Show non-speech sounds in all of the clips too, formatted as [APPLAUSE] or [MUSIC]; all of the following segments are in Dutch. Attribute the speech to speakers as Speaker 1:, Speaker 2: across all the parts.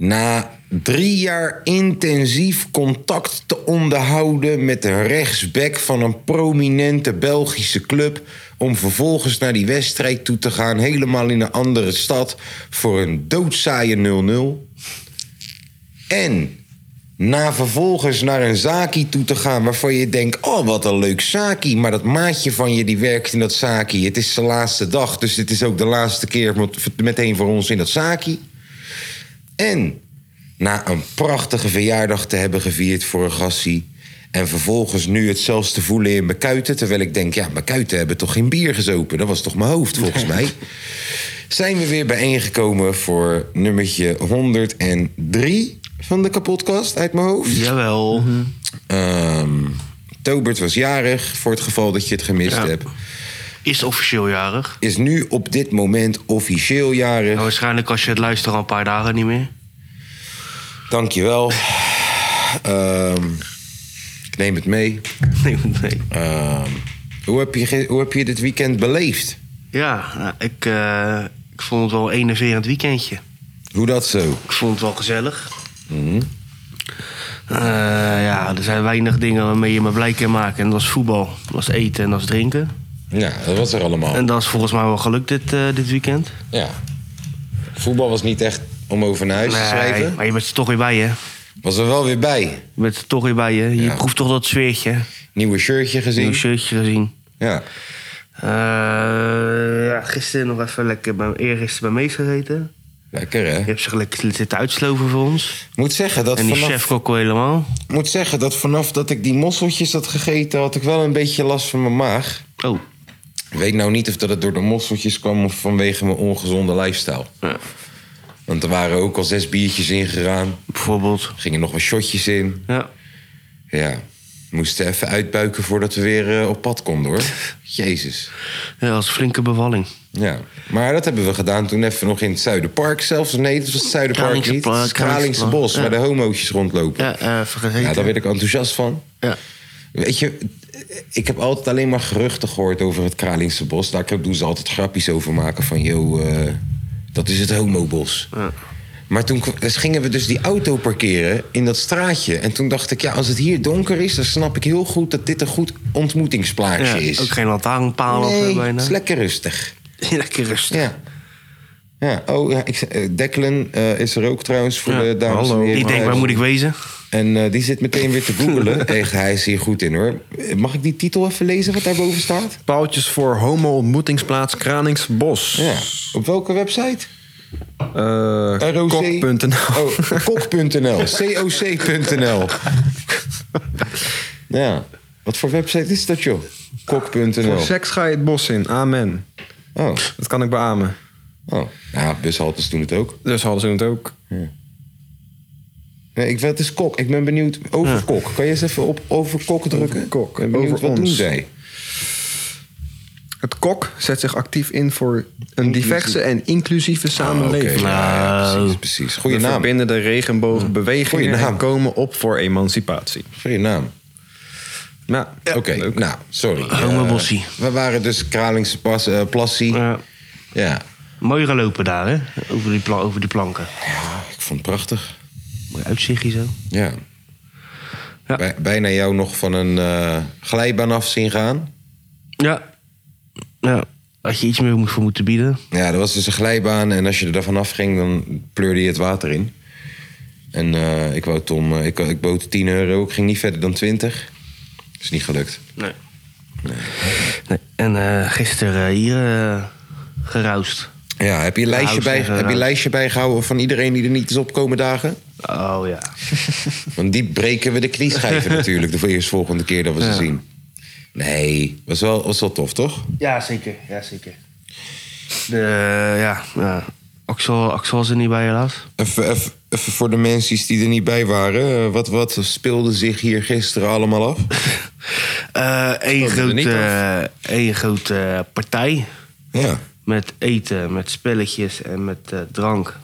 Speaker 1: Na drie jaar intensief contact te onderhouden met een rechtsback van een prominente Belgische club. Om vervolgens naar die wedstrijd toe te gaan, helemaal in een andere stad. Voor een doodzaaie 0-0. En na vervolgens naar een zaki toe te gaan waarvan je denkt: oh, wat een leuk zaki. Maar dat maatje van je die werkt in dat zaki. Het is de laatste dag, dus dit is ook de laatste keer met- meteen voor ons in dat zaki. En na een prachtige verjaardag te hebben gevierd voor een gassie. En vervolgens nu het zelfs te voelen in mijn kuiten. Terwijl ik denk, ja, mijn kuiten hebben toch geen bier gezopen? Dat was toch mijn hoofd, volgens mij. Zijn we weer bijeengekomen voor nummertje 103 van de kapotkast uit mijn hoofd.
Speaker 2: Jawel.
Speaker 1: Mhm. Ehm, Tobert was jarig, voor het geval dat je het gemist
Speaker 2: Ja.
Speaker 1: hebt.
Speaker 2: Is officieel jarig.
Speaker 1: Is nu op dit moment officieel jarig.
Speaker 2: Nou, waarschijnlijk als je het luistert al een paar dagen niet meer. [LAUGHS]
Speaker 1: Dankjewel. Ehm ik neem het mee.
Speaker 2: Nee, nee.
Speaker 1: Ehm, hoe, heb je, ge- hoe heb je dit weekend beleefd?
Speaker 2: Ja, nou, ik, eh, ik vond het wel een enerverend weekendje.
Speaker 1: Hoe dat zo?
Speaker 2: Ik vond het wel gezellig.
Speaker 1: Mhm.
Speaker 2: Eh, ja, er zijn weinig dingen waarmee je me blij kan maken. En dat is voetbal, dat is eten en dat is drinken.
Speaker 1: Ja, dat was er allemaal.
Speaker 2: En dat is volgens mij wel gelukt dit, eh, dit weekend.
Speaker 1: Ja. Voetbal was niet echt om over naar huis te schrijven.
Speaker 2: maar je bent er toch weer bij, hè?
Speaker 1: Was er wel weer bij.
Speaker 2: Je bent er toch weer bij, hè? Je
Speaker 1: Ja.
Speaker 2: proeft toch dat sfeertje.
Speaker 1: Nieuwe shirtje gezien.
Speaker 2: Nieuw shirtje gezien.
Speaker 1: Ja.
Speaker 2: Eh, ja, gisteren nog even lekker bij, eergisteren bij Mees gegeten.
Speaker 1: Lekker hè?
Speaker 2: Je hebt zich lekker zitten uitsloven voor ons.
Speaker 1: Moet zeggen dat
Speaker 2: en die
Speaker 1: vanaf...
Speaker 2: chef ook helemaal.
Speaker 1: moet zeggen dat vanaf dat ik die mosseltjes had gegeten, had ik wel een beetje last van mijn maag.
Speaker 2: Oh,
Speaker 1: Ik weet nou niet of dat het door de mosseltjes kwam of vanwege mijn ongezonde lifestyle.
Speaker 2: Ja.
Speaker 1: Want er waren ook al zes biertjes ingegaan.
Speaker 2: bijvoorbeeld.
Speaker 1: Er gingen nog wat shotjes in.
Speaker 2: Ja.
Speaker 1: Ja, moesten even uitbuiken voordat we weer eh, op pad konden
Speaker 2: [LAUGHS]
Speaker 1: hoor. Jezus.
Speaker 2: ja, dat was een flinke bevalling.
Speaker 1: Ja, maar dat hebben we gedaan toen even nog in het Zuiderpark zelfs. Nee, dat was het Zuiderpark
Speaker 2: Kralingse
Speaker 1: niet.
Speaker 2: Pla-
Speaker 1: Het Kralingse
Speaker 2: Kralingse
Speaker 1: Bos,
Speaker 2: Pla-
Speaker 1: waar de
Speaker 2: ja.
Speaker 1: homootjes rondlopen.
Speaker 2: Ja, eh vergeten.
Speaker 1: Ja, daar werd ik enthousiast van.
Speaker 2: Ja.
Speaker 1: Weet je, ik heb altijd alleen maar geruchten gehoord over het Kralingse bos. Daar doen ze altijd grapjes over maken van, yo, eh, dat is het homobos. Maar toen k- dus gingen we dus die auto parkeren in dat straatje. En toen dacht ik, ja, als het hier donker is... dan snap ik heel goed dat dit een goed ontmoetingsplaatsje
Speaker 2: Ja,
Speaker 1: is.
Speaker 2: Ook geen lantaarnpaal of
Speaker 1: nee,
Speaker 2: zo bijna.
Speaker 1: het is lekker rustig.
Speaker 2: [LAUGHS] lekker rustig.
Speaker 1: Ja. Ja, oh ja, ik, z- eh, Declan eh, is er ook trouwens voor
Speaker 2: Ja,
Speaker 1: de dames en heren.
Speaker 2: Die denkt, waar moet ik wezen?
Speaker 1: En eh, die zit meteen weer te
Speaker 3: [LAUGHS]
Speaker 1: googelen. Echt, hij is hier goed in hoor. Mag ik die titel even lezen wat daarboven staat?
Speaker 3: Paaltjes voor homo-ontmoetingsplaats Kraningsbos.
Speaker 1: Ja. Op welke website?
Speaker 3: Eh,
Speaker 1: ROC.
Speaker 3: Kok.nl.
Speaker 4: [LAUGHS]
Speaker 1: Oh,
Speaker 3: [LAUGHS]
Speaker 1: kok.nl. COC.nl. ja. Wat voor website is dat joh?
Speaker 3: Voor
Speaker 1: Kok.nl.
Speaker 3: seks ga je het bos in. Amen.
Speaker 1: Oh.
Speaker 3: Dat kan ik beamen.
Speaker 1: oh. Ja, bushaltes doen het ook.
Speaker 3: Dus hadden ze het ook.
Speaker 1: Nee, ik, het is kok. Ik ben benieuwd over kok. Kan je eens even op over kok drukken?
Speaker 3: Over kok.
Speaker 1: Ik ben benieuwd
Speaker 3: Over
Speaker 1: wat
Speaker 3: ons.
Speaker 1: doen zij?
Speaker 3: Het kok zet zich actief in voor een diverse en
Speaker 4: Ah,
Speaker 3: inclusieve samenleving.
Speaker 1: Oké, ja, ja, precies, precies. Goeie
Speaker 3: We
Speaker 1: naam.
Speaker 3: verbinden de regenboogbewegingen
Speaker 1: Goeie naam.
Speaker 3: en komen op voor emancipatie.
Speaker 1: Goeie naam.
Speaker 3: Nou,
Speaker 1: Oké,
Speaker 3: leuk.
Speaker 1: nou, sorry.
Speaker 2: Homo
Speaker 1: Eh,
Speaker 2: Bossie.
Speaker 1: we waren dus Kralingse pas, eh, Plassie.
Speaker 2: Ja.
Speaker 1: Ja.
Speaker 2: Mooi gelopen daar, hè? Over die, pla- over die planken.
Speaker 1: Ah, ik vond het prachtig.
Speaker 2: Mooi uitzichtje zo.
Speaker 1: Ja.
Speaker 2: Ja.
Speaker 1: Bij- bijna jou nog van een eh, glijbaan af zien gaan.
Speaker 2: Ja. Ja. Had je iets meer voor moeten bieden.
Speaker 1: Ja, dat was dus een glijbaan en als je er vanaf ging, dan pleurde je het water in. En eh, ik wou Tom, eh, ik, ik bood 10 euro, ik ging niet verder dan 20. Is niet gelukt.
Speaker 2: Nee. nee. En eh, gisteren eh, hier eh, geroust.
Speaker 1: Ja, heb je een lijstje,
Speaker 2: House
Speaker 1: bij,
Speaker 2: zeggen,
Speaker 1: heb je een
Speaker 2: nou.
Speaker 1: lijstje bijgehouden van iedereen die er niet is opkomen dagen?
Speaker 2: Oh [LAUGHS] ja.
Speaker 1: Want die breken we de [LAUGHS] knieschijven natuurlijk de eerst volgende keer dat we ze zien. Nee, was wel, was wel tof, toch?
Speaker 2: eh, Ja, zeker. Ja, zeker. De, ja, ja. Axel, Axel was er niet bij, helaas.
Speaker 1: Even, even, even voor de mensen die er niet bij waren. eh, Wat, wat speelde zich hier gisteren allemaal af?
Speaker 2: Eén
Speaker 1: Speelde Oh, er niet
Speaker 2: Eh, grote, één grote eh, partij.
Speaker 1: Ja.
Speaker 2: Met eten, met spelletjes en met eh, drank.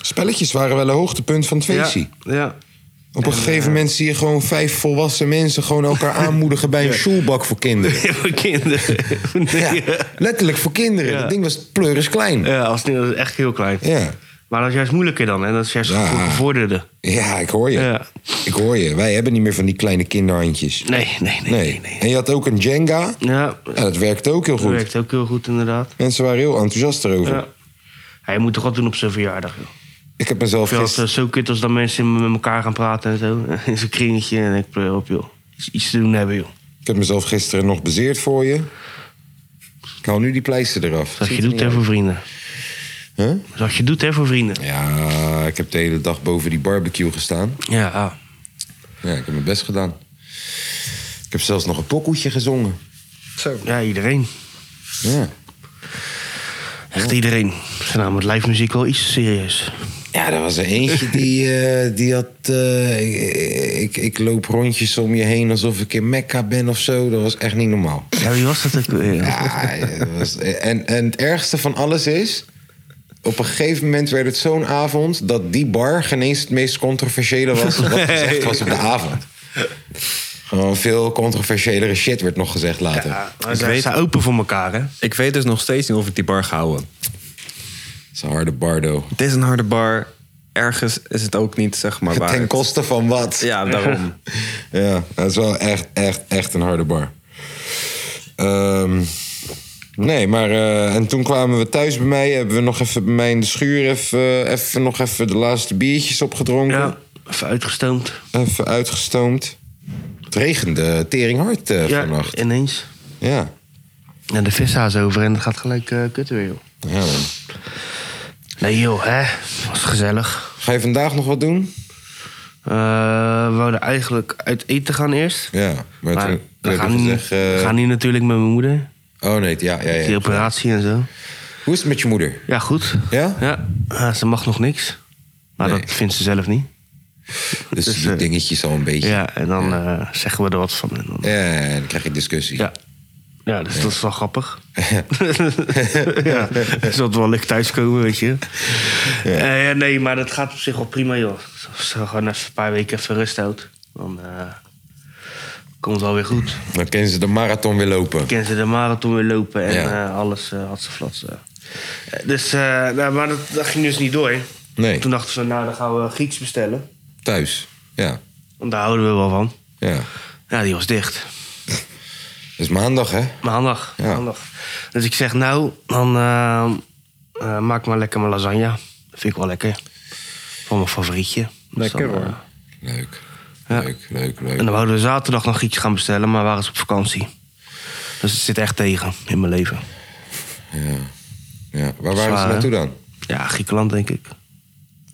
Speaker 1: Spelletjes waren wel een hoogtepunt van het feestje.
Speaker 2: Ja, ja. [LAUGHS]
Speaker 1: Op een gegeven moment zie je gewoon vijf volwassen mensen... gewoon elkaar [LAUGHS] aanmoedigen bij een schoolbak voor kinderen.
Speaker 2: Voor
Speaker 1: [LAUGHS]
Speaker 2: kinderen.
Speaker 1: Ja, letterlijk voor kinderen.
Speaker 2: Ja.
Speaker 1: Dat ding was pleuris klein.
Speaker 2: Ja, als het niet, dat is echt heel klein.
Speaker 1: Ja.
Speaker 2: Maar dat is juist moeilijker dan, hè? Dat is juist
Speaker 1: Ja.
Speaker 2: voor gevorderde.
Speaker 1: Ja, ik hoor je.
Speaker 2: Ja.
Speaker 1: Ik hoor je. Wij hebben niet meer van die kleine kinderhandjes.
Speaker 2: Nee, nee, nee,
Speaker 1: Nee.
Speaker 2: nee. nee.
Speaker 1: En je had ook een Jenga.
Speaker 2: Ja,
Speaker 1: Ja, dat werkte ook heel
Speaker 2: dat
Speaker 1: goed.
Speaker 2: werkt ook heel goed, inderdaad.
Speaker 1: Mensen waren heel enthousiast erover.
Speaker 2: Ja. Hij moet toch wat doen op zijn verjaardag, joh.
Speaker 1: Ik heb mezelf
Speaker 2: Veel als
Speaker 1: gisteren...
Speaker 2: het eh, zo kut als dan mensen met elkaar gaan praten en zo. [LAUGHS] In zo'n kringetje. En ik pleur op, joh. Iets, iets te doen hebben, joh.
Speaker 1: Ik heb mezelf gisteren nog bezeerd voor je. Ik haal nu die pleister eraf.
Speaker 2: Zoals je doet, hè, voor vrienden.
Speaker 1: Huh?
Speaker 2: Zoals je doet, hè, voor vrienden.
Speaker 1: Ja, ik heb de hele dag boven die barbecue gestaan.
Speaker 2: Ja, ah.
Speaker 1: Ja, ik heb mijn best gedaan. Ik heb zelfs nog een pokkeltje gezongen.
Speaker 3: Zo.
Speaker 2: ja iedereen.
Speaker 1: Ja.
Speaker 2: Echt iedereen. Ze namen het live muziek wel iets serieus.
Speaker 1: Ja, er was er
Speaker 2: [LAUGHS]
Speaker 1: eentje die, eh, die had... eh, ik, ik, ik loop rondjes om je heen alsof ik in Mekka ben of zo. Dat was echt niet normaal.
Speaker 2: Ja, wie was dat ook? weer?
Speaker 1: Ja, ja, dat was- en, en het ergste van alles is... Op een gegeven moment werd het zo'n avond... dat die bar geen eens het meest controversiële was... wat gezegd was op de avond. Gewoon veel controversiëlere shit werd nog gezegd later.
Speaker 2: Ja, maar
Speaker 4: Ik
Speaker 2: ze
Speaker 4: weet-
Speaker 2: zijn open voor elkaar, hè?
Speaker 4: Ik weet dus nog steeds niet of ik die bar ga houden.
Speaker 1: Het is een harde bardo.
Speaker 4: Het is een harde bar. Ergens is het ook niet, zeg maar, waar.
Speaker 1: Ten
Speaker 4: het-
Speaker 1: koste van wat?
Speaker 3: [LAUGHS]
Speaker 4: Ja, daarom.
Speaker 1: Ja, dat is wel echt, echt, echt een harde bar. Ehm, nee, maar... eh, en toen kwamen we thuis bij mij. Hebben we nog even bij mij in de schuur... even, even, nog even de laatste biertjes opgedronken.
Speaker 2: Ja, even uitgestoomd.
Speaker 1: Even uitgestoomd. Het regende teringhard eh,
Speaker 2: Ja,
Speaker 1: vannacht.
Speaker 2: ineens.
Speaker 1: Ja.
Speaker 2: Ja, de vishaas over en het gaat gelijk eh kut weer, joh.
Speaker 1: ja man.
Speaker 2: Nee, joh, hè? Was gezellig.
Speaker 1: Ga je vandaag nog wat doen?
Speaker 2: Eh, we wouden eigenlijk uit eten gaan eerst.
Speaker 1: Ja. Maar,
Speaker 2: Maar
Speaker 1: toen
Speaker 2: we
Speaker 1: werd er
Speaker 2: gaan, nu-
Speaker 1: gezegd... eh,
Speaker 2: we gaan nu natuurlijk met mijn moeder.
Speaker 1: Oh nee, ja, ja,
Speaker 2: Die
Speaker 1: ja.
Speaker 2: operatie en zo.
Speaker 1: Hoe is het met je moeder?
Speaker 2: Ja, goed.
Speaker 1: Ja?
Speaker 2: Ja, Ah, ze mag nog niks. Maar
Speaker 1: Nee.
Speaker 2: dat vindt ze zelf niet.
Speaker 1: Dus,
Speaker 2: Dus,
Speaker 1: die
Speaker 2: eh,
Speaker 1: dingetjes al een beetje. Ja.
Speaker 2: Ja, en dan eh, zeggen we er wat van. En dan,
Speaker 1: en dan krijg je discussie.
Speaker 2: ja. ja, dus dat is wel
Speaker 1: [LAUGHS]
Speaker 2: grappig. ja, dus dat wel lekker thuiskomen, weet je. Eh, ja, nee, maar dat gaat op zich wel prima, joh. Als ze gewoon even een paar weken even rust houdt, dan eh, komt het wel weer goed.
Speaker 1: Dan kunnen ze de marathon weer lopen.
Speaker 2: Ken ze de marathon weer lopen en
Speaker 1: Ja.
Speaker 2: eh, alles eh, had ze flats. eh. Eh, Dus, eh, nou, maar dat, dat ging dus niet door.
Speaker 1: Nee,
Speaker 2: Toen dachten ze, nou, dan gaan we Grieks bestellen.
Speaker 1: thuis. Ja.
Speaker 2: Want daar houden we wel van.
Speaker 1: Ja.
Speaker 2: Ja, die was dicht.
Speaker 1: Dat is maandag, hè?
Speaker 2: Maandag.
Speaker 1: Ja.
Speaker 2: maandag. Dus ik zeg, nou, dan eh, eh, maak maar lekker mijn lasagne. Dat vind ik wel lekker. Van mijn favorietje. Dus
Speaker 3: Lekker,
Speaker 2: dan, eh,
Speaker 3: hoor.
Speaker 1: Leuk.
Speaker 2: Ja.
Speaker 1: Leuk, leuk,
Speaker 2: en
Speaker 1: leuk.
Speaker 2: dan wouden we zaterdag nog Grieks gaan bestellen, maar waren ze op vakantie. Dus het zit echt tegen in mijn leven.
Speaker 1: Ja. Waar waren
Speaker 2: Zwaar,
Speaker 1: ze
Speaker 2: hè?
Speaker 1: naartoe dan?
Speaker 2: Ja, Griekenland denk ik.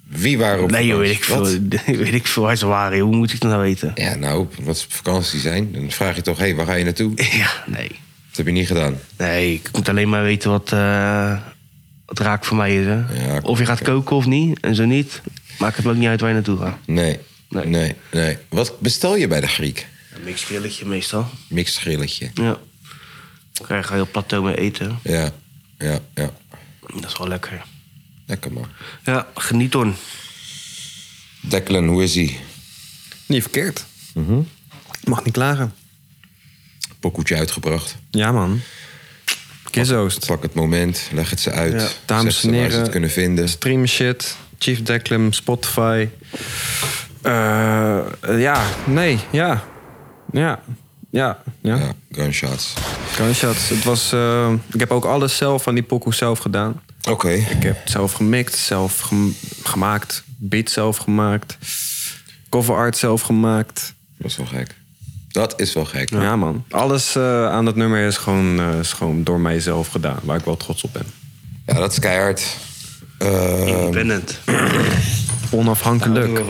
Speaker 1: Wie waren op
Speaker 2: Nee, joh, weet ik
Speaker 1: vakantie?
Speaker 2: veel. [LAUGHS]
Speaker 1: Wat?
Speaker 2: weet ik veel waar ze waren. joh. Hoe moet ik dat
Speaker 1: [LAUGHS]
Speaker 2: nou weten?
Speaker 1: Ja, nou, wat ze op vakantie zijn. Dan vraag je toch, hé, waar ga je naartoe?
Speaker 2: Ja, nee.
Speaker 1: Dat heb je niet gedaan.
Speaker 2: Nee, ik moet alleen maar weten wat, eh, wat raak voor mij is. Hè?
Speaker 1: Ja,
Speaker 2: of je gaat koken of niet. En zo niet, maakt het me ook niet uit waar je naartoe gaat.
Speaker 1: Nee. Nee.
Speaker 2: Nee.
Speaker 1: nee, Wat bestel je bij de Griek?
Speaker 2: Een mixed grilletje meestal.
Speaker 1: Mixed grilletje.
Speaker 2: Ja. Dan krijg je een heel plateau mee eten.
Speaker 1: Ja, ja, ja.
Speaker 2: Dat is wel lekker.
Speaker 1: Lekker man.
Speaker 2: Ja, geniet hoor.
Speaker 1: Declan, hoe is hij?
Speaker 4: Niet verkeerd.
Speaker 3: Mhm.
Speaker 4: Mag niet klagen.
Speaker 1: Pokoetje uitgebracht.
Speaker 4: Ja, man. Kizzoost.
Speaker 1: Pak het moment, leg het ze uit.
Speaker 4: Ja, dames
Speaker 1: Zeg ze
Speaker 4: en
Speaker 1: waar ze
Speaker 4: heren.
Speaker 1: het kunnen vinden.
Speaker 4: Stream shit. Chief Declan, Spotify. Eh, ja, nee, ja. Ja, ja, ja.
Speaker 1: Ja, gunshots.
Speaker 4: Gunshots. Het was, eh, ik heb ook alles zelf van die pokoe zelf gedaan.
Speaker 1: Oké.
Speaker 4: Ik heb het zelf gemixt, zelf gem- gemaakt. Beat zelf gemaakt. Cover art zelf gemaakt.
Speaker 1: Dat is wel gek. Dat is wel gek.
Speaker 4: Ja, man. Alles eh, aan dat nummer is gewoon, eh, is gewoon door mijzelf gedaan. Waar ik wel trots op ben.
Speaker 1: Ja, dat is keihard. Eh,
Speaker 2: Independent.
Speaker 4: Onafhankelijk.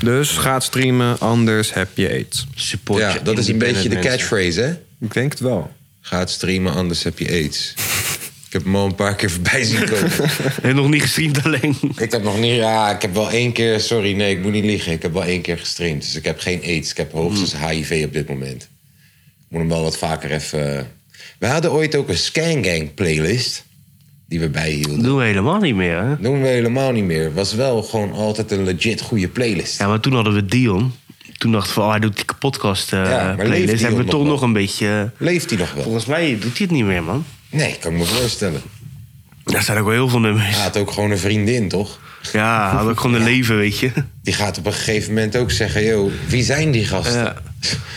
Speaker 4: Dus ga streamen, anders heb je aids.
Speaker 2: Support
Speaker 1: ja,
Speaker 2: je
Speaker 1: dat is een
Speaker 2: independent
Speaker 1: beetje de
Speaker 2: mensen.
Speaker 1: catchphrase, hè?
Speaker 4: Ik denk het wel.
Speaker 1: [LAUGHS] Ga het streamen, anders heb je aids. Ik heb hem al een paar keer voorbij zien komen.
Speaker 2: En [LAUGHS] nog niet gestreamd alleen.
Speaker 1: ik heb nog niet... Ja, ik heb wel één keer... Sorry, nee, ik moet niet liegen. Ik heb wel één keer gestreamd. Dus ik heb geen aids. Ik heb hoogstens
Speaker 2: Hmm.
Speaker 1: HIV op dit moment. Ik moet hem wel wat vaker even... eh. We hadden ooit ook een Scangang playlist. Die we bijhielden.
Speaker 2: Dat doen we helemaal niet meer, hè?
Speaker 1: Doen we helemaal niet meer. Was wel gewoon altijd een legit goede playlist.
Speaker 2: Ja, maar toen hadden we Dion. Toen dachten we, oh, hij doet die podcast eh
Speaker 1: Ja, maar leeft
Speaker 2: playlist.
Speaker 1: Dion
Speaker 2: Hebben we
Speaker 1: nog
Speaker 2: toch
Speaker 1: wel?
Speaker 2: nog een beetje... eh,
Speaker 1: Leeft die nog wel?
Speaker 2: Volgens mij doet hij het niet meer, man.
Speaker 1: Nee, kan ik me voorstellen.
Speaker 2: Daar zijn ook wel heel veel nummers.
Speaker 1: Hij
Speaker 2: Ja,
Speaker 1: had ook gewoon een vriendin, toch?
Speaker 2: hij had ook gewoon een leven, weet je.
Speaker 1: Die gaat op een gegeven moment ook zeggen... joh, wie zijn die gasten?
Speaker 2: Ja.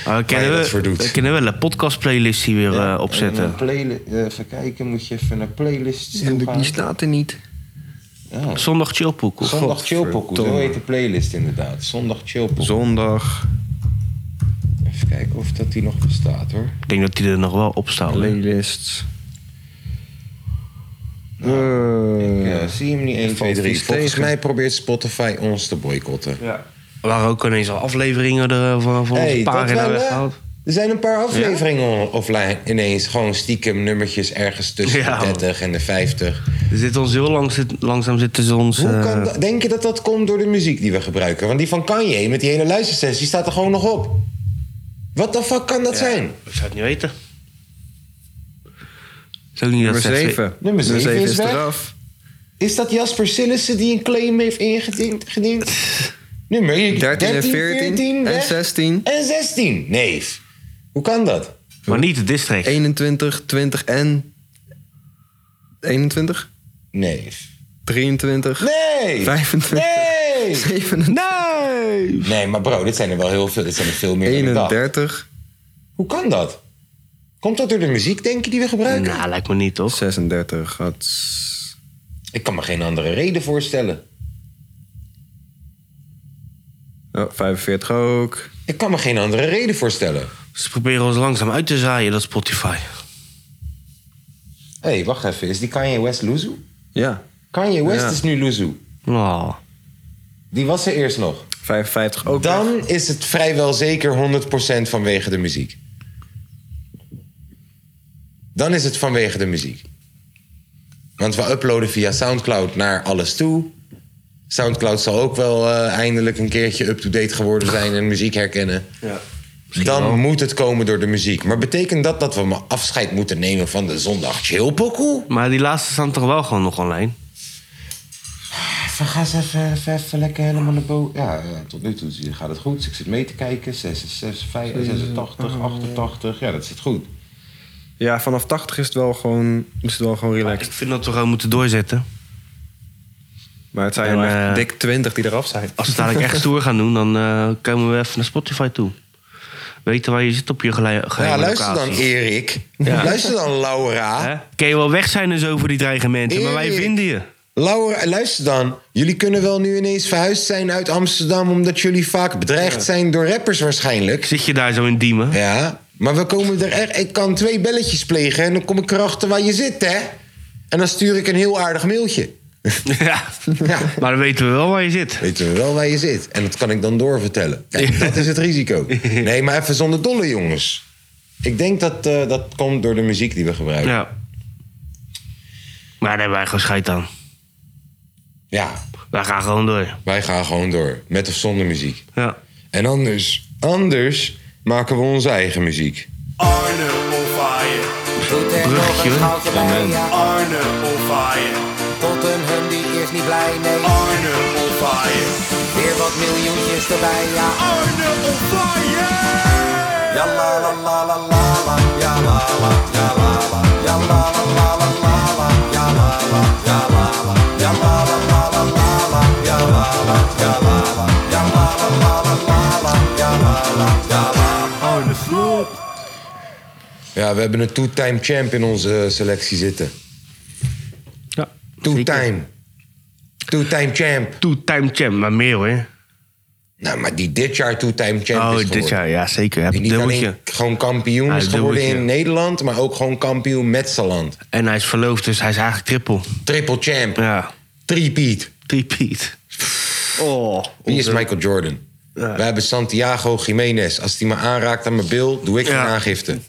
Speaker 2: Maar we
Speaker 1: je
Speaker 2: kunnen,
Speaker 1: dat voor
Speaker 2: wel-
Speaker 1: doet.
Speaker 2: we kunnen wel een podcast playlist hier weer eh, opzetten.
Speaker 1: eh, even kijken, moet je even naar playlists
Speaker 3: En die staat er niet.
Speaker 2: Zondag chillpoek. of-
Speaker 1: Zondag Chillpokoe, zo heet de playlist inderdaad. Zondag Chillpokoe.
Speaker 4: Zondag.
Speaker 1: Even kijken of dat die nog bestaat, hoor.
Speaker 2: Ik denk dat hij er nog wel op staat. hoor.
Speaker 4: Playlists.
Speaker 1: Ik eh, zie hem niet 1, 2, 3.
Speaker 4: iets
Speaker 1: Volgens
Speaker 4: tegen.
Speaker 1: mij probeert Spotify ons te boycotten.
Speaker 2: Er waren ook ineens al afleveringen er, van, van onze
Speaker 1: Hey, dat
Speaker 2: pagina
Speaker 1: wel, hè?
Speaker 2: weggehaald.
Speaker 1: Er zijn een paar afleveringen on- offline. Ineens gewoon stiekem nummertjes ergens tussen
Speaker 2: Ja,
Speaker 1: de
Speaker 2: man.
Speaker 1: 30 en de 50.
Speaker 2: Er zit ons heel lang, zit, langzaam zitten ze ons...
Speaker 1: Hoe
Speaker 2: eh,
Speaker 1: kan dat- denk je dat dat komt door de muziek die we gebruiken? Want die van Kanye met die hele luistersessie staat er gewoon nog op. Wat de fuck kan dat zijn?
Speaker 2: Ik zou het niet weten. Is ook niet
Speaker 4: Nummer
Speaker 2: dat ze-
Speaker 4: 7.
Speaker 1: Nummer zeven is weg.
Speaker 4: eraf.
Speaker 1: Is dat Jasper Sillissen die een claim heeft ingediend? gediend? Nummer 13,
Speaker 4: 13 en
Speaker 1: 14,
Speaker 4: 14 en
Speaker 1: weg.
Speaker 4: 16.
Speaker 1: En 16. Nee. Hoe kan dat?
Speaker 2: Maar niet de district.
Speaker 4: 21, 20 en... 21?
Speaker 1: Nee.
Speaker 4: 23?
Speaker 1: Nee.
Speaker 4: 25.
Speaker 1: Nee.
Speaker 4: 37?
Speaker 2: Nou,
Speaker 1: Nee, maar bro, dit zijn er wel heel veel. Dit zijn er veel meer dan ik dacht.
Speaker 4: 31?
Speaker 1: Hoe kan dat? Komt dat door de muziek, denk je, die we gebruiken?
Speaker 2: Nou, lijkt me niet, toch?
Speaker 4: 36 had...
Speaker 1: Ik kan me geen andere reden voorstellen.
Speaker 4: Oh, 45 ook.
Speaker 1: Ik kan me geen andere reden voorstellen.
Speaker 2: Ze proberen ons langzaam uit te zaaien, dat Spotify.
Speaker 1: Hé, hey, wacht even. Is die Kanye West Luzu?
Speaker 4: Ja,
Speaker 1: Kanye West
Speaker 4: Ja.
Speaker 1: is nu Luzu.
Speaker 2: Oh.
Speaker 1: Die was er eerst nog.
Speaker 4: 55 ook. weg.
Speaker 1: Dan is het vrijwel zeker 100% vanwege de muziek. Dan is het vanwege de muziek. Want we uploaden via Soundcloud naar alles toe. Soundcloud zal ook wel eh, eindelijk een keertje up-to-date geworden zijn en muziek herkennen. Dan moet het komen door de muziek. Maar betekent dat dat we maar afscheid moeten nemen van de zondag chillpokoe?
Speaker 2: Maar die laatste staan toch wel gewoon nog online?
Speaker 1: Even, ga eens even, even, even lekker helemaal naar boven. Ja, eh, tot nu toe zie- gaat het goed. Dus ik zit mee te kijken. 66, 86, 88. Ja, dat zit goed.
Speaker 4: Ja, vanaf 80 is het wel gewoon, is het wel gewoon
Speaker 2: Ik
Speaker 4: relaxed.
Speaker 2: vind dat we gewoon moeten doorzetten.
Speaker 4: Maar het zijn
Speaker 2: En,
Speaker 4: er maar
Speaker 2: eh,
Speaker 4: dik 20 die eraf zijn.
Speaker 2: Als we het dadelijk echt stoer gaan doen, dan eh, komen we even naar Spotify toe. Weten waar je zit op je gele- geheime
Speaker 1: Ja, luister dan,
Speaker 2: locatie.
Speaker 1: Erik. Luister dan, Laura.
Speaker 2: Hè? Kan je wel weg zijn en zo voor die dreigementen, maar wij
Speaker 1: Erik.
Speaker 2: vinden je.
Speaker 1: Laura, luister dan. Jullie kunnen wel nu ineens verhuisd zijn uit Amsterdam... omdat jullie vaak bedreigd zijn door rappers waarschijnlijk.
Speaker 2: Zit je daar zo in Diemen?
Speaker 1: Ja, maar we komen er echt... Ik kan twee belletjes plegen en dan kom ik erachter waar je zit, hè? En dan stuur ik een heel aardig mailtje.
Speaker 2: [LAUGHS] Ja.
Speaker 1: Ja.
Speaker 2: Maar dan weten we wel waar je zit.
Speaker 1: Weten we wel waar je zit. En dat kan ik dan doorvertellen. Kijk, dat is het
Speaker 2: [LAUGHS]
Speaker 1: risico. Nee, maar even zonder dolle, jongens. Ik denk dat eh, dat komt door de muziek die we gebruiken.
Speaker 2: Ja. Maar daar hebben wij gewoon scheid aan.
Speaker 1: ja,
Speaker 2: Wij gaan gewoon door.
Speaker 1: wij gaan gewoon door. Met of zonder muziek.
Speaker 2: Ja.
Speaker 1: En anders, anders maken we onze eigen muziek.
Speaker 5: Arne on fire.
Speaker 6: Doet er nog
Speaker 2: Bruggetje.
Speaker 6: een goudje bij, ja.
Speaker 5: Arne on fire.
Speaker 6: Tottenham die is niet blij, nee.
Speaker 4: Oh.
Speaker 5: Arne on fire.
Speaker 6: Weer wat miljoentjes erbij, ja.
Speaker 5: Arne on fire.
Speaker 6: Ja la la la la la la, ja la la, ja la la, ja la la la la la la, ja la la, ja la la, ja la la la la la la, ja la la, ja la la, ja la la la la la la, ja la la, ja la la.
Speaker 5: Arne flop.
Speaker 1: Ja, we hebben een two-time champ in onze eh, selectie zitten.
Speaker 2: ja.
Speaker 1: Two-time. Two-time champ.
Speaker 2: Two-time champ, maar meer hoor.
Speaker 1: Nou, maar die dit jaar two-time champ is
Speaker 2: Oh,
Speaker 1: geworden.
Speaker 2: dit jaar, ja zeker. Heb
Speaker 1: Die
Speaker 2: een
Speaker 1: niet
Speaker 2: dubbeltje.
Speaker 1: alleen gewoon kampioen
Speaker 2: Ja,
Speaker 1: is
Speaker 2: een
Speaker 1: geworden in
Speaker 2: dubbeltje.
Speaker 1: Nederland... maar ook gewoon kampioen met zijn land.
Speaker 2: En hij is verloofd, dus hij is eigenlijk triple.
Speaker 1: Triple champ.
Speaker 2: Ja,
Speaker 1: Three-peat.
Speaker 2: repeat. Oh.
Speaker 1: Wie is Michael Jordan? We hebben Santiago Jiménez. Als die me aanraakt aan mijn bil, doe ik
Speaker 2: Ja.
Speaker 1: een aangifte.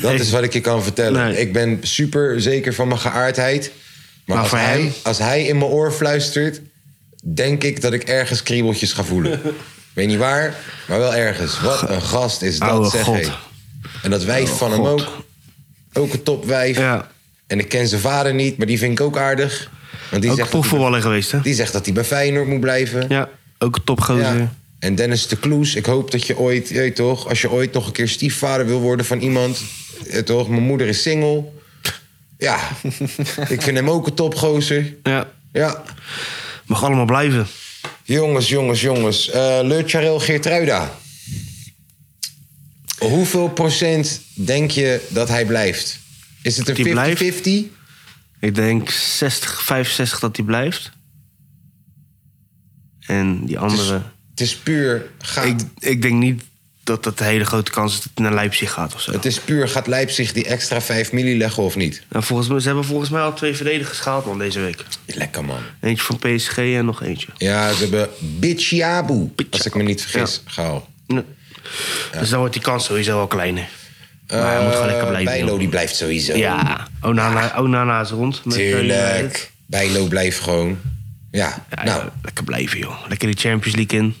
Speaker 1: [LAUGHS] Dat is wat ik je kan vertellen.
Speaker 2: Nee.
Speaker 1: Ik ben super zeker van mijn geaardheid. Maar,
Speaker 2: Maar
Speaker 1: als,
Speaker 2: voor
Speaker 1: hij,
Speaker 2: hem?
Speaker 1: als hij in mijn oor fluistert, denk ik dat ik ergens kriebeltjes ga
Speaker 2: [LAUGHS]
Speaker 1: voelen. Weet niet waar, maar wel ergens. Wat een gast is dat,
Speaker 2: Oude
Speaker 1: zeg
Speaker 2: God.
Speaker 1: ik. En dat wijf van hem
Speaker 2: God.
Speaker 1: ook. Ook een topwijf.
Speaker 2: Ja.
Speaker 1: En ik ken zijn vader niet, maar die vind ik ook aardig. Want die, zegt dat
Speaker 2: Ook
Speaker 1: hij,
Speaker 2: profvoetballer geweest, hè?
Speaker 1: die zegt dat hij bij Feyenoord moet blijven.
Speaker 2: Ja, ook een topgozer.
Speaker 1: Ja. En Dennis de Kloes, ik hoop dat je ooit, je weet toch, als je ooit nog een keer stiefvader wil worden van iemand, eh, toch, mijn moeder is single. Ja,
Speaker 2: [LAUGHS]
Speaker 1: ik vind hem ook een topgozer.
Speaker 2: Ja.
Speaker 1: Ja,
Speaker 2: Mag allemaal blijven.
Speaker 1: jongens, jongens, jongens. Eh Leurtjarel Geertruida. Hoeveel procent denk je dat hij blijft? Is het
Speaker 2: Die blijft?
Speaker 1: een 50-50?
Speaker 2: Ik denk 60, 65 dat hij blijft. En die andere...
Speaker 1: Het is puur gaat.
Speaker 2: Ik, ik denk niet dat dat de hele grote kans is dat hij naar Leipzig gaat of zo.
Speaker 1: Het is puur gaat Leipzig die extra 5 milli leggen of niet?
Speaker 2: Nou, volgens mij, ze hebben volgens mij al twee verdedigers gehaald man, deze week.
Speaker 1: Lekker man.
Speaker 2: Eentje van PSG en nog eentje.
Speaker 1: Ja, ze hebben Bichiabu, als ik me niet vergis, gehaald.
Speaker 2: Nee. Nou, Dus dan wordt die kans sowieso al kleiner. Maar hij moet gewoon lekker
Speaker 1: Eh,
Speaker 2: blijven.
Speaker 1: Bijlo
Speaker 2: joh.
Speaker 1: die blijft sowieso.
Speaker 2: Ja, Onana, Onana is rond. met, eh, United.
Speaker 1: Tuurlijk. Bijlo blijft gewoon. Ja,
Speaker 2: Ja,
Speaker 1: nou.
Speaker 2: ja, lekker blijven, joh. Lekker de Champions League in.
Speaker 1: Als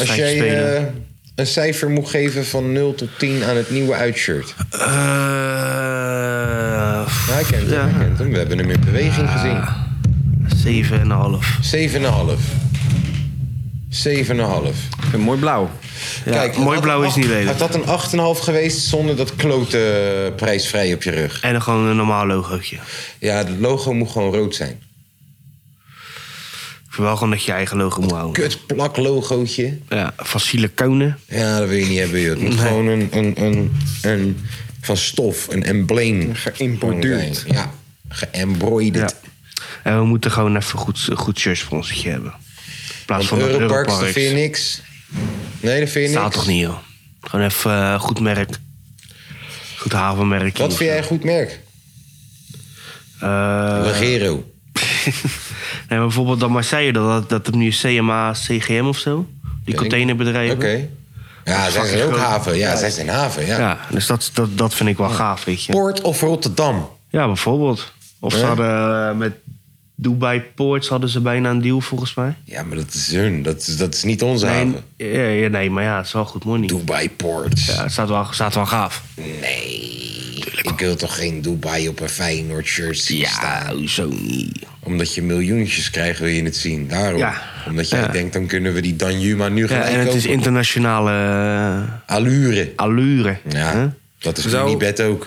Speaker 2: Wedstrijdje
Speaker 1: jij
Speaker 2: spelen.
Speaker 1: eh, een cijfer moet geven van 0 tot 10 aan het nieuwe uitshirt.
Speaker 2: Eh,
Speaker 1: Nou, hij kent hem,
Speaker 2: ja,
Speaker 1: hij kent hem. We hebben hem in beweging gezien.
Speaker 2: 7,5.
Speaker 1: 7,5. 7,5.
Speaker 4: Ik vind het mooi blauw.
Speaker 1: Kijk,
Speaker 2: mooi
Speaker 1: had
Speaker 2: blauw
Speaker 1: een
Speaker 2: is niet
Speaker 1: acht- Had
Speaker 2: lelijk.
Speaker 1: dat een 8,5 geweest zonder dat klote prijsvrij op je rug?
Speaker 2: En dan gewoon een normaal logootje.
Speaker 1: Ja, het logo moet gewoon rood zijn.
Speaker 2: Ik vind wel gewoon dat je je eigen logo moet houden.
Speaker 1: Kut plaklogootje.
Speaker 2: Ja, van siliconen.
Speaker 1: Ja, dat wil je niet hebben, joh. Het moet gewoon een, een, een, een van stof, een embleem.
Speaker 3: Geïmborduurd.
Speaker 1: zijn. Ja, geëmbroiderd.
Speaker 2: Ja. En we moeten gewoon even goed, een goed shirtsponsortje hebben. In plaats
Speaker 1: Van
Speaker 2: van dat
Speaker 1: Europarks, dat
Speaker 2: Europarks.
Speaker 1: vind je niks. Nee, dat vind je
Speaker 2: Staat
Speaker 1: niks.
Speaker 2: toch niet, joh. Gewoon even eh, goed merk. Goed havenmerk.
Speaker 1: Wat vind jij een goed merk? Regero.
Speaker 2: Eh, [LAUGHS] nee, maar bijvoorbeeld dan Marseille, dat, dat het nu CMA, CGM of zo. Die
Speaker 1: Oké. Oké.
Speaker 2: containerbedrijven.
Speaker 1: Ja, zij zijn
Speaker 2: fucking
Speaker 1: ook
Speaker 2: groot.
Speaker 1: haven. Ja, zij zijn haven, ja.
Speaker 2: Ja, dus dat, dat, dat vind ik wel gaaf, weet je.
Speaker 1: Port of Rotterdam?
Speaker 2: Ja, bijvoorbeeld. Of ze
Speaker 1: Ja.
Speaker 2: hadden eh, met Dubai Ports hadden ze bijna een deal, volgens mij.
Speaker 1: Ja, maar dat is hun. Dat is, dat is niet onze
Speaker 2: Nee,
Speaker 1: haven.
Speaker 2: ja, ja, nee, maar ja, het is wel goed money.
Speaker 1: Dubai Port.
Speaker 2: Ja, het staat wel, staat wel gaaf.
Speaker 1: Nee. Ik wil toch geen Dubai op een Feyenoord shirt zien staan?
Speaker 2: hoezo niet?
Speaker 1: Omdat je miljoentjes krijgt, wil je het zien. Daarom.
Speaker 2: Ja.
Speaker 1: Omdat jij
Speaker 2: Ja.
Speaker 1: denkt, dan kunnen we die Danjuma nu
Speaker 2: Ja,
Speaker 1: gelijk
Speaker 2: en het
Speaker 1: kopen.
Speaker 2: is internationale eh,
Speaker 1: Allure.
Speaker 2: allure.
Speaker 1: Ja,
Speaker 2: hè?
Speaker 1: dat is
Speaker 4: Zou-
Speaker 1: Zou... bed ook.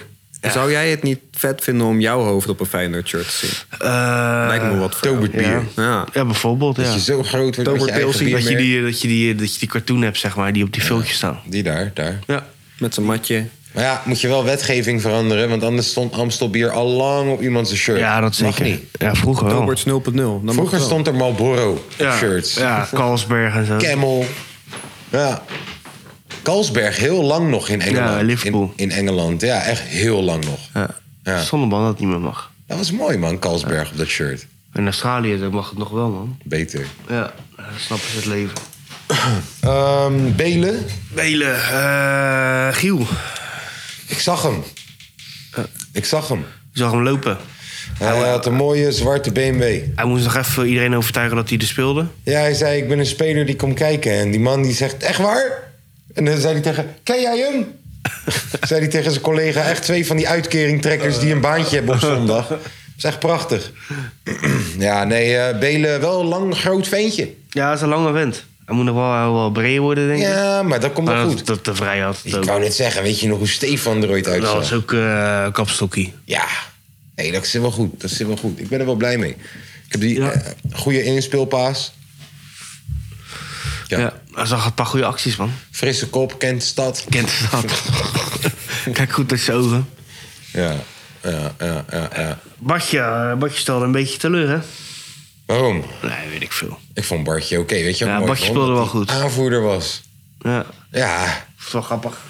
Speaker 4: Zou jij het niet vet vinden om jouw hoofd op een Feyenoord shirt te zien?
Speaker 2: Eh,
Speaker 4: Lijkt me wat voor jou.
Speaker 1: Tobert bier.
Speaker 2: ja.
Speaker 4: Ja.
Speaker 2: Ja, bijvoorbeeld, ja.
Speaker 1: Dat je zo groot wordt met
Speaker 4: Tobert
Speaker 1: je eigen
Speaker 4: Pilsie,
Speaker 2: Dat je,
Speaker 1: biermerk.
Speaker 2: die, dat, je die, dat je die cartoon hebt, zeg maar, die op die filmpjes staan.
Speaker 1: Die daar, daar.
Speaker 2: Ja.
Speaker 4: Met zijn matje.
Speaker 2: Oh.
Speaker 1: Maar ja, moet je wel wetgeving veranderen. Want anders stond Amstel bier al lang op iemands shirt.
Speaker 2: ja, dat
Speaker 1: Mag
Speaker 2: zeker.
Speaker 1: niet.
Speaker 2: Ja, vroeger wel.
Speaker 4: Roberts 0.0. Dan mag
Speaker 1: Vroeger
Speaker 4: wel.
Speaker 1: stond er Marlboro
Speaker 2: ja.
Speaker 1: shirts.
Speaker 2: Ja, Carlsberg en zo.
Speaker 1: Camel. Ja. Kalsberg heel lang nog in Engeland.
Speaker 2: Ja, Liverpool.
Speaker 1: In, in Engeland, ja, echt heel lang nog.
Speaker 2: Ja.
Speaker 1: Ja.
Speaker 2: Zonnebrand dat niet meer mag.
Speaker 1: Dat was mooi, man, Kalsberg op dat shirt.
Speaker 2: In Australië daar mag het nog wel, man.
Speaker 1: Beter.
Speaker 2: Ja, daar snappen ze het leven.
Speaker 1: Ehm, Belen.
Speaker 2: Belen, eh, Giel.
Speaker 1: Ik zag hem. Ik zag hem.
Speaker 2: Ik zag hem lopen.
Speaker 1: Hij had een mooie zwarte BMW.
Speaker 2: Hij moest nog even iedereen overtuigen dat hij er speelde.
Speaker 1: Ja, hij zei, ik ben een speler die komt kijken. En die man die zegt, echt waar? En dan zei hij tegen, ken jij hem? [LAUGHS] zei hij tegen zijn collega, echt twee van die uitkeringtrekkers... die een baantje hebben op zondag. Dat is echt prachtig. [CLEARS THROAT] ja, nee, eh Belen wel een lang groot ventje.
Speaker 2: Ja, dat is een lange wind. Hij moet nog wel, hij wil wel breed worden, denk ik.
Speaker 1: Ja, maar dat komt
Speaker 2: maar
Speaker 1: wel
Speaker 2: dat,
Speaker 1: goed.
Speaker 2: dat Nou, de vrij had het
Speaker 1: Ik
Speaker 2: ook.
Speaker 1: wou net zeggen, weet je nog hoe Stefan er ooit uitzag?
Speaker 2: dat was ook eh kapstokkie.
Speaker 1: Ja, hey, dat zit wel goed. Dat zit wel goed. Ik ben er wel blij mee. Ik heb die
Speaker 2: Ja.
Speaker 1: eh, goede inspeelpaas. Ja.
Speaker 2: Ja. Hij zag een paar goede acties, man.
Speaker 1: Frisse kop, kent de stad.
Speaker 2: Kent dat.
Speaker 1: [LAUGHS]
Speaker 2: Kijk goed naar zijn ogen.
Speaker 1: Ja, ja, ja, ja. ja.
Speaker 2: Bartje, eh, Bartje stelde een beetje teleur, hè?
Speaker 1: Waarom?
Speaker 2: Nee, weet ik veel.
Speaker 1: Ik vond Bartje oké, weet je wat
Speaker 2: Ja,
Speaker 1: mooi
Speaker 2: Bartje
Speaker 1: vond?
Speaker 2: speelde wel
Speaker 1: Dat hij
Speaker 2: goed.
Speaker 1: aanvoerder was.
Speaker 2: Ja,
Speaker 1: Ja,
Speaker 2: dat is wel grappig.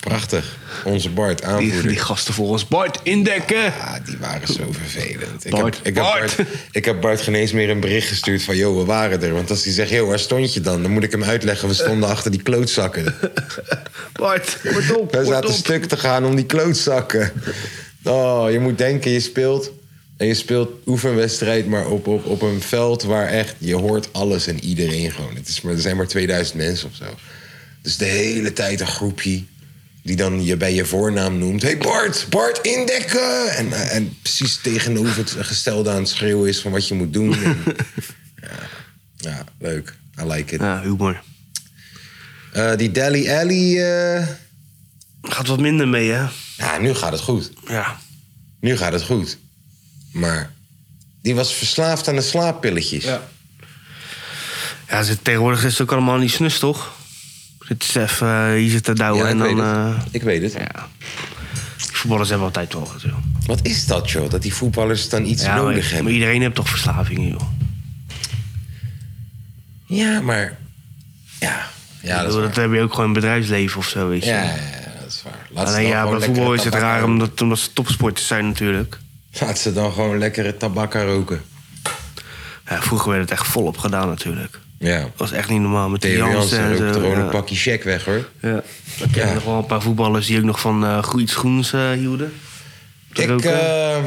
Speaker 1: Prachtig. Onze Bart,
Speaker 2: Die,
Speaker 1: aanvoerder.
Speaker 2: die gasten volgens Bart indekken.
Speaker 1: Ah, die waren zo vervelend. Ik,
Speaker 2: Bart,
Speaker 1: heb, ik, heb
Speaker 2: Bart.
Speaker 1: Bart, ik heb Bart geen eens meer een bericht gestuurd van... joh, we waren er. Want als hij zegt, joh, waar stond je dan? Dan moet ik hem uitleggen, we stonden achter die klootzakken.
Speaker 2: Bart, word op,
Speaker 1: We
Speaker 2: word
Speaker 1: zaten
Speaker 2: op.
Speaker 1: stuk te gaan om die klootzakken. Oh, je moet denken, je speelt... en je speelt oefenwedstrijd, maar op, op, op een veld waar echt... je hoort alles en iedereen gewoon. Het is maar, er zijn maar 2000 mensen of zo. Dus de hele tijd een groepje... Die dan je bij je voornaam noemt. hey Bart, Bart, indekken! En, eh, en precies tegenover het gestelde aan het schreeuwen is van wat je moet doen. En- ja, ja, leuk. I like it.
Speaker 2: Ja, humor.
Speaker 1: Eh, die Dally Alley... eh,
Speaker 2: Gaat wat minder mee, hè?
Speaker 1: nou, nu gaat het goed.
Speaker 2: Ja.
Speaker 1: Nu gaat het goed. Maar die was verslaafd aan de slaappilletjes. Ja.
Speaker 2: Ja, ze- tegenwoordig is het ook allemaal niet snus, toch? Het is even, eh, hier zitten douwen
Speaker 1: ik,
Speaker 2: en
Speaker 1: weet
Speaker 2: dan...
Speaker 1: het.
Speaker 2: eh
Speaker 1: ik weet het.
Speaker 2: ja. Voetballers hebben altijd wel wat, joh.
Speaker 1: Wat is dat, joh? Dat die voetballers dan iets
Speaker 2: Ja, maar,
Speaker 1: nodig
Speaker 2: maar
Speaker 1: hebben.
Speaker 2: iedereen heeft toch verslavingen, joh.
Speaker 1: Ja, maar... Ja, ja,
Speaker 2: Ja,
Speaker 1: dat is
Speaker 2: dat,
Speaker 1: waar.
Speaker 2: heb je ook gewoon in het bedrijfsleven of zo, weet je.
Speaker 1: Ja, ja, ja, dat is waar. Laat ze
Speaker 2: Alleen
Speaker 1: dan
Speaker 2: ja,
Speaker 1: gewoon
Speaker 2: bij
Speaker 1: lekkere
Speaker 2: voetbal is het
Speaker 1: tabak
Speaker 2: raar
Speaker 1: roken.
Speaker 2: omdat, omdat ze topsporters zijn natuurlijk.
Speaker 1: Laat ze dan gewoon lekkere tabak gaan roken.
Speaker 2: Ja, vroeger werd het echt volop gedaan natuurlijk.
Speaker 1: Ja.
Speaker 2: Dat was echt niet normaal met die
Speaker 1: Theo
Speaker 2: Jansen
Speaker 1: Jansen
Speaker 2: en
Speaker 1: rookt
Speaker 2: zo.
Speaker 1: gewoon
Speaker 2: ja.
Speaker 1: een pakje check weg, hoor.
Speaker 2: Ja. Ik ken
Speaker 1: Ja.
Speaker 2: nog wel een paar voetballers die ook nog van eh iets groens eh, hielden. Te
Speaker 1: Ik,
Speaker 2: roken.
Speaker 1: ehm,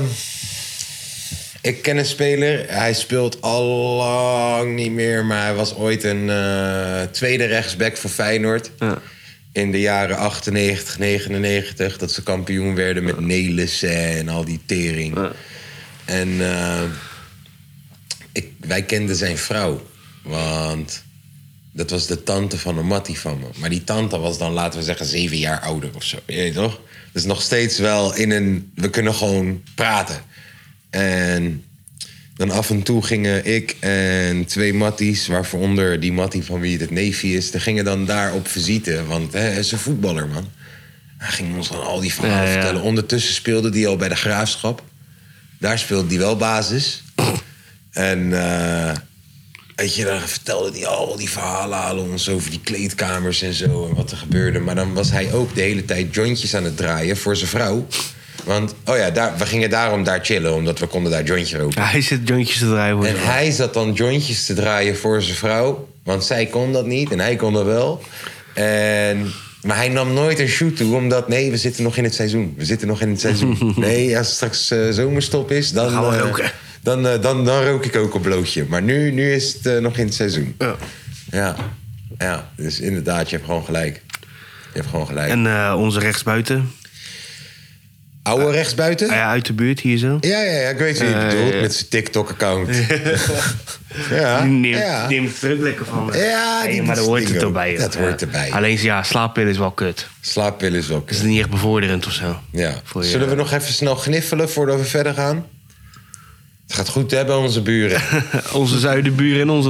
Speaker 1: ik ken een speler. Hij speelt al lang niet meer. Maar hij was ooit een eh, tweede rechtsback voor Feyenoord.
Speaker 2: Ja.
Speaker 1: In de jaren 98, 99. Dat ze kampioen werden met Nelissen en al die tering.
Speaker 2: Ja.
Speaker 1: En eh, ik, wij kenden zijn vrouw. Want dat was de tante van een mattie van me. Maar die tante was dan, laten we zeggen, zeven jaar ouder of zo. Je weet toch? Dus nog steeds wel in een... We kunnen gewoon praten. En dan af en toe gingen ik en twee matties... waaronder die mattie van wie het het neefje is... die gingen dan daar op visite. Want hè, hij is een voetballer, man. Hij ging ons dan al die verhalen
Speaker 2: Ja, ja.
Speaker 1: vertellen. Ondertussen speelde die al bij de Graafschap. Daar speelde die wel basis. En... eh, Weet je, dan vertelde hij al die verhalen aan ons over die kleedkamers en zo en wat er gebeurde. Maar dan was hij ook de hele tijd jointjes aan het draaien voor zijn vrouw. Want, oh ja, daar, we gingen daarom daar chillen, omdat we konden daar jointje roken.
Speaker 2: Ja, hij zit jointjes te draaien. hoor.
Speaker 1: En hij zat dan jointjes te draaien voor zijn vrouw, want zij kon dat niet en hij kon dat wel. En, maar hij nam nooit een shoot toe, omdat nee, we zitten nog in het seizoen. We zitten nog in het
Speaker 2: [LAUGHS]
Speaker 1: seizoen. Nee, als het straks eh, zomerstop is, dan,
Speaker 2: gaan we
Speaker 1: eh,
Speaker 2: roken.
Speaker 1: Dan, eh, dan, dan rook ik ook een blootje. Maar nu, nu is het eh, nog in het seizoen.
Speaker 2: Ja.
Speaker 1: Ja, ja, dus inderdaad, je hebt gewoon gelijk. Je hebt gewoon gelijk.
Speaker 2: En eh, onze rechtsbuiten.
Speaker 1: Oude
Speaker 2: Ah
Speaker 1: rechtsbuiten?
Speaker 2: ja, uit de buurt hier zo.
Speaker 1: Ja, ja, ja, ik weet wie je
Speaker 2: Eh,
Speaker 1: bedoelt.
Speaker 2: ja.
Speaker 1: Met zijn
Speaker 2: [LAUGHS]
Speaker 1: TikTok-account. ja,
Speaker 2: Die neemt,
Speaker 1: ja.
Speaker 2: neemt er ook lekker van. hè.
Speaker 1: Ja,
Speaker 2: Nee,
Speaker 1: die-
Speaker 2: maar dat
Speaker 1: dat
Speaker 2: hoort
Speaker 1: ding
Speaker 2: het
Speaker 1: ook.
Speaker 2: erbij. joh.
Speaker 1: Dat hoort erbij.
Speaker 2: Alleen ja, slaappillen is wel kut.
Speaker 1: Slaappillen is ook.
Speaker 2: Dat is niet echt bevorderend of zo.
Speaker 1: Ja.
Speaker 2: Voor je-
Speaker 1: Zullen we nog even snel gniffelen voordat we verder gaan? Het gaat goed, hè, bij onze buren.
Speaker 2: eh, Onze zuidenburen en onze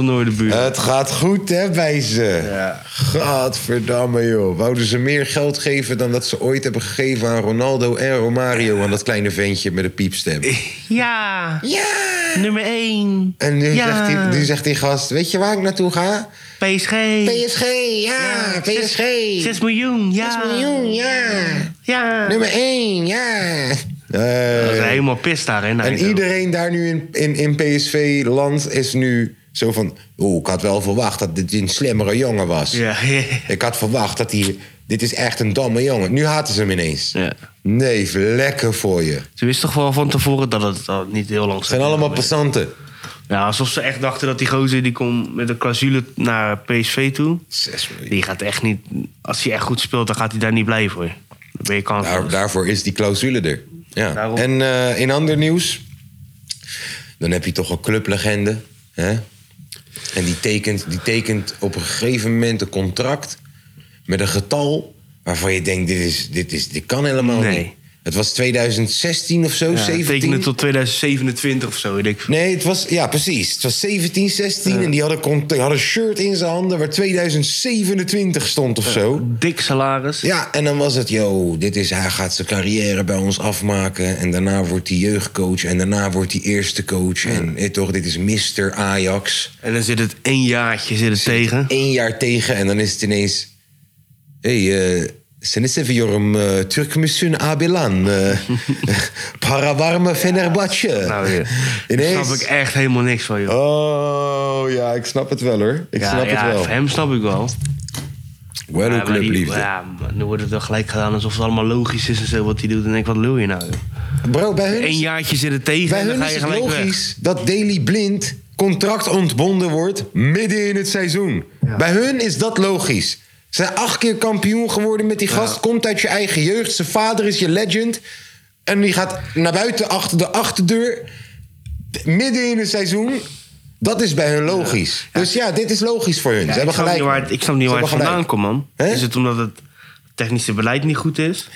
Speaker 1: [LAUGHS]
Speaker 2: noordenburen.
Speaker 1: Het gaat goed, hè, bij ze. Gadverdamme, joh. Wouden ze meer geld geven dan dat ze ooit hebben gegeven aan Ronaldo en Romario... aan dat kleine ventje met een piepstem.
Speaker 2: Ja,
Speaker 1: Ja!
Speaker 2: nummer 1.
Speaker 1: En nu, zegt
Speaker 2: ja.
Speaker 1: die, nu zegt die gast, weet je waar ik naartoe ga?
Speaker 2: PSG.
Speaker 1: PSG, ja, PSG.
Speaker 2: 6 miljoen, ja.
Speaker 1: 6 miljoen, ja.
Speaker 2: Ja.
Speaker 1: Nummer 1, ja. Eh,
Speaker 2: Dat is
Speaker 1: Hey.
Speaker 2: helemaal pist daar, hè?
Speaker 1: En iedereen daar nu in, in, in PSV-land is nu zo van... Oeh, ik had wel verwacht dat dit een slimmere jongen was.
Speaker 2: Ja. [LAUGHS]
Speaker 1: Ik had verwacht dat hij... Dit is echt een domme jongen. Nu haten ze hem ineens.
Speaker 2: Ja.
Speaker 1: Nee, lekker voor je. Het
Speaker 2: Ze wist toch wel van tevoren dat het al niet heel lang zou
Speaker 1: zijn allemaal
Speaker 2: duren.
Speaker 1: passanten.
Speaker 2: Ja, alsof ze echt dachten dat die gozer die komt met een clausule naar PSV toe.
Speaker 1: 6 miljoen.
Speaker 2: Die gaat echt niet... Als hij echt goed speelt, dan gaat hij daar niet blijven, hoor. Dan ben je kans.
Speaker 1: Daar- daarvoor is die clausule er. Ja.
Speaker 2: Daarom.
Speaker 1: En eh, in ander nieuws, dan heb je toch een clublegende. Hè? En die tekent, die tekent op een gegeven moment een contract met een getal waarvan je denkt: dit, is, dit, is, dit kan helemaal
Speaker 2: Nee.
Speaker 1: niet. Het was 2016 of zo,
Speaker 2: Ja,
Speaker 1: 17.
Speaker 2: tekenen tot 2027 of zo, weet ik. veel.
Speaker 1: Nee, het was, ja, precies. Het was 17, 16 en die hadden, cont- die hadden een shirt in zijn handen waar 2027 stond of zo.
Speaker 2: Dik salaris.
Speaker 1: Ja, en dan was het, yo, dit is, hij gaat zijn carrière bij ons afmaken. En daarna wordt hij jeugdcoach. En daarna wordt hij eerste coach.
Speaker 2: Hmm.
Speaker 1: En eh, toch, dit is Mr. Ajax.
Speaker 2: En dan zit het één jaartje zit het tegen.
Speaker 1: Eén jaar tegen en dan is het ineens... Hé, hey, eh, Sen seviyorum eh, Türkmüsün Abilan.
Speaker 2: [LAUGHS]
Speaker 1: eh, para varme Fenerbahçe.
Speaker 2: Nou, ja.
Speaker 1: [LAUGHS] Ineens.
Speaker 2: snap ik echt helemaal niks van, joh.
Speaker 1: Oh, ja, ik snap het wel hoor. Ik
Speaker 2: ja,
Speaker 1: snap
Speaker 2: ja,
Speaker 1: het wel.
Speaker 2: van hem snap ik wel.
Speaker 1: Wel
Speaker 2: Ja,
Speaker 1: een
Speaker 2: maar die-
Speaker 1: clubliefde.
Speaker 2: Ja, maar nu wordt het wel gelijk gedaan alsof het allemaal logisch is en zo wat hij doet. En denk ik, wat lul je nou? joh?
Speaker 1: Bro, bij hun
Speaker 2: Eén
Speaker 1: is,
Speaker 2: jaartje zit er tegen
Speaker 1: dus- bij
Speaker 2: en dan
Speaker 1: hun
Speaker 2: ga
Speaker 1: is
Speaker 2: je
Speaker 1: het
Speaker 2: gelijk weg.
Speaker 1: logisch dat Daily Blind contract ontbonden wordt midden in het seizoen. Bij hun is dat logisch. Ze zijn acht keer kampioen geworden met die gast. Komt uit je eigen jeugd. Zijn vader is je legend. En die gaat naar buiten achter de achterdeur. Midden in het seizoen. Dat is bij hun logisch. Dus ja, dit is logisch voor hun. Ze
Speaker 2: ik,
Speaker 1: hebben
Speaker 2: snap
Speaker 1: gelijk.
Speaker 2: niet waar het, ik snap niet
Speaker 1: Ze
Speaker 2: waar het
Speaker 1: hebben
Speaker 2: vandaan
Speaker 1: gelijk.
Speaker 2: komt, man.
Speaker 1: Hè?
Speaker 2: Is het omdat het technische beleid niet goed is?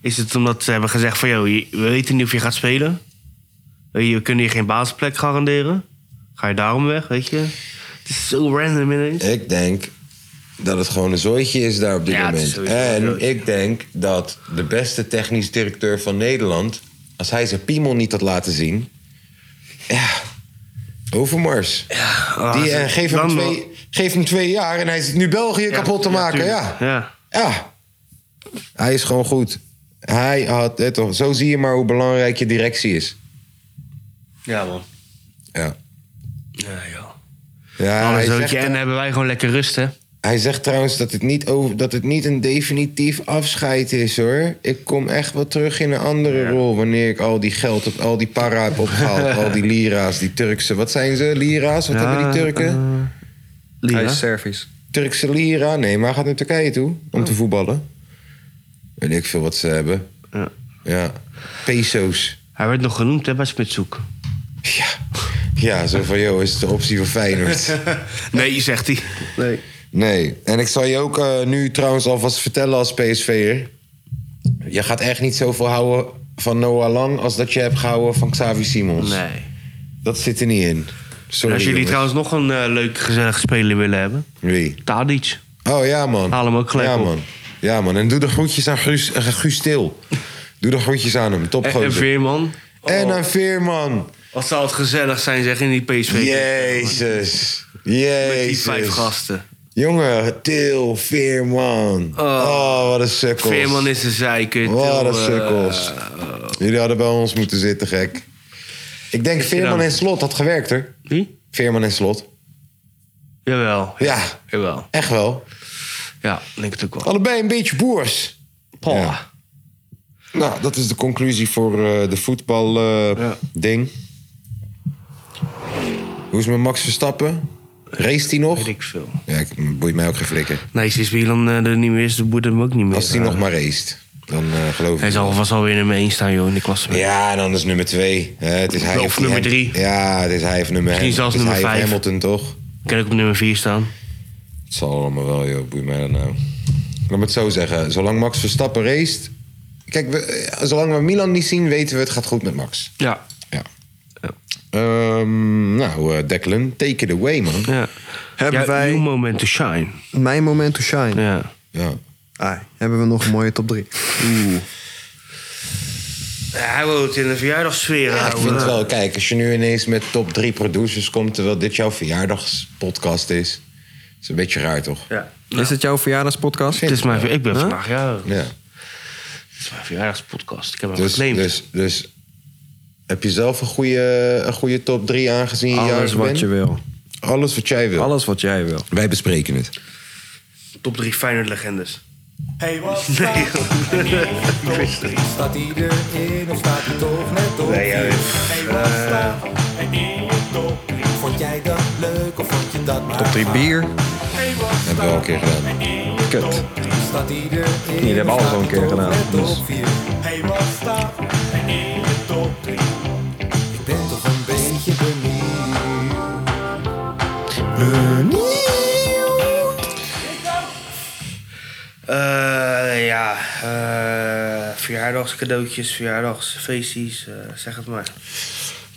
Speaker 2: Is het omdat ze hebben gezegd van... Joh, je- we weten niet of je gaat spelen. Eh, We kunnen je geen basisplek garanderen. Ga je daarom weg, weet je? Het is zo random ineens.
Speaker 1: Ik denk dat het gewoon een zooitje is daar op dit
Speaker 2: Ja, het is
Speaker 1: moment.
Speaker 2: sowieso een
Speaker 1: En
Speaker 2: zooitje.
Speaker 1: ik denk dat de beste technisch directeur van Nederland... als hij zijn piemel niet had laten zien... Ja, Overmars.
Speaker 2: Ah,
Speaker 1: Die, eh,
Speaker 2: ze-
Speaker 1: geef, hem
Speaker 2: dan
Speaker 1: twee, geef hem twee jaar en hij zit nu België kapot te maken.
Speaker 2: tuurlijk.
Speaker 1: Ja.
Speaker 2: ja.
Speaker 1: ja, hij is gewoon goed. Hij had het toch. Zo zie je maar hoe belangrijk je directie is.
Speaker 2: Ja, man. Oh,
Speaker 1: Ja.
Speaker 2: Ja, joh.
Speaker 1: Ja, Nou, hij
Speaker 2: Alles
Speaker 1: zegt, eh,
Speaker 2: zootje. En hebben wij gewoon lekker rust, hè?
Speaker 1: Hij zegt trouwens dat het, niet over, dat het niet een definitief afscheid is hoor. Ik kom echt wel terug in een andere rol wanneer ik al die geld, op, al die para heb opgehaald. al die lira's, die Turkse. Wat zijn ze? Lira's? Wat
Speaker 2: Ja,
Speaker 1: hebben die Turken?
Speaker 2: Lira.
Speaker 4: Hij is service.
Speaker 1: Turkse lira? Nee, maar hij gaat naar Turkije toe om te voetballen. Weet ik veel wat ze hebben.
Speaker 2: Ja.
Speaker 1: Ja, peso's.
Speaker 2: Hij werd nog genoemd, hè, bij Spitzoek.
Speaker 1: Ja, ja zo van, joh, is het de optie voor Feyenoord?
Speaker 2: Nee, zegt hij.
Speaker 3: Nee.
Speaker 1: Nee, en ik zal je ook eh, nu trouwens alvast vertellen als PSV'er. Je gaat echt niet zoveel houden van Noah Lang als dat je hebt gehouden van Xavi Simons.
Speaker 2: Nee.
Speaker 1: Dat zit er niet in. Sorry,
Speaker 2: En als jullie
Speaker 1: jongens.
Speaker 2: trouwens nog een eh, leuk, gezellig speler willen hebben...
Speaker 1: Wie?
Speaker 2: Tadic.
Speaker 1: Oh ja, man.
Speaker 2: Haal hem ook gelijk
Speaker 1: ja,
Speaker 2: op.
Speaker 1: Man. Ja, man. En doe de groetjes aan Guus, eh, Guus Til. Doe de groetjes aan hem. Top
Speaker 2: En, en Veerman.
Speaker 1: En aan Veerman.
Speaker 2: Wat zou het gezellig zijn, zeg, in die PSV.
Speaker 1: Jezus.
Speaker 2: Met
Speaker 1: Jezus.
Speaker 2: die vijf gasten.
Speaker 1: Jongen, Til, Veerman. Oh, wat een sukkel.
Speaker 2: Veerman is een zeikert.
Speaker 1: Wat een
Speaker 2: Eh,
Speaker 1: sukkels. Jullie hadden bij ons moeten zitten, gek. Ik denk Veerman
Speaker 2: dan?
Speaker 1: en Slot had gewerkt, hoor.
Speaker 2: Wie?
Speaker 1: Veerman en Slot.
Speaker 2: Jawel.
Speaker 1: Ja, Oh.
Speaker 2: Jawel.
Speaker 1: echt wel.
Speaker 2: Ja, denk het ook wel.
Speaker 1: Allebei een beetje boers.
Speaker 2: Paul.
Speaker 1: Ja. Nou, dat is de conclusie voor eh, de voetbalding.
Speaker 2: Ja.
Speaker 1: ding. Hoe is het met Max Verstappen? Race hij nog?
Speaker 2: Weet ik veel.
Speaker 1: Ja, ik, boeit mij ook geen flikker.
Speaker 2: Nee, sinds Wieland eh, er niet meer is, dan moet hem ook niet meer.
Speaker 1: Als hij
Speaker 2: Eh,
Speaker 1: nog maar raced, dan eh, geloof ik.
Speaker 2: Hij zal vast alweer nummer 1 staan, joh, in de klasse.
Speaker 1: Ja, en dan is nummer twee. Eh, het is hij
Speaker 2: Of
Speaker 1: die
Speaker 2: nummer
Speaker 1: Ham-
Speaker 2: drie.
Speaker 1: Ja, het is hij of nummer
Speaker 2: Misschien
Speaker 1: Ham-
Speaker 2: zelfs
Speaker 1: het is
Speaker 2: nummer
Speaker 1: hij of
Speaker 2: vijf.
Speaker 1: Hamilton, toch?
Speaker 2: Kan ik op nummer 4 staan?
Speaker 1: Het zal allemaal wel, joh. Boeit mij dat nou. Laat me het zo zeggen. Zolang Max Verstappen raced... Kijk, we, eh, zolang we Milan niet zien, weten we het gaat goed met Max.
Speaker 2: Ja.
Speaker 1: Ja. Ehm, nou, eh, Declan, take it away, man.
Speaker 2: ja.
Speaker 3: Hebben
Speaker 2: Ja,
Speaker 3: wij-
Speaker 2: Uw moment to shine.
Speaker 3: Mijn moment to shine.
Speaker 2: Ja.
Speaker 1: Ja.
Speaker 3: Ah, hebben we nog een mooie top 3.
Speaker 2: Hij woont in een verjaardagssfeer.
Speaker 1: Ja, ik vind het wel... Kijk, als je nu ineens met top drie producers komt... terwijl dit jouw verjaardagspodcast is... is een beetje raar, toch?
Speaker 2: Ja.
Speaker 4: Is het jouw verjaardagspodcast?
Speaker 2: Het is mijn, ver- ik ben vandaag, ja.
Speaker 1: Ja.
Speaker 2: Het is mijn verjaardagspodcast. Ik heb hem
Speaker 1: Dus,
Speaker 2: geclaimd.
Speaker 1: dus, dus heb je zelf een goede, een goede top drie aangezien je
Speaker 4: Alles
Speaker 1: jarig
Speaker 4: wat
Speaker 1: bent?
Speaker 4: je wil.
Speaker 1: Alles wat jij wil.
Speaker 4: Alles wat jij wil.
Speaker 1: Wij bespreken het.
Speaker 2: Top 3 Feyenoord legendes.
Speaker 5: Hey, wat staat
Speaker 4: [LAUGHS]
Speaker 6: Staat hij erin of staat hij toch net op?
Speaker 2: Nee, eh,
Speaker 6: Hey, wat staat er in je top drie? Vond jij dat leuk of vond je dat maar?
Speaker 4: Top 3 bier.
Speaker 1: Hebben we al een keer gedaan.
Speaker 4: Kut.
Speaker 6: Staat hij erin?
Speaker 4: Jullie hebben alles al een keer gedaan, dus.
Speaker 6: Hey, wat staat er in je top 3? Ik ben toch een beetje benieuwd.
Speaker 2: Eh, ja, eh, verjaardagscadeautjes, verjaardagsfeestjes, eh, zeg het maar.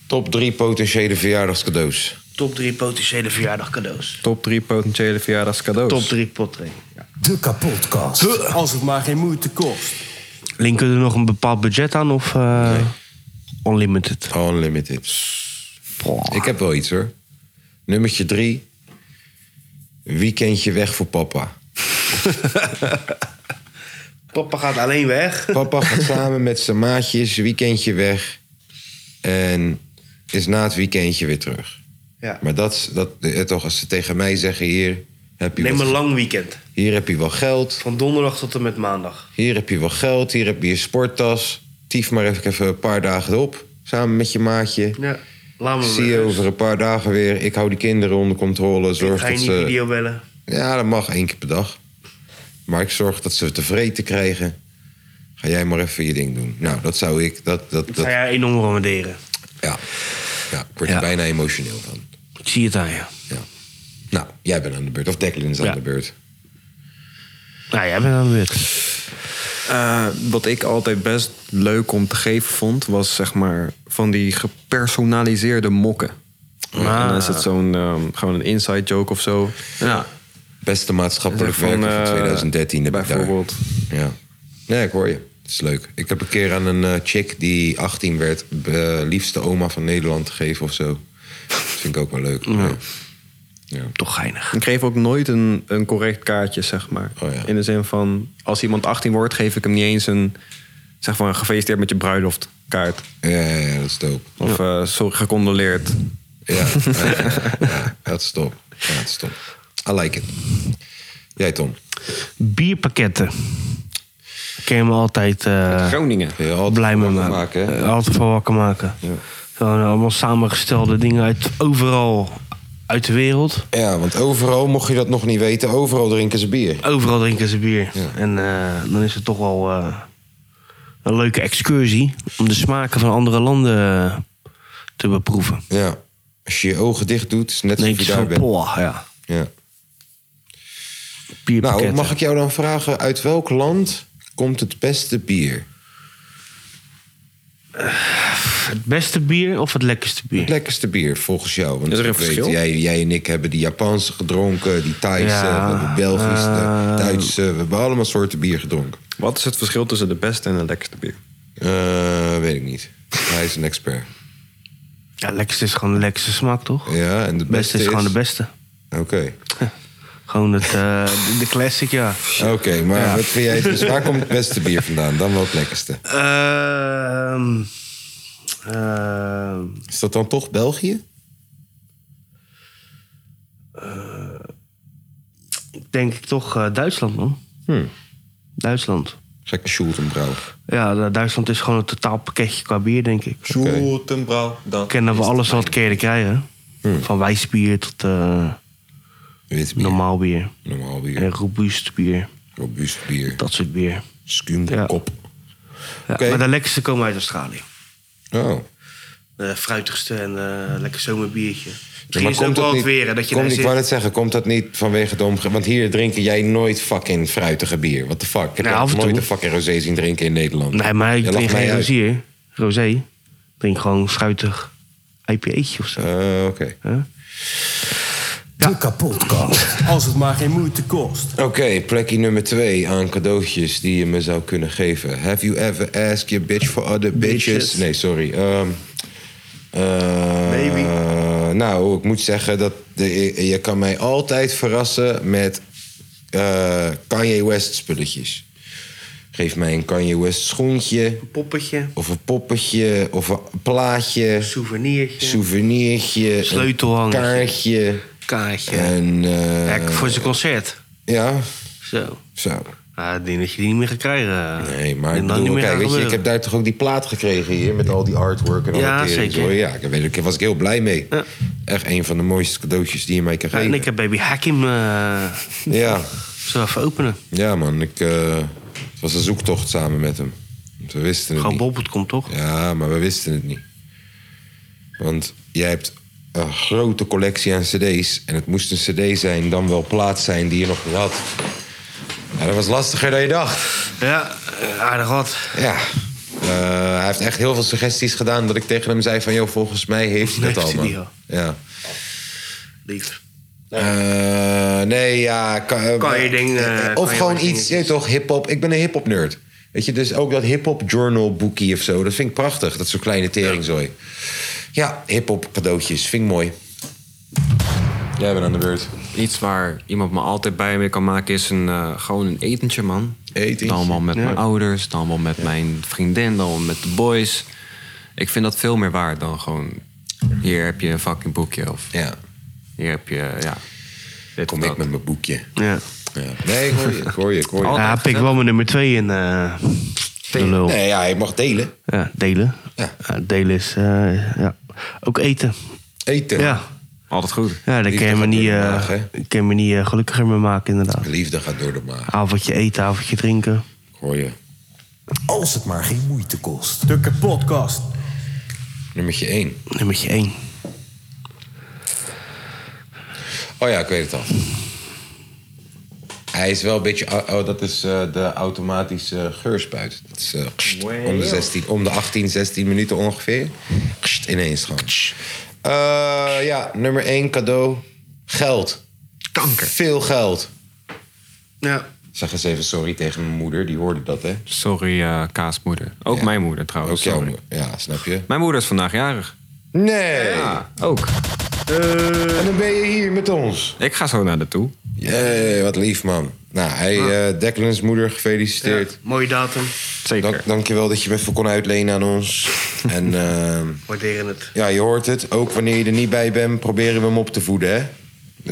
Speaker 1: Top drie potentiële verjaardagscadeaus.
Speaker 2: Top 3 potentiële verjaardagcadeaus.
Speaker 4: Top 3 potentiële verjaardagscadeaus.
Speaker 2: Top 3 potten. Ja.
Speaker 6: De kapotkast. Als het maar geen moeite kost.
Speaker 2: Linken er nog een bepaald budget aan of eh, unlimited?
Speaker 1: Unlimited. Ik heb wel iets hoor. Nummertje drie. Weekendje weg voor papa.
Speaker 2: Papa gaat alleen weg.
Speaker 1: Papa
Speaker 2: [LAUGHS]
Speaker 1: gaat samen met zijn maatjes weekendje weg. En is na het weekendje weer terug.
Speaker 2: Ja.
Speaker 1: Maar dat, is- dat eh, toch, als ze tegen mij zeggen: hier heb, je
Speaker 2: Neem
Speaker 1: wat-
Speaker 2: een lang weekend.
Speaker 1: hier heb je wel geld.
Speaker 2: Van donderdag tot en met maandag.
Speaker 1: Hier heb je wel geld. Hier heb je je sporttas. Tief maar even even een paar dagen erop. Samen met je maatje.
Speaker 2: Ja. Laat me
Speaker 1: Zie je
Speaker 2: rust.
Speaker 1: over een paar dagen weer. Ik hou die kinderen onder controle.
Speaker 2: Ik
Speaker 1: Zorg
Speaker 2: ga je
Speaker 1: dat
Speaker 2: niet
Speaker 1: ze.
Speaker 2: video bellen.
Speaker 1: Ja, dat mag één keer per dag. Maar ik zorg dat ze te vreten krijgen. Ga jij maar even je ding doen. Nou, dat zou ik. Dat, dat, dat,
Speaker 2: Ga jij enorm waarderen.
Speaker 1: ja. ja, ik word
Speaker 2: Ja.
Speaker 1: er bijna emotioneel van.
Speaker 2: Ik zie het aan je.
Speaker 1: Ja. Nou, jij bent aan de beurt. Of Declan is aan
Speaker 2: Ja.
Speaker 1: de beurt.
Speaker 2: Nou, jij bent aan de beurt.
Speaker 4: Eh, wat ik altijd best leuk om te geven vond, was zeg maar van die gepersonaliseerde mokken. En dan is
Speaker 1: Ah.
Speaker 4: het zo'n ehm, gewoon een inside joke of zo. Ja,
Speaker 1: Beste maatschappelijk
Speaker 4: Van,
Speaker 1: werker van
Speaker 4: eh,
Speaker 1: 2013 heb ik daar.
Speaker 4: bijvoorbeeld.
Speaker 1: Ja. Nee, ik hoor je. Het is leuk. Ik heb een keer aan een eh, chick die 18 werd... eh, liefste oma van Nederland gegeven of zo. Dat vind ik ook wel leuk. Ja.
Speaker 2: Toch geinig.
Speaker 4: Ik geef ook nooit een, een correct kaartje, zeg maar.
Speaker 1: Oh ja.
Speaker 4: In de zin van, als iemand 18 wordt, geef ik hem niet eens een... Zeg maar, gefeliciteerd met je bruiloft kaart.
Speaker 1: Ja, ja, ja, dat is dope.
Speaker 4: Of eh, sorry, gecondoleerd.
Speaker 1: Ja, ja, ja, ja, dat is top. Ja, dat is top. I like it. Jij, Tom.
Speaker 2: Bierpakketten. Ik kan je me altijd eh,
Speaker 4: Groningen.
Speaker 1: Wil je altijd
Speaker 2: blij mee
Speaker 1: wakker
Speaker 2: maken.
Speaker 1: maken, hè?
Speaker 2: Eh, altijd van wakker maken. Gewoon allemaal samengestelde dingen uit overal uit de wereld.
Speaker 1: Ja, want overal, mocht je dat nog niet weten, overal drinken ze bier.
Speaker 2: Overal drinken ze bier.
Speaker 1: Ja.
Speaker 2: En eh, dan is het toch wel eh, een leuke excursie om de smaken van andere landen eh, te beproeven.
Speaker 1: Ja. Als je je ogen dicht doet, is het net
Speaker 2: Dan
Speaker 1: alsof
Speaker 2: denk
Speaker 1: je daar
Speaker 2: je van,
Speaker 1: bent.
Speaker 2: poah, ja.
Speaker 1: Ja.
Speaker 2: Bierpakketten.
Speaker 1: Nou, mag ik jou dan vragen, uit welk land komt het beste
Speaker 2: Hm.
Speaker 1: bier?
Speaker 2: Het beste bier of het lekkerste bier?
Speaker 1: Het lekkerste bier, volgens jou. Want
Speaker 4: Is er een
Speaker 1: ik weet,
Speaker 4: verschil?
Speaker 1: jij, jij en ik hebben die Japanse gedronken, die Thaise, we
Speaker 2: Ja,
Speaker 1: hebben Belgische,
Speaker 2: eh,
Speaker 1: Duitse. We hebben allemaal soorten bier gedronken.
Speaker 4: Wat is het verschil tussen de beste en de lekkerste bier?
Speaker 1: Eh, weet ik niet. Hij is een expert.
Speaker 2: Ja, het lekkerste is gewoon de lekkerste smaak, toch?
Speaker 1: Ja, en de
Speaker 2: Het beste is gewoon de beste.
Speaker 1: Oké.
Speaker 2: Gewoon het, eh, de, de classic, ja.
Speaker 1: Oké, maar wat vind jij? Dus waar komt het beste bier vandaan? Dan wel het lekkerste.
Speaker 2: Ehm, ehm,
Speaker 1: Is dat dan toch België?
Speaker 2: denk ik toch eh, Duitsland, man.
Speaker 1: Hmm.
Speaker 2: Duitsland.
Speaker 1: Ga ik een Schultenbrouw.
Speaker 2: Ja, de- Duitsland is gewoon een totaal pakketje qua bier, denk ik.
Speaker 4: Schultenbrouw.
Speaker 2: Ik ken dat we alles wat keren krijgen.
Speaker 1: Hmm.
Speaker 2: Van wijsbier tot eh,
Speaker 1: Wit bier.
Speaker 2: normaal bier.
Speaker 1: Normaal bier.
Speaker 2: En robuust bier.
Speaker 1: Robuust bier.
Speaker 2: Dat soort bier.
Speaker 1: Skuumkop.
Speaker 2: Ja,
Speaker 1: Oké.
Speaker 2: Maar de lekkerste komen uit Australië.
Speaker 1: Oh.
Speaker 2: De fruitigste en eh, lekker zomerbiertje.
Speaker 1: Ja,
Speaker 2: Misschien is het ook wel het weer, hè, dat je
Speaker 1: komt,
Speaker 2: daar
Speaker 1: ik
Speaker 2: zit.
Speaker 1: wou net zeggen, komt dat niet vanwege de omgeving? Want hier drinken jij nooit fucking fruitige bier. What the fuck? Ik heb
Speaker 2: Nou, af
Speaker 1: nog
Speaker 2: en
Speaker 1: nooit
Speaker 2: toe.
Speaker 1: een fucking rosé zien drinken in Nederland.
Speaker 2: Nee, maar ik
Speaker 1: Je lacht
Speaker 2: drink
Speaker 1: mij
Speaker 2: geen
Speaker 1: uit.
Speaker 2: rozier. Rosé. Ik drink gewoon fruitig IPA'tje of zo.
Speaker 1: Eh, Oké.
Speaker 5: De kapotkast. Als het maar geen moeite kost.
Speaker 1: Oké, plekje nummer twee aan cadeautjes die je me zou kunnen geven. Have you ever asked your bitch for other bitches?
Speaker 2: Bitches.
Speaker 1: Nee, sorry. Ehm eh,
Speaker 2: Maybe.
Speaker 1: Nou, ik moet zeggen dat de- je kan mij altijd verrassen met eh, Kanye West spulletjes. Geef mij een Kanye West schoentje,
Speaker 2: Poppetje,
Speaker 1: of een poppetje, of een plaatje,
Speaker 2: souvenirtje,
Speaker 1: souvenirtje, een
Speaker 2: Sleutelhangertje.
Speaker 1: kaartje.
Speaker 2: kaartje.
Speaker 1: En eh,
Speaker 2: Ja, voor zijn concert.
Speaker 1: ja,
Speaker 2: Zo.
Speaker 1: zo.
Speaker 2: Ah, ik denk dat je die niet meer gaat krijgen.
Speaker 1: Nee, maar ik
Speaker 2: En dan
Speaker 1: bedoel,
Speaker 2: niet meer
Speaker 1: kijk, weet
Speaker 2: gaat
Speaker 1: je, ik
Speaker 2: gebeuren.
Speaker 1: heb daar toch ook die plaat gekregen hier met al die artwork en al
Speaker 2: Ja,
Speaker 1: dat tering,
Speaker 2: zeker.
Speaker 1: zo. Ja, ik weet, daar was ik heel blij mee.
Speaker 2: Ja.
Speaker 1: Echt een van de mooiste cadeautjes die je mij kan
Speaker 2: Ja, en
Speaker 1: geven.
Speaker 2: ik heb Baby Hakim. eh
Speaker 1: Ja,
Speaker 2: zo even openen.
Speaker 1: ja man, ik, eh, het was een zoektocht samen met hem. Want We wisten het
Speaker 2: Gewoon
Speaker 1: niet.
Speaker 2: bobbelt komt toch?
Speaker 1: Ja, maar we wisten het niet. Want jij hebt een grote collectie aan cd's. En het moest een cd zijn, dan wel plaats zijn die je nog niet had. Ja, dat was lastiger dan je dacht.
Speaker 2: Ja, eh, aardig wat.
Speaker 1: Ja. Eh, hij heeft echt heel veel suggesties gedaan dat ik tegen hem zei van... joh, volgens mij heeft hij dat
Speaker 2: Heeft
Speaker 1: al,
Speaker 2: hij die
Speaker 1: man.
Speaker 2: al?
Speaker 1: Ja.
Speaker 2: Lief.
Speaker 1: Eh, nee, ja... Kan, eh,
Speaker 2: Kan je ding, eh,
Speaker 1: eh,
Speaker 2: kan
Speaker 1: of
Speaker 2: je
Speaker 1: gewoon
Speaker 2: wel
Speaker 1: iets, je weet toch, hiphop. Ik ben een hiphop nerd. Weet je, dus ook dat hiphop journal boekie of zo. Dat vind ik prachtig, dat zo'n kleine teringzooi. Ja, hiphop cadeautjes, vind ik mooi.
Speaker 7: Jij bent aan de beurt.
Speaker 4: Iets waar iemand me altijd bij mee kan maken is een, eh, gewoon een etentje, man.
Speaker 1: Etentje,
Speaker 4: Dan wel met
Speaker 1: ja.
Speaker 4: mijn ouders, dan wel met mijn vriendin, dan wel met de boys. Ik vind dat veel meer waard dan gewoon... Hier heb je een fucking boekje of
Speaker 1: Ja,
Speaker 4: hier heb je... Ja, dit
Speaker 1: kom
Speaker 4: of
Speaker 1: ik
Speaker 4: dat.
Speaker 1: met mijn boekje.
Speaker 2: Ja.
Speaker 1: Ja. Nee, ik hoor je, ik hoor je. Ik hoor je.
Speaker 7: Ah,
Speaker 2: ja, pik wel mijn nummer twee in. eh, de lul.
Speaker 1: Nee, ja, je mag delen.
Speaker 2: Ja, delen.
Speaker 1: Ja.
Speaker 2: Ja, delen is. eh, ja. Ook eten.
Speaker 1: Eten.
Speaker 2: Ja.
Speaker 4: Altijd goed.
Speaker 2: Ja, daar
Speaker 1: Liefde
Speaker 2: kun je me
Speaker 1: gaat
Speaker 2: niet,
Speaker 1: door de
Speaker 2: eh,
Speaker 1: maag, hè?
Speaker 2: kun je me niet eh, gelukkiger mee maken, inderdaad.
Speaker 1: Liefde gaat door de maag.
Speaker 2: Avondje eten, avondje drinken.
Speaker 1: Ik hoor je.
Speaker 5: Als het maar geen moeite kost. De podcast.
Speaker 1: Nummertje 1.
Speaker 2: Nummertje één.
Speaker 1: Oh ja, ik weet het al. Hij is wel een beetje... Oh, dat is eh, de automatische geurspuit. Dat is eh, kst, om, de 16, om de 18, 16 minuten ongeveer. Kst, ineens gewoon. Eh, ja, nummer 1 cadeau. Geld. Kanker. Veel geld.
Speaker 2: Ja.
Speaker 1: Zeg eens even sorry tegen mijn moeder. Die hoorde dat, hè?
Speaker 4: Sorry, eh, Kaasmoeder. Ook
Speaker 1: Ja.
Speaker 4: mijn moeder trouwens.
Speaker 1: Ook jouw
Speaker 4: sorry.
Speaker 1: moeder. Ja, snap je?
Speaker 4: Mijn moeder is vandaag jarig.
Speaker 1: Nee!
Speaker 4: Ja, ook.
Speaker 1: En dan ben je hier met ons.
Speaker 4: Ik ga zo naar de toe.
Speaker 1: Jee, wat lief, man. Nou, hey, eh, Declan's moeder, gefeliciteerd.
Speaker 2: Mooie datum.
Speaker 4: Zeker.
Speaker 1: Dank, dankjewel dat je me even kon uitlenen aan [LAUGHS] ons. en ehm,
Speaker 2: Waarderen het.
Speaker 1: ja, je hoort het. Ook wanneer je er niet bij bent, proberen we hem op te voeden, hè?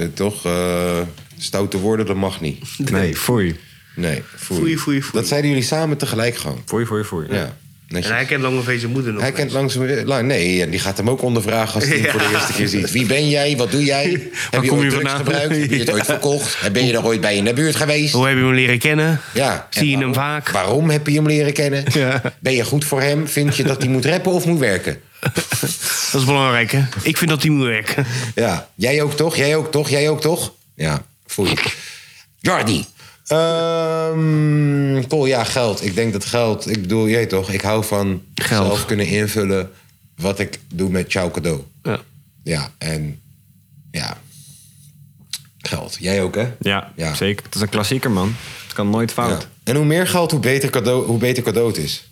Speaker 1: Eh, toch? eh, stoute woorden, dat mag niet.
Speaker 4: Nee, foei.
Speaker 1: Nee, foei.
Speaker 2: Foei, foei, foei.
Speaker 1: Dat zeiden jullie samen tegelijk gewoon.
Speaker 4: Foei, foei, foei.
Speaker 1: Ja, netjes.
Speaker 2: En hij kent Langevees zijn moeder nog.
Speaker 1: Hij kent langzaam weer. lang- Nee, en die gaat hem ook ondervragen als hij hem voor de eerste keer ziet. Wie ben jij? Wat doe [LAUGHS] jij? Heb je
Speaker 4: kom
Speaker 1: ooit
Speaker 4: je
Speaker 1: drugs
Speaker 4: vandaan?
Speaker 1: gebruikt? Heb je het ooit [LAUGHS] verkocht? En Ben je er ooit bij in de buurt geweest?
Speaker 2: Hoe heb je hem leren kennen?
Speaker 1: Ja.
Speaker 2: Zie je
Speaker 1: En
Speaker 2: hem
Speaker 1: waarom-
Speaker 2: vaak?
Speaker 1: Waarom heb je hem leren kennen?
Speaker 2: Ja.
Speaker 1: Ben je goed voor hem? Vind je dat hij moet rappen of moet werken?
Speaker 2: Dat is belangrijk, hè? Ik vind dat die moet werken.
Speaker 1: Ja. Jij ook toch? Jij ook toch? Jij ook toch? Ja, foei. Jordi. Ehm cool, ja, geld. Ik denk dat geld... Ik bedoel, jij toch? Ik hou van
Speaker 2: Geld.
Speaker 1: zelf kunnen invullen wat ik doe met jouw cadeau.
Speaker 2: Ja.
Speaker 1: Ja, en... Ja. Geld. Jij ook, hè?
Speaker 4: Ja,
Speaker 1: Ja.
Speaker 4: zeker. Het is een klassieker, man. Het kan nooit fout.
Speaker 1: Ja. En hoe meer geld, hoe beter cadeau, hoe beter cadeau het is.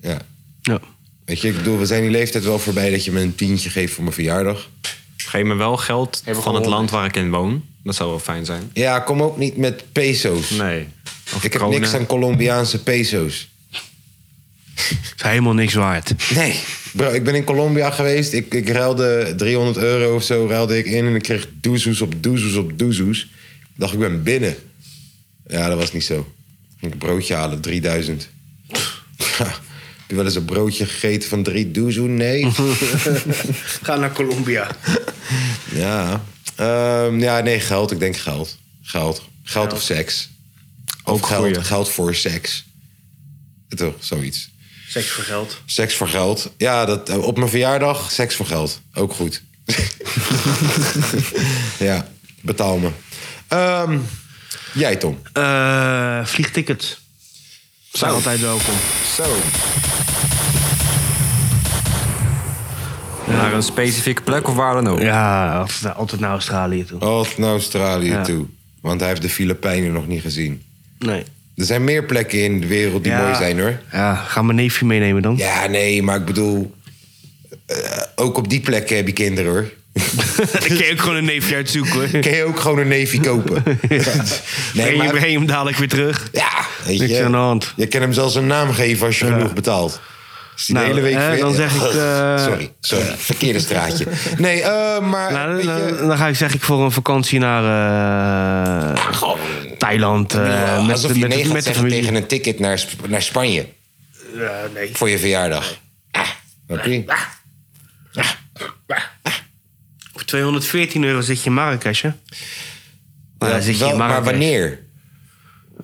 Speaker 1: Ja.
Speaker 2: Ja.
Speaker 1: Weet je, ik bedoel, we zijn die leeftijd wel voorbij dat je me een tientje geeft voor mijn verjaardag.
Speaker 4: Geef me wel geld van het land waar ik in woon. Dat zou wel fijn zijn.
Speaker 1: Ja, kom ook niet met peso's.
Speaker 4: Nee. Of
Speaker 1: ik heb
Speaker 4: kronen.
Speaker 1: niks aan Colombiaanse peso's.
Speaker 2: Het is helemaal niks waard.
Speaker 1: Nee. Bro, ik ben in Colombia geweest. Ik, ik ruilde 300 euro of zo ruilde ik in. En ik kreeg doezoes op doezoes op doezoes. Ik dacht, ik ben binnen. Ja, dat was niet zo. Ging ik een broodje halen, 3000. Ja, [LAUGHS] heb je wel eens een broodje gegeten van drie doezoe? Nee.
Speaker 2: Ga naar Colombia.
Speaker 1: ja. Ehm, ja, nee, geld. Ik denk geld. Geld. Geld of seks. Of
Speaker 4: Ook
Speaker 1: geld,
Speaker 4: goeie.
Speaker 1: geld voor seks. Toch, zoiets.
Speaker 2: Seks voor geld.
Speaker 1: Seks voor geld. Ja, dat, eh, op mijn verjaardag, seks voor geld. Ook goed. [LAUGHS] ja, betaal me. Ehm, jij, Tom.
Speaker 2: Eh vliegtickets. Zijn
Speaker 1: Oh.
Speaker 2: altijd welkom.
Speaker 1: Zo.
Speaker 4: Naar een specifieke plek of waar dan ook.
Speaker 2: Ja, altijd- altijd naar Australië toe.
Speaker 1: Altijd naar Australië
Speaker 2: Ja.
Speaker 1: toe. Want hij heeft de Filipijnen nog niet gezien.
Speaker 2: Nee.
Speaker 1: Er zijn meer plekken in de wereld die
Speaker 2: Ja.
Speaker 1: mooi zijn, hoor.
Speaker 2: Ja, ga mijn neefje meenemen dan.
Speaker 1: Ja, nee, maar ik bedoel... eh, ook op die plekken heb je kinderen, hoor.
Speaker 2: [LAUGHS] Dan kun je ook gewoon een neefje uitzoeken hoor.
Speaker 1: Kun je ook gewoon een neefje
Speaker 2: [LAUGHS]
Speaker 1: kopen.
Speaker 2: breng,
Speaker 1: nee,
Speaker 2: je,
Speaker 1: maar...
Speaker 2: breng je hem dadelijk weer terug.
Speaker 1: Ja, weet
Speaker 2: Niks
Speaker 1: je.
Speaker 2: aan de hand.
Speaker 1: Je kan hem zelfs een naam geven als je genoeg betaalt. Als hij de
Speaker 2: Nou,
Speaker 1: hele week
Speaker 2: hè,
Speaker 1: weer-
Speaker 2: dan
Speaker 1: [LAUGHS]
Speaker 2: zeg ik, eh,
Speaker 1: Sorry, sorry. Verkeerde straatje. Nee, eh, maar...
Speaker 2: Nou,
Speaker 1: weet
Speaker 2: dan,
Speaker 1: je,
Speaker 2: dan- dan ga ik zeg ik voor een vakantie naar eh, Thailand. eh,
Speaker 1: eh,
Speaker 2: met,
Speaker 1: alsof
Speaker 2: met,
Speaker 1: je nee
Speaker 2: met,
Speaker 1: gaat
Speaker 2: met de
Speaker 1: zeggen
Speaker 2: familie.
Speaker 1: tegen een ticket naar, Sp- naar Spanje.
Speaker 2: Ja, nee.
Speaker 1: Voor je verjaardag. Ah, snap je?
Speaker 2: Voor 214 euro zit je in Marrakesh, hè? Maar
Speaker 1: Ja,
Speaker 2: Nou, dan zit je
Speaker 1: wel,
Speaker 2: in
Speaker 1: maar
Speaker 2: Marrakesh.
Speaker 1: wanneer?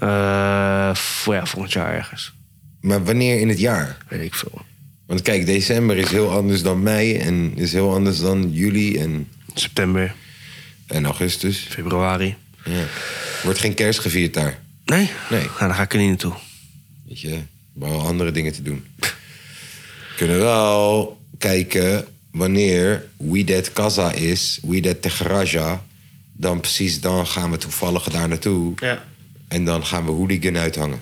Speaker 2: Eh, voor, ja, volgend jaar ergens.
Speaker 1: Maar wanneer in het jaar?
Speaker 2: Weet ik veel.
Speaker 1: Want kijk, december is heel anders dan mei. En is heel anders dan juli en,
Speaker 2: September,
Speaker 1: en augustus.
Speaker 2: februari.
Speaker 1: Ja. Wordt geen kerst gevierd daar.
Speaker 2: Nee?
Speaker 1: Nee.
Speaker 2: Nou, dan ga ik er niet naartoe.
Speaker 1: Weet je, we hebben wel andere dingen te doen. We kunnen wel kijken wanneer We That Casa is, We That Tegraja. Dan precies dan gaan we toevallig daar naartoe.
Speaker 2: Ja.
Speaker 1: En dan gaan we hooligan uithangen.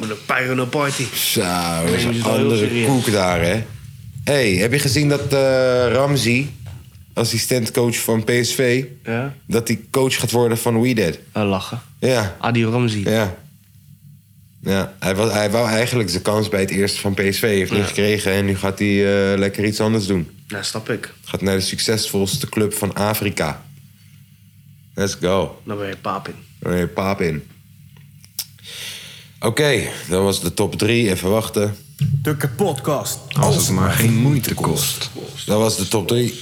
Speaker 2: Met een pyro party.
Speaker 1: Zo, dat is
Speaker 2: die
Speaker 1: een
Speaker 2: is wel heel
Speaker 1: andere
Speaker 2: serieus.
Speaker 1: koek daar, hè. hey, heb je gezien dat eh Ramzi assistentcoach van PSV,
Speaker 2: Ja.
Speaker 1: dat hij coach gaat worden van We Dead.
Speaker 2: Eh, lachen.
Speaker 1: Ja,
Speaker 2: Adi Ramzi.
Speaker 1: ja. Ja, hij, was, hij wou eigenlijk zijn kans bij het eerste van PSV. Heeft niet gekregen en nu gaat hij eh, lekker iets anders doen.
Speaker 2: Ja, snap ik.
Speaker 1: Gaat naar de succesvolste club van Afrika. Let's go.
Speaker 2: Dan ben je paap in.
Speaker 1: Nee, paap in. Oké, dat was de top 3. Even wachten.
Speaker 5: De podcast.
Speaker 4: Als het maar geen moeite kost.
Speaker 1: Dat was de top 3.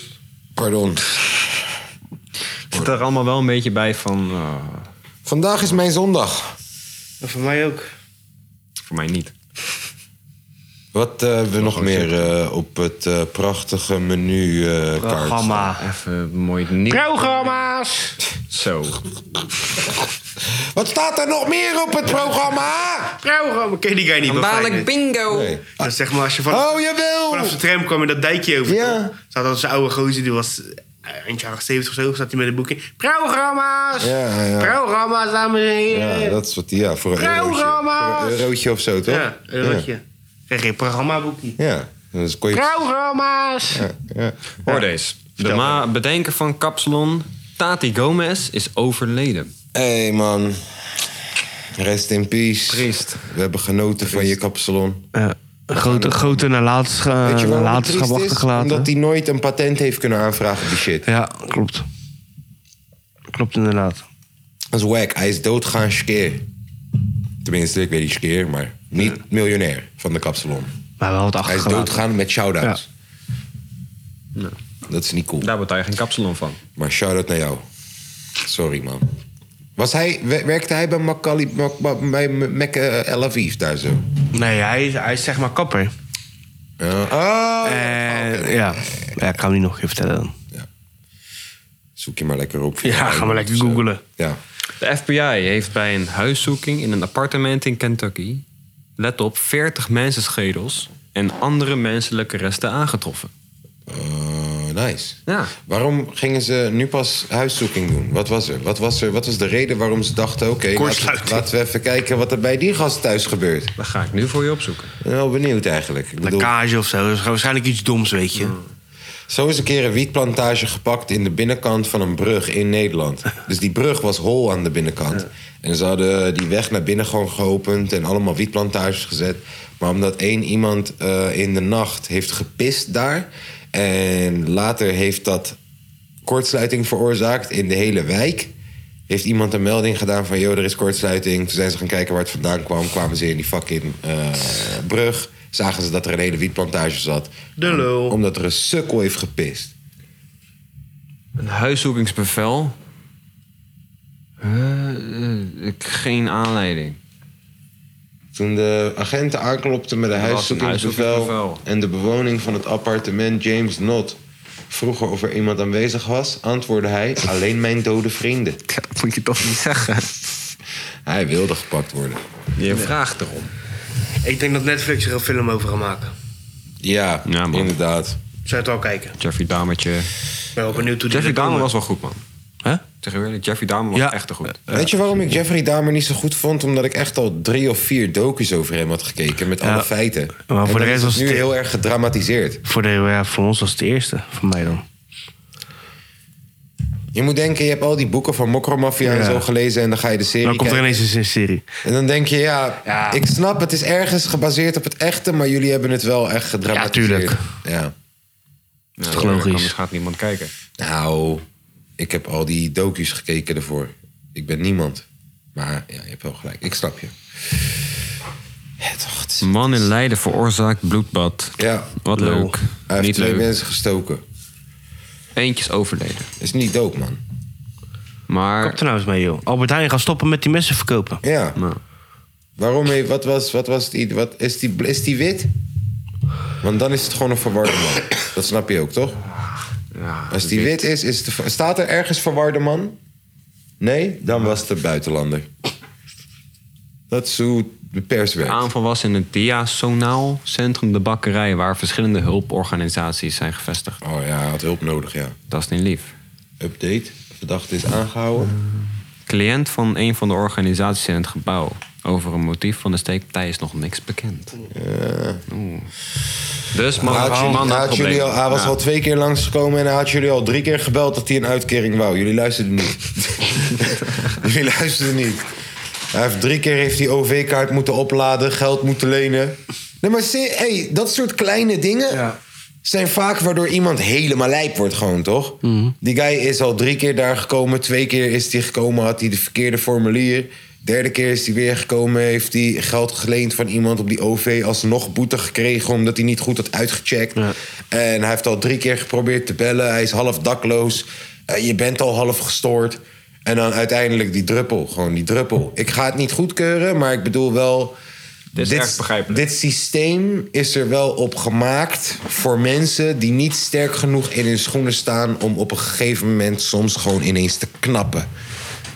Speaker 1: Pardon.
Speaker 4: Het zit er allemaal wel een beetje bij van... eh,
Speaker 1: Vandaag is mijn zondag.
Speaker 2: En voor mij ook.
Speaker 4: voor mij niet.
Speaker 1: Wat eh, hebben we nog meer eh, op het eh, prachtige menu eh kaart?
Speaker 2: Programma.
Speaker 4: Ah, Even mooi niet.
Speaker 2: Nou. Programma's!
Speaker 4: Zo.
Speaker 1: Wat staat er nog meer op het programma?
Speaker 2: Programma. Ken je die guy niet meer?
Speaker 3: Dadelijk bingo!
Speaker 1: Nee.
Speaker 2: Dat zeg maar, als je van,
Speaker 1: Oh,
Speaker 2: vanaf
Speaker 1: jawel!
Speaker 2: zijn tram kwam en dat dijkje over.
Speaker 1: Ja.
Speaker 2: Zat dat zijn oude gozer, die was eh, eind jaren 70 of zo, zat hij met een boek in. Programma's!
Speaker 1: Ja, ja.
Speaker 2: Programma's, dames en heren!
Speaker 1: Ja, dat is wat die... Ja, voor een eurotje.
Speaker 2: Programma's!
Speaker 1: Voor een eurotje of zo, toch?
Speaker 2: Ja, een rotje. Kreeg je een programmaboekje.
Speaker 1: Ja. ja. Dus kon je...
Speaker 2: Programma's!
Speaker 1: Ja, ja.
Speaker 4: Hoor deze. De ma- bedenker van Kapsalon, Tati Gomez, is overleden.
Speaker 1: hey, man. Rest in peace.
Speaker 4: Triest.
Speaker 1: We hebben genoten van je kapsalon.
Speaker 2: een grote, grote nalatenschap,
Speaker 1: Weet je waarom het triest is? Omdat hij nooit een patent heeft kunnen aanvragen op die shit.
Speaker 2: Ja, klopt. Klopt inderdaad.
Speaker 1: Dat is wack. Hij is doodgaan skeer. Tenminste, ik weet niet skeer, maar niet miljonair van de kapsalon.
Speaker 2: Maar wel wat
Speaker 1: Hij is doodgaan met shout-outs. Dat is niet cool.
Speaker 4: Daar wordt hij geen Kapsalon van.
Speaker 1: Maar shout-out naar jou. Sorry, man. Was hij, wer- werkte hij bij Macaulay, Mac, Mac- bij M- Mac eh, El Aviv daar zo?
Speaker 2: Nee, hij is, hij is zeg maar
Speaker 1: Oh,
Speaker 2: kapper.
Speaker 1: Ja. Oh!
Speaker 2: En ja. ja, ik ga hem niet nog een keer vertellen dan.
Speaker 1: Zoek je maar lekker op.
Speaker 2: Ja, ga maar lekker
Speaker 1: Zo.
Speaker 2: googlen.
Speaker 1: Ja.
Speaker 4: De FBI heeft bij een huiszoeking in een appartement in Kentucky... let op, 40 mensenschedels en andere menselijke resten aangetroffen.
Speaker 1: Eh, nice.
Speaker 4: Ja.
Speaker 1: Waarom gingen ze nu pas huiszoeking doen? Wat was er? Wat was, er? Wat was de reden waarom ze dachten... oké, laten, we-
Speaker 2: Kortsluiting.
Speaker 1: laten we even kijken wat er bij die gast thuis gebeurt. Ik
Speaker 4: Dat ga ik nu voor je opzoeken.
Speaker 1: ben wel benieuwd eigenlijk. Ik bedoel,
Speaker 2: Lekkage of zo. Dat is waarschijnlijk iets doms, weet je.
Speaker 1: zo is een keer een wietplantage gepakt... in de binnenkant van een brug in Nederland. Dus die brug was hol aan de binnenkant. En ze hadden die weg naar binnen gewoon geopend... en allemaal wietplantages gezet. Maar omdat één iemand eh, in de nacht heeft gepist daar... en later heeft dat kortsluiting veroorzaakt in de hele wijk. Heeft iemand een melding gedaan van, joh, er is kortsluiting. Toen zijn ze gaan kijken waar het vandaan kwam. Kwamen ze in die fucking eh, brug. Zagen ze dat er een hele wietplantage zat.
Speaker 2: De lul.
Speaker 1: Omdat er een sukkel heeft gepist.
Speaker 4: Een huiszoekingsbevel? Eh, eh, ik- geen aanleiding.
Speaker 1: Toen de agenten aanklopten met een
Speaker 4: Er was een
Speaker 1: huiszoekingsbevel...
Speaker 4: huiszoekingsbevel.
Speaker 1: en de bewoning van het appartement James Knott vroeger of er iemand aanwezig was... antwoordde hij, alleen mijn dode vrienden.
Speaker 3: Dat moet je toch niet zeggen.
Speaker 1: Hij wilde gepakt worden.
Speaker 4: Je vraagt erom.
Speaker 2: Ik denk dat Netflix er een film over gaat maken.
Speaker 1: Ja,
Speaker 4: Ja, man.
Speaker 1: inderdaad.
Speaker 2: Zou je het al kijken?
Speaker 4: Jeffrey Dahmertje.
Speaker 2: Ik ben wel benieuwd hoe die
Speaker 4: Jeffrey
Speaker 2: er
Speaker 4: Dahmer
Speaker 2: komen.
Speaker 4: was wel goed, man.
Speaker 2: Hè?
Speaker 4: Zeg je eerlijk, Jeffrey Dahmer was
Speaker 2: Ja.
Speaker 4: echt te goed.
Speaker 1: Weet je waarom ik Jeffrey Dahmer niet zo goed vond? Omdat ik echt al drie of vier docus over hem had gekeken met alle feiten.
Speaker 2: voor
Speaker 1: En
Speaker 2: de
Speaker 1: dan
Speaker 2: rest
Speaker 1: is het
Speaker 2: was
Speaker 1: nu
Speaker 2: het-
Speaker 1: heel erg gedramatiseerd.
Speaker 2: Voor, de, ja, voor ons was het de eerste. Voor mij dan.
Speaker 1: Je moet denken, je hebt al die boeken van Mokromafia en
Speaker 2: Ja.
Speaker 1: zo gelezen en dan ga je de serie
Speaker 2: Dan Nou, komt er
Speaker 1: kijken.
Speaker 2: ineens een serie.
Speaker 1: En dan denk je, ja,
Speaker 2: Ja.
Speaker 1: ik snap, het is ergens gebaseerd op het echte, maar jullie hebben het wel echt gedramatiseerd.
Speaker 2: tuurlijk.
Speaker 1: Ja.
Speaker 4: Dat
Speaker 2: toch logisch?
Speaker 4: Anders gaat niemand kijken.
Speaker 1: Nou, ik heb al die docu's gekeken ervoor. Ik ben niemand. Maar ja, je hebt wel gelijk. Ik snap je. Ja, toch, het is-
Speaker 4: Man in Leiden veroorzaakt bloedbad.
Speaker 1: Ja.
Speaker 4: Wat
Speaker 1: Lul.
Speaker 4: leuk.
Speaker 1: Hij heeft
Speaker 4: Niet
Speaker 1: twee
Speaker 4: leuk.
Speaker 1: mensen gestoken.
Speaker 4: Eentje is overleden.
Speaker 1: Is niet dope, man.
Speaker 4: Maar...
Speaker 2: Kap er nou eens mee, joh. Albert Heijn gaat stoppen met die messen verkopen.
Speaker 1: Ja.
Speaker 4: Nou,
Speaker 1: Waarom? heeft- Wat was, wat was die, wat, is, die, is die wit? Want dan is het gewoon een verwarde man. Dat snap je ook, toch?
Speaker 4: ja,
Speaker 1: Als die wit is, is het, een ver- staat er ergens verwarde man? Nee? Dan was het een buitenlander. Dat is hoe de pers
Speaker 4: De
Speaker 1: werkt.
Speaker 4: aanval was in het Diasonaal Centrum de Bakkerij... waar verschillende hulporganisaties zijn gevestigd.
Speaker 1: Oh ja, hij had hulp nodig, ja.
Speaker 4: Dat is niet lief.
Speaker 1: Update. Verdachte is aangehouden.
Speaker 4: Cliënt van een van de organisaties in het
Speaker 1: Eh.
Speaker 4: gebouw. Over een motief van de steekpartij is nog niks bekend. Dus man,
Speaker 1: Hij had jullie-
Speaker 4: man,
Speaker 1: hij,
Speaker 4: had
Speaker 1: had jullie al,
Speaker 4: problemen.
Speaker 1: hij was
Speaker 4: Ja.
Speaker 1: al twee keer langsgekomen en hij had jullie al drie keer gebeld dat hij een uitkering wou. Jullie luisterden niet. jullie luisterden niet. Hij heeft drie keer heeft hij OV-kaart moeten opladen, geld moeten lenen. Nee, maar se- hey, dat soort kleine dingen zijn vaak waardoor iemand helemaal lijp wordt gewoon, toch? Die guy is al drie keer daar gekomen. Twee keer is hij gekomen, had hij de verkeerde formulier. Derde keer is hij weer gekomen, heeft hij geld geleend van iemand op die OV... alsnog boete gekregen omdat hij niet goed had uitgecheckt. En hij heeft al drie keer geprobeerd te bellen. Hij is half dakloos. Eh, je bent al half gestoord. En dan uiteindelijk die druppel, gewoon die druppel. Ik ga het niet goedkeuren, maar ik bedoel wel...
Speaker 4: Dit is erg begrijpelijk.
Speaker 1: Dit systeem is er wel op gemaakt voor mensen die niet sterk genoeg in hun schoenen staan... om op een gegeven moment soms gewoon ineens te knappen.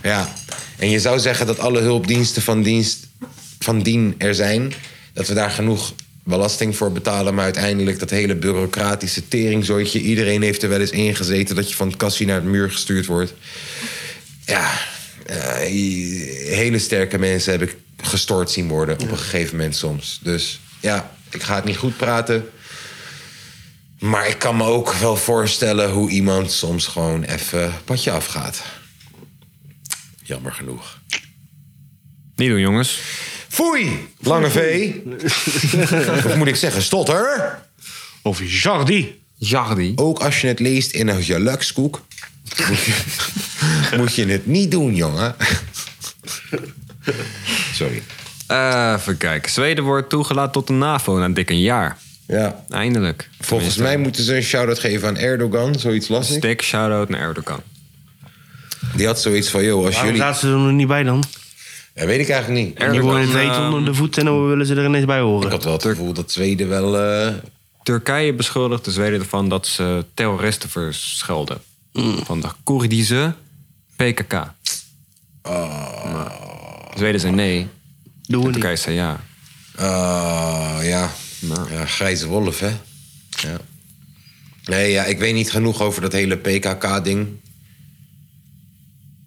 Speaker 1: Ja, en je zou zeggen dat alle hulpdiensten van, dienst, van dien er zijn. Dat we daar genoeg belasting voor betalen. Maar uiteindelijk dat hele bureaucratische teringzooitje. Iedereen heeft er wel eens ingezeten dat je van het kassie naar het muur gestuurd wordt. Ja, eh, hele sterke mensen heb ik gestoord zien worden op een gegeven moment soms. Dus ja, ik ga het niet goed praten. Maar ik kan me ook wel voorstellen hoe iemand soms gewoon even padje afgaat. Jammer genoeg.
Speaker 4: Niet doen, jongens.
Speaker 1: Foei, lange V. [LAUGHS] of moet ik zeggen, stotter.
Speaker 2: Of Jardi.
Speaker 4: Jardi.
Speaker 1: Ook als je het leest in een gelukskoek, moet je, [LAUGHS] moet je het niet doen, jongen. [LAUGHS] Sorry.
Speaker 4: even kijken. Zweden wordt toegelaten tot de NAVO na dik een jaar.
Speaker 1: Ja,
Speaker 4: Eindelijk.
Speaker 1: volgens mij moeten ze een shout-out geven aan Erdogan, zoiets lastig.
Speaker 4: Stick, shout-out naar Erdogan.
Speaker 1: Die had zoiets van, joh, als
Speaker 2: Waarom
Speaker 1: jullie...
Speaker 2: laten ze er nog niet bij dan?
Speaker 1: Ja, weet ik eigenlijk niet.
Speaker 2: Die
Speaker 4: Erdogan,
Speaker 2: worden het heet
Speaker 4: eh,
Speaker 2: onder de voet en dan willen ze er ineens bij
Speaker 1: Ik
Speaker 2: horen.
Speaker 1: had wel het gevoel dat Zweden wel... eh,
Speaker 4: Turkije beschuldigt de Zweden ervan dat ze terroristen verschelden.
Speaker 1: Mm.
Speaker 4: Van de Koerdische PKK.
Speaker 1: Oh.
Speaker 4: Maar de Zweden zei nee.
Speaker 2: Doen we
Speaker 4: De
Speaker 2: niet.
Speaker 4: Turkije zei ja.
Speaker 1: Ah, ja.
Speaker 4: Nou.
Speaker 1: ja. Grijze wolf, hè? Ja. Nee, ja, ik weet niet genoeg over dat hele PKK-ding.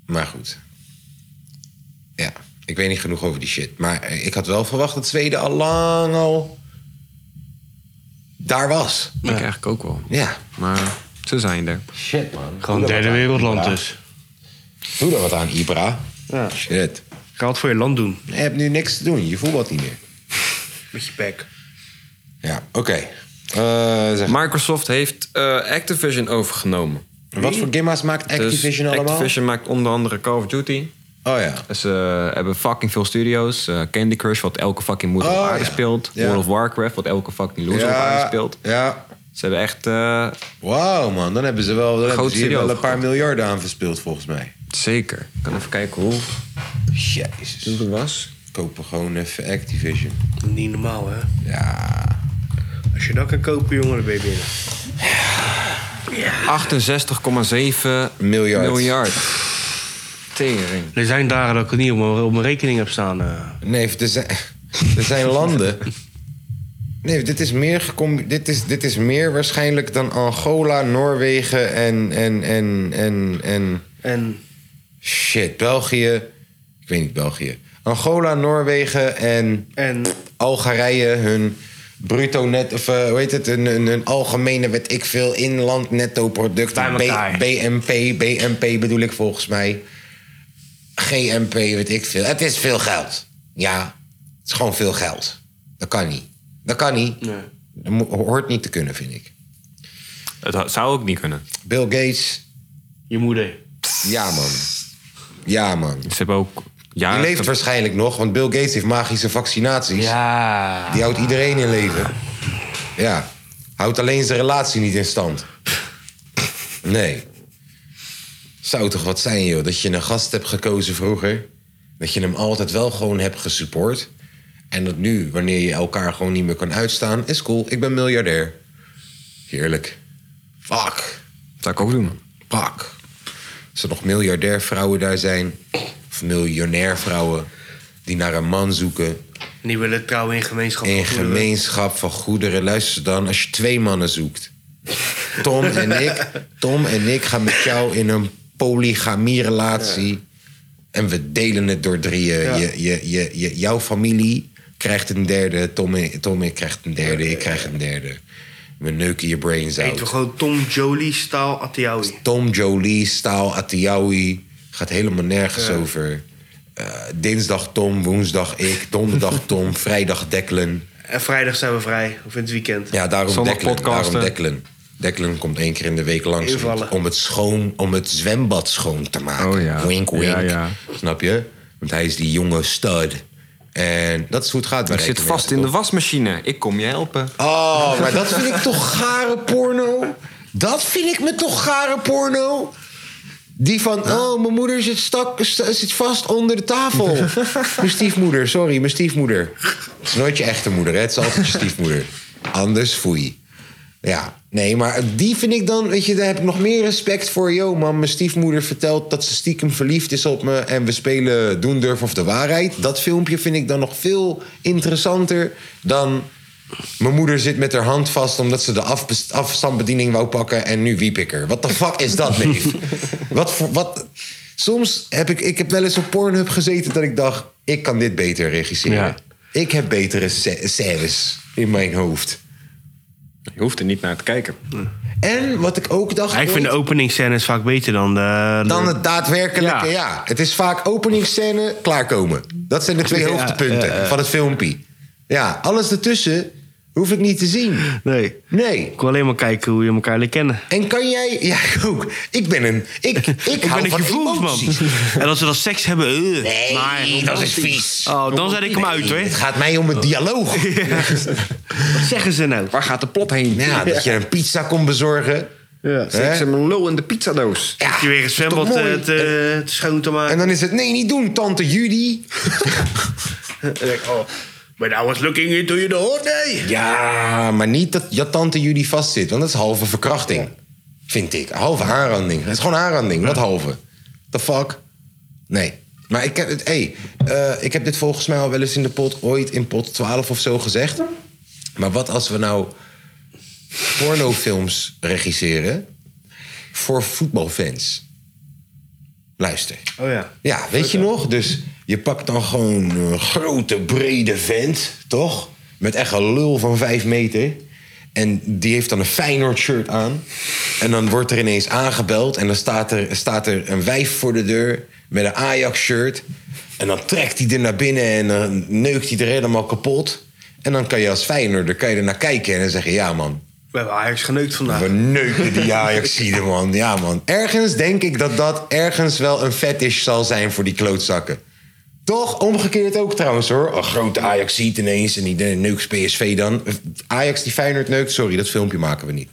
Speaker 1: Maar goed. Ja, ik weet niet genoeg over die shit. Maar eh, ik had wel verwacht dat Zweden al lang al... daar was.
Speaker 4: Ik eigenlijk ook wel.
Speaker 1: Ja.
Speaker 4: Maar ze zijn er.
Speaker 1: Shit, man.
Speaker 2: Gewoon derde wereldland dus.
Speaker 1: Doe er wat aan, Ibra.
Speaker 2: Ja.
Speaker 1: Shit.
Speaker 2: Ga het voor je land doen.
Speaker 1: Je hebt nu niks te doen. Je voelt wat niet meer.
Speaker 2: Met je bek.
Speaker 1: Ja, oké. Eh, zeg,
Speaker 4: Microsoft heeft eh, Activision overgenomen.
Speaker 1: wat voor gimma's maakt
Speaker 4: Dus
Speaker 1: Activision allemaal?
Speaker 4: Activision maakt onder andere Call of Duty. Eh,
Speaker 1: Oh ja.
Speaker 4: Ze hebben fucking veel studio's. Eh, Candy Crush, wat elke fucking moeder
Speaker 1: Oh,
Speaker 4: op aarde
Speaker 1: ja.
Speaker 4: speelt.
Speaker 1: Ja.
Speaker 4: World of Warcraft, wat elke fucking loser op aarde speelt.
Speaker 1: Ja.
Speaker 4: Ze hebben echt eh,
Speaker 1: Wauw, man. Dan hebben ze wel, dan hebben ze hier
Speaker 4: studio
Speaker 1: wel een
Speaker 4: overgekocht.
Speaker 1: paar miljarden aan verspild, volgens mij.
Speaker 4: Zeker. Ik kan even kijken hoe
Speaker 1: Jezus.
Speaker 4: het was.
Speaker 1: Kopen gewoon even Activision.
Speaker 2: Niet normaal, hè?
Speaker 1: Ja.
Speaker 2: Als je dat kan kopen, jongen, dan ben je binnen.
Speaker 4: 68,7
Speaker 1: Miljard.
Speaker 4: miljard. Tering.
Speaker 2: Er zijn dagen dat ik het niet op mijn, op mijn rekening heb staan. eh.
Speaker 1: Nee, er zijn, er zijn landen. Nee, dit is, meer gecom- dit, is, dit is meer waarschijnlijk dan Angola, Noorwegen en. en, en, en, en
Speaker 2: En
Speaker 1: shit, België. Ik weet niet, België. Angola, Noorwegen en.
Speaker 2: En?
Speaker 1: Algerije, hun bruto net. of eh, hoe heet het? Hun, hun, hun algemene, weet ik veel, inland netto product.
Speaker 2: Bij elkaar.
Speaker 1: BNP, BNP bedoel ik volgens mij. GMP, weet ik veel. Het is veel geld. Ja, het is gewoon veel geld. Dat kan niet. Dat kan niet.
Speaker 2: Nee.
Speaker 1: Dat mo- hoort niet te kunnen, vind ik.
Speaker 4: Het had- zou ook niet kunnen.
Speaker 1: Bill Gates,
Speaker 2: je moeder.
Speaker 1: ja man. Ja man.
Speaker 4: Ze hebben ook... Ja,
Speaker 1: Die leeft waarschijnlijk nog, want Bill Gates heeft magische vaccinaties.
Speaker 2: Ja.
Speaker 1: Die houdt iedereen in leven. Ja. Houdt alleen zijn relatie niet in stand. Nee. Zou toch wat zijn, joh, dat je een gast hebt gekozen vroeger. Dat je hem altijd wel gewoon hebt gesupport. En dat nu, wanneer je elkaar gewoon niet meer kan uitstaan, is cool, ik ben miljardair. Heerlijk. Fuck.
Speaker 4: zou ik ook doen. man.
Speaker 1: Pak. Als er nog miljardair vrouwen daar zijn, of miljonair vrouwen die naar een man zoeken,
Speaker 2: En die willen trouwen in gemeenschap.
Speaker 1: in
Speaker 2: van goederen.
Speaker 1: gemeenschap van goederen. Luister dan, als je twee mannen zoekt. Tom en ik, Tom en ik gaan met jou in een polygamie-relatie. En we delen het door drieën. Je, je, je, je, jouw familie, krijgt een derde. Tommy, Tommy krijgt een derde. Ik krijg een derde. We neuken je brains
Speaker 2: Eten we
Speaker 1: out.
Speaker 2: gewoon Tom Jolie staal Atiawi.
Speaker 1: Tom Jolie, Staal, Atiawi. Gaat helemaal nergens over. Eh, dinsdag Tom, woensdag ik,
Speaker 4: [LAUGHS]
Speaker 1: donderdag Tom, vrijdag Declan.
Speaker 2: En vrijdag zijn we vrij, of in het weekend.
Speaker 1: Ja, daarom
Speaker 4: Zondag
Speaker 1: Declan.
Speaker 4: podcasten.
Speaker 1: Daarom Declan. Declan komt één keer in de week langs om het,
Speaker 2: Invallen.
Speaker 1: om het schoon, om het zwembad schoon te maken.
Speaker 4: Oh ja.
Speaker 1: Wink, wink.
Speaker 4: Ja, ja.
Speaker 1: Snap je? Want hij is die jonge stud. En dat is hoe het gaat. bij
Speaker 4: Ik zit
Speaker 1: Rijkenwerk,
Speaker 4: vast in de
Speaker 1: toch?
Speaker 4: wasmachine. Ik kom je helpen.
Speaker 1: Oh, maar dat vind ik toch gare porno? Dat vind ik me toch gare porno? Die van, oh, mijn moeder zit, stak, st- zit vast onder de tafel. mijn stiefmoeder, sorry, mijn stiefmoeder. Het is nooit je echte moeder, hè? het is altijd je stiefmoeder. Anders foei. Ja, nee, maar die vind ik dan, weet je, daar heb ik nog meer respect voor. Yo, man, mijn stiefmoeder vertelt dat ze stiekem verliefd is op me en we spelen Doen Durf of de Waarheid. Dat filmpje vind ik dan nog veel interessanter dan. Mijn moeder zit met haar hand vast omdat ze de afbes- afstandsbediening wou pakken en nu wiep ik er. Wat de fuck is dat,
Speaker 2: [LAUGHS]
Speaker 1: neef? wat voor, wat... Soms heb ik, ik heb wel eens op Pornhub gezeten dat ik dacht, ik kan dit beter regisseren.
Speaker 4: Ja.
Speaker 1: Ik heb betere sce- scènes in mijn hoofd.
Speaker 4: Je hoeft er niet naar te kijken.
Speaker 1: En wat ik ook dacht.
Speaker 2: Ja, ik vind de
Speaker 1: ooit,
Speaker 2: openingsscènes vaak beter dan de...
Speaker 1: dan het daadwerkelijke, ja.
Speaker 2: Ja.
Speaker 1: Het is vaak openingsscène, klaarkomen. Dat zijn de twee
Speaker 2: Ja,
Speaker 1: hoogtepunten van het filmpje. Ja, alles ertussen hoef ik niet te zien.
Speaker 2: Nee.
Speaker 1: Nee.
Speaker 2: Ik wil alleen maar kijken hoe je elkaar leert kennen.
Speaker 1: En kan jij... Ja, ik ook. Ik ben een... Ik,
Speaker 2: [LAUGHS]
Speaker 1: ik, hou
Speaker 2: een
Speaker 1: van
Speaker 2: gevoelsman.
Speaker 1: emoties.
Speaker 2: [LAUGHS] En als ze dan seks hebben... eh,
Speaker 1: Nee,
Speaker 2: maar-
Speaker 1: dat is vies.
Speaker 2: Oh, dan zet ik hem uit,
Speaker 1: Het
Speaker 2: hoor.
Speaker 1: gaat mij om het dialoog.
Speaker 2: [LAUGHS] Wat zeggen ze nou?
Speaker 4: Waar gaat de plot heen?
Speaker 1: Ja, dat je een pizza kon bezorgen.
Speaker 4: Ja. Seks
Speaker 1: Hè?
Speaker 4: en lul in de pizzadoos.
Speaker 1: Ja,
Speaker 2: Dat je weer een
Speaker 1: is toch
Speaker 2: zwembad
Speaker 1: mooi?
Speaker 2: eh, te, te schoon te maken.
Speaker 1: En dan is het, nee, niet doen, tante
Speaker 2: [LAUGHS]
Speaker 1: Judy.
Speaker 2: Maar nou was looking into the hot day.
Speaker 1: Ja, maar niet dat je tante jullie vastzit. Want dat is halve verkrachting. Vind ik. Halve aanranding. Het is gewoon aanranding, wat halve. The fuck? Nee. Maar ik heb, het, hey, eh, ik heb dit volgens mij al wel eens in de pot... ooit in pot 12 of zo gezegd. Maar wat als we nou pornofilms regisseren... voor voetbalfans? Luister.
Speaker 2: Oh ja.
Speaker 1: Ja, weet je nog? Dus je pakt dan gewoon een grote, brede vent, toch? Met echt een lul van vijf meter. En die heeft dan een Feyenoord shirt aan. En dan wordt er ineens aangebeld. En dan staat er, staat er een wijf voor de deur met een Ajax shirt. En dan trekt hij er naar binnen en dan neukt hij er helemaal kapot. En dan kan je als Feyenoorder kan je er naar kijken en dan zeggen... Ja man,
Speaker 2: We hebben Ajax geneukt vandaag.
Speaker 1: we neuken die Ajaxide, man. Ja, man. Ergens denk ik dat dat ergens wel een fetish zal zijn voor die klootzakken. Toch? Omgekeerd ook trouwens, hoor. Een grote Ajax ziet ineens en die neukt PSV dan. Ajax die Feyenoord neukt, sorry, dat filmpje maken we niet.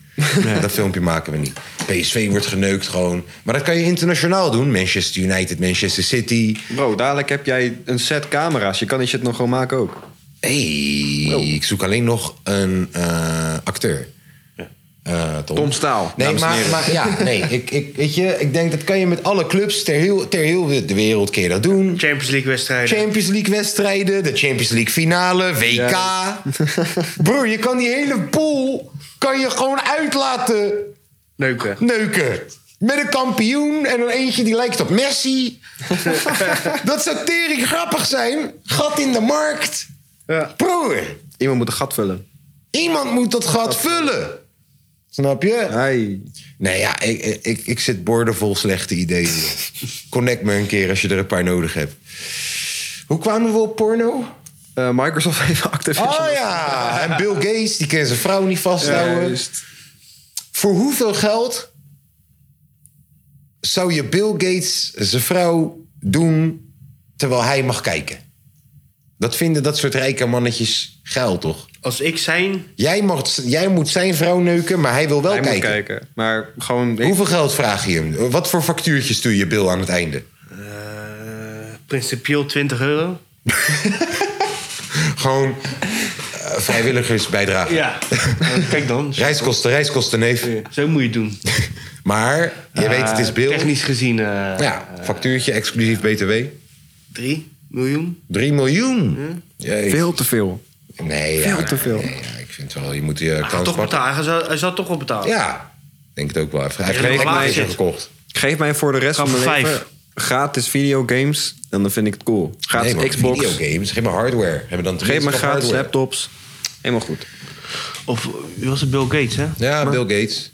Speaker 1: Dat filmpje maken we niet. PSV wordt geneukt gewoon. Maar dat kan je internationaal doen. Manchester United, Manchester City.
Speaker 4: Bro, dadelijk heb jij een set camera's. Je kan die shit nog gewoon maken ook.
Speaker 1: hey,
Speaker 2: Oh.
Speaker 1: ik zoek alleen nog een eh, acteur. Eh,
Speaker 4: Tom Staal,
Speaker 1: Nee,
Speaker 4: dames en
Speaker 1: maar,
Speaker 4: heren.
Speaker 1: maar ja, nee. Ik, ik, weet je, ik denk dat kan je met alle clubs ter heel, ter heel de wereld keer dat doen.
Speaker 2: Champions League wedstrijden.
Speaker 1: Champions League wedstrijden, de Champions League finale, WK. [LAUGHS] Broer, je kan die hele pool kan je gewoon uit laten
Speaker 2: Neuken.
Speaker 1: neuken. Met een kampioen en dan eentje die lijkt op
Speaker 2: [LAUGHS]
Speaker 1: Messi. dat zou tering grappig zijn. Gat in de markt. Broer,
Speaker 4: Iemand moet een gat vullen.
Speaker 1: Iemand moet dat gat vullen. Snap je?
Speaker 4: Hey.
Speaker 1: Nee, ja, ik, ik, ik zit boordevol slechte ideeën.
Speaker 4: [LAUGHS]
Speaker 1: Connect me een keer als je er een paar nodig hebt. Hoe kwamen we op porno?
Speaker 4: Eh, Microsoft [LAUGHS] heeft Activision. Eh,
Speaker 1: Oh ja, en Bill Gates, die kan zijn vrouw niet
Speaker 4: Nou,
Speaker 1: vasthouden.
Speaker 4: Juist.
Speaker 1: Voor hoeveel geld zou je Bill Gates zijn vrouw doen terwijl hij mag kijken? Dat vinden dat soort rijke mannetjes geil, toch?
Speaker 2: Als ik zijn...
Speaker 1: Jij, mag, jij moet zijn vrouw neuken, maar hij wil wel
Speaker 4: Hij moet
Speaker 1: kijken.
Speaker 4: kijken. Maar gewoon...
Speaker 1: Hoeveel geld vraag je hem? Wat voor factuurtjes doe je Bill aan het einde?
Speaker 2: eh, principieel 20 euro.
Speaker 1: Gewoon eh, vrijwilligersbijdrage.
Speaker 2: [LAUGHS] Ja. Eh, Kijk dan.
Speaker 1: Reiskosten, reiskosten, neef.
Speaker 2: Zo moet je het doen.
Speaker 1: Maar je weet, het is
Speaker 2: Eh,
Speaker 1: Bill.
Speaker 2: Technisch gezien... eh
Speaker 1: Ja, factuurtje, exclusief BTW.
Speaker 2: 3 miljoen.
Speaker 1: 3 miljoen. Jezus.
Speaker 4: Veel te veel.
Speaker 1: Nee, ja,
Speaker 4: veel te veel.
Speaker 1: nee, ja, ik vind wel, je moet je
Speaker 2: Hij gaat
Speaker 1: kans
Speaker 2: Ah, toch
Speaker 1: pakken.
Speaker 2: betalen. Hij zal, hij zal toch wel betalen.
Speaker 1: Ja, denk het ook wel. Hij heeft
Speaker 2: Als je
Speaker 1: geen
Speaker 2: nog laag
Speaker 1: glaasje
Speaker 2: zit.
Speaker 1: gekocht.
Speaker 4: Geef mij voor de rest
Speaker 2: Trap
Speaker 4: van mijn
Speaker 2: vijf.
Speaker 4: leven gratis videogames, en dan vind ik het cool. Gratis
Speaker 1: Nee, maar
Speaker 4: Xbox,
Speaker 1: Videogames, geef maar hardware. Hebben dan
Speaker 4: geef me
Speaker 1: tenminste nog
Speaker 4: gratis
Speaker 1: hardware.
Speaker 4: laptops. Helemaal goed.
Speaker 2: Of wie was het Bill Gates, hè?
Speaker 1: Ja, Bill Gates.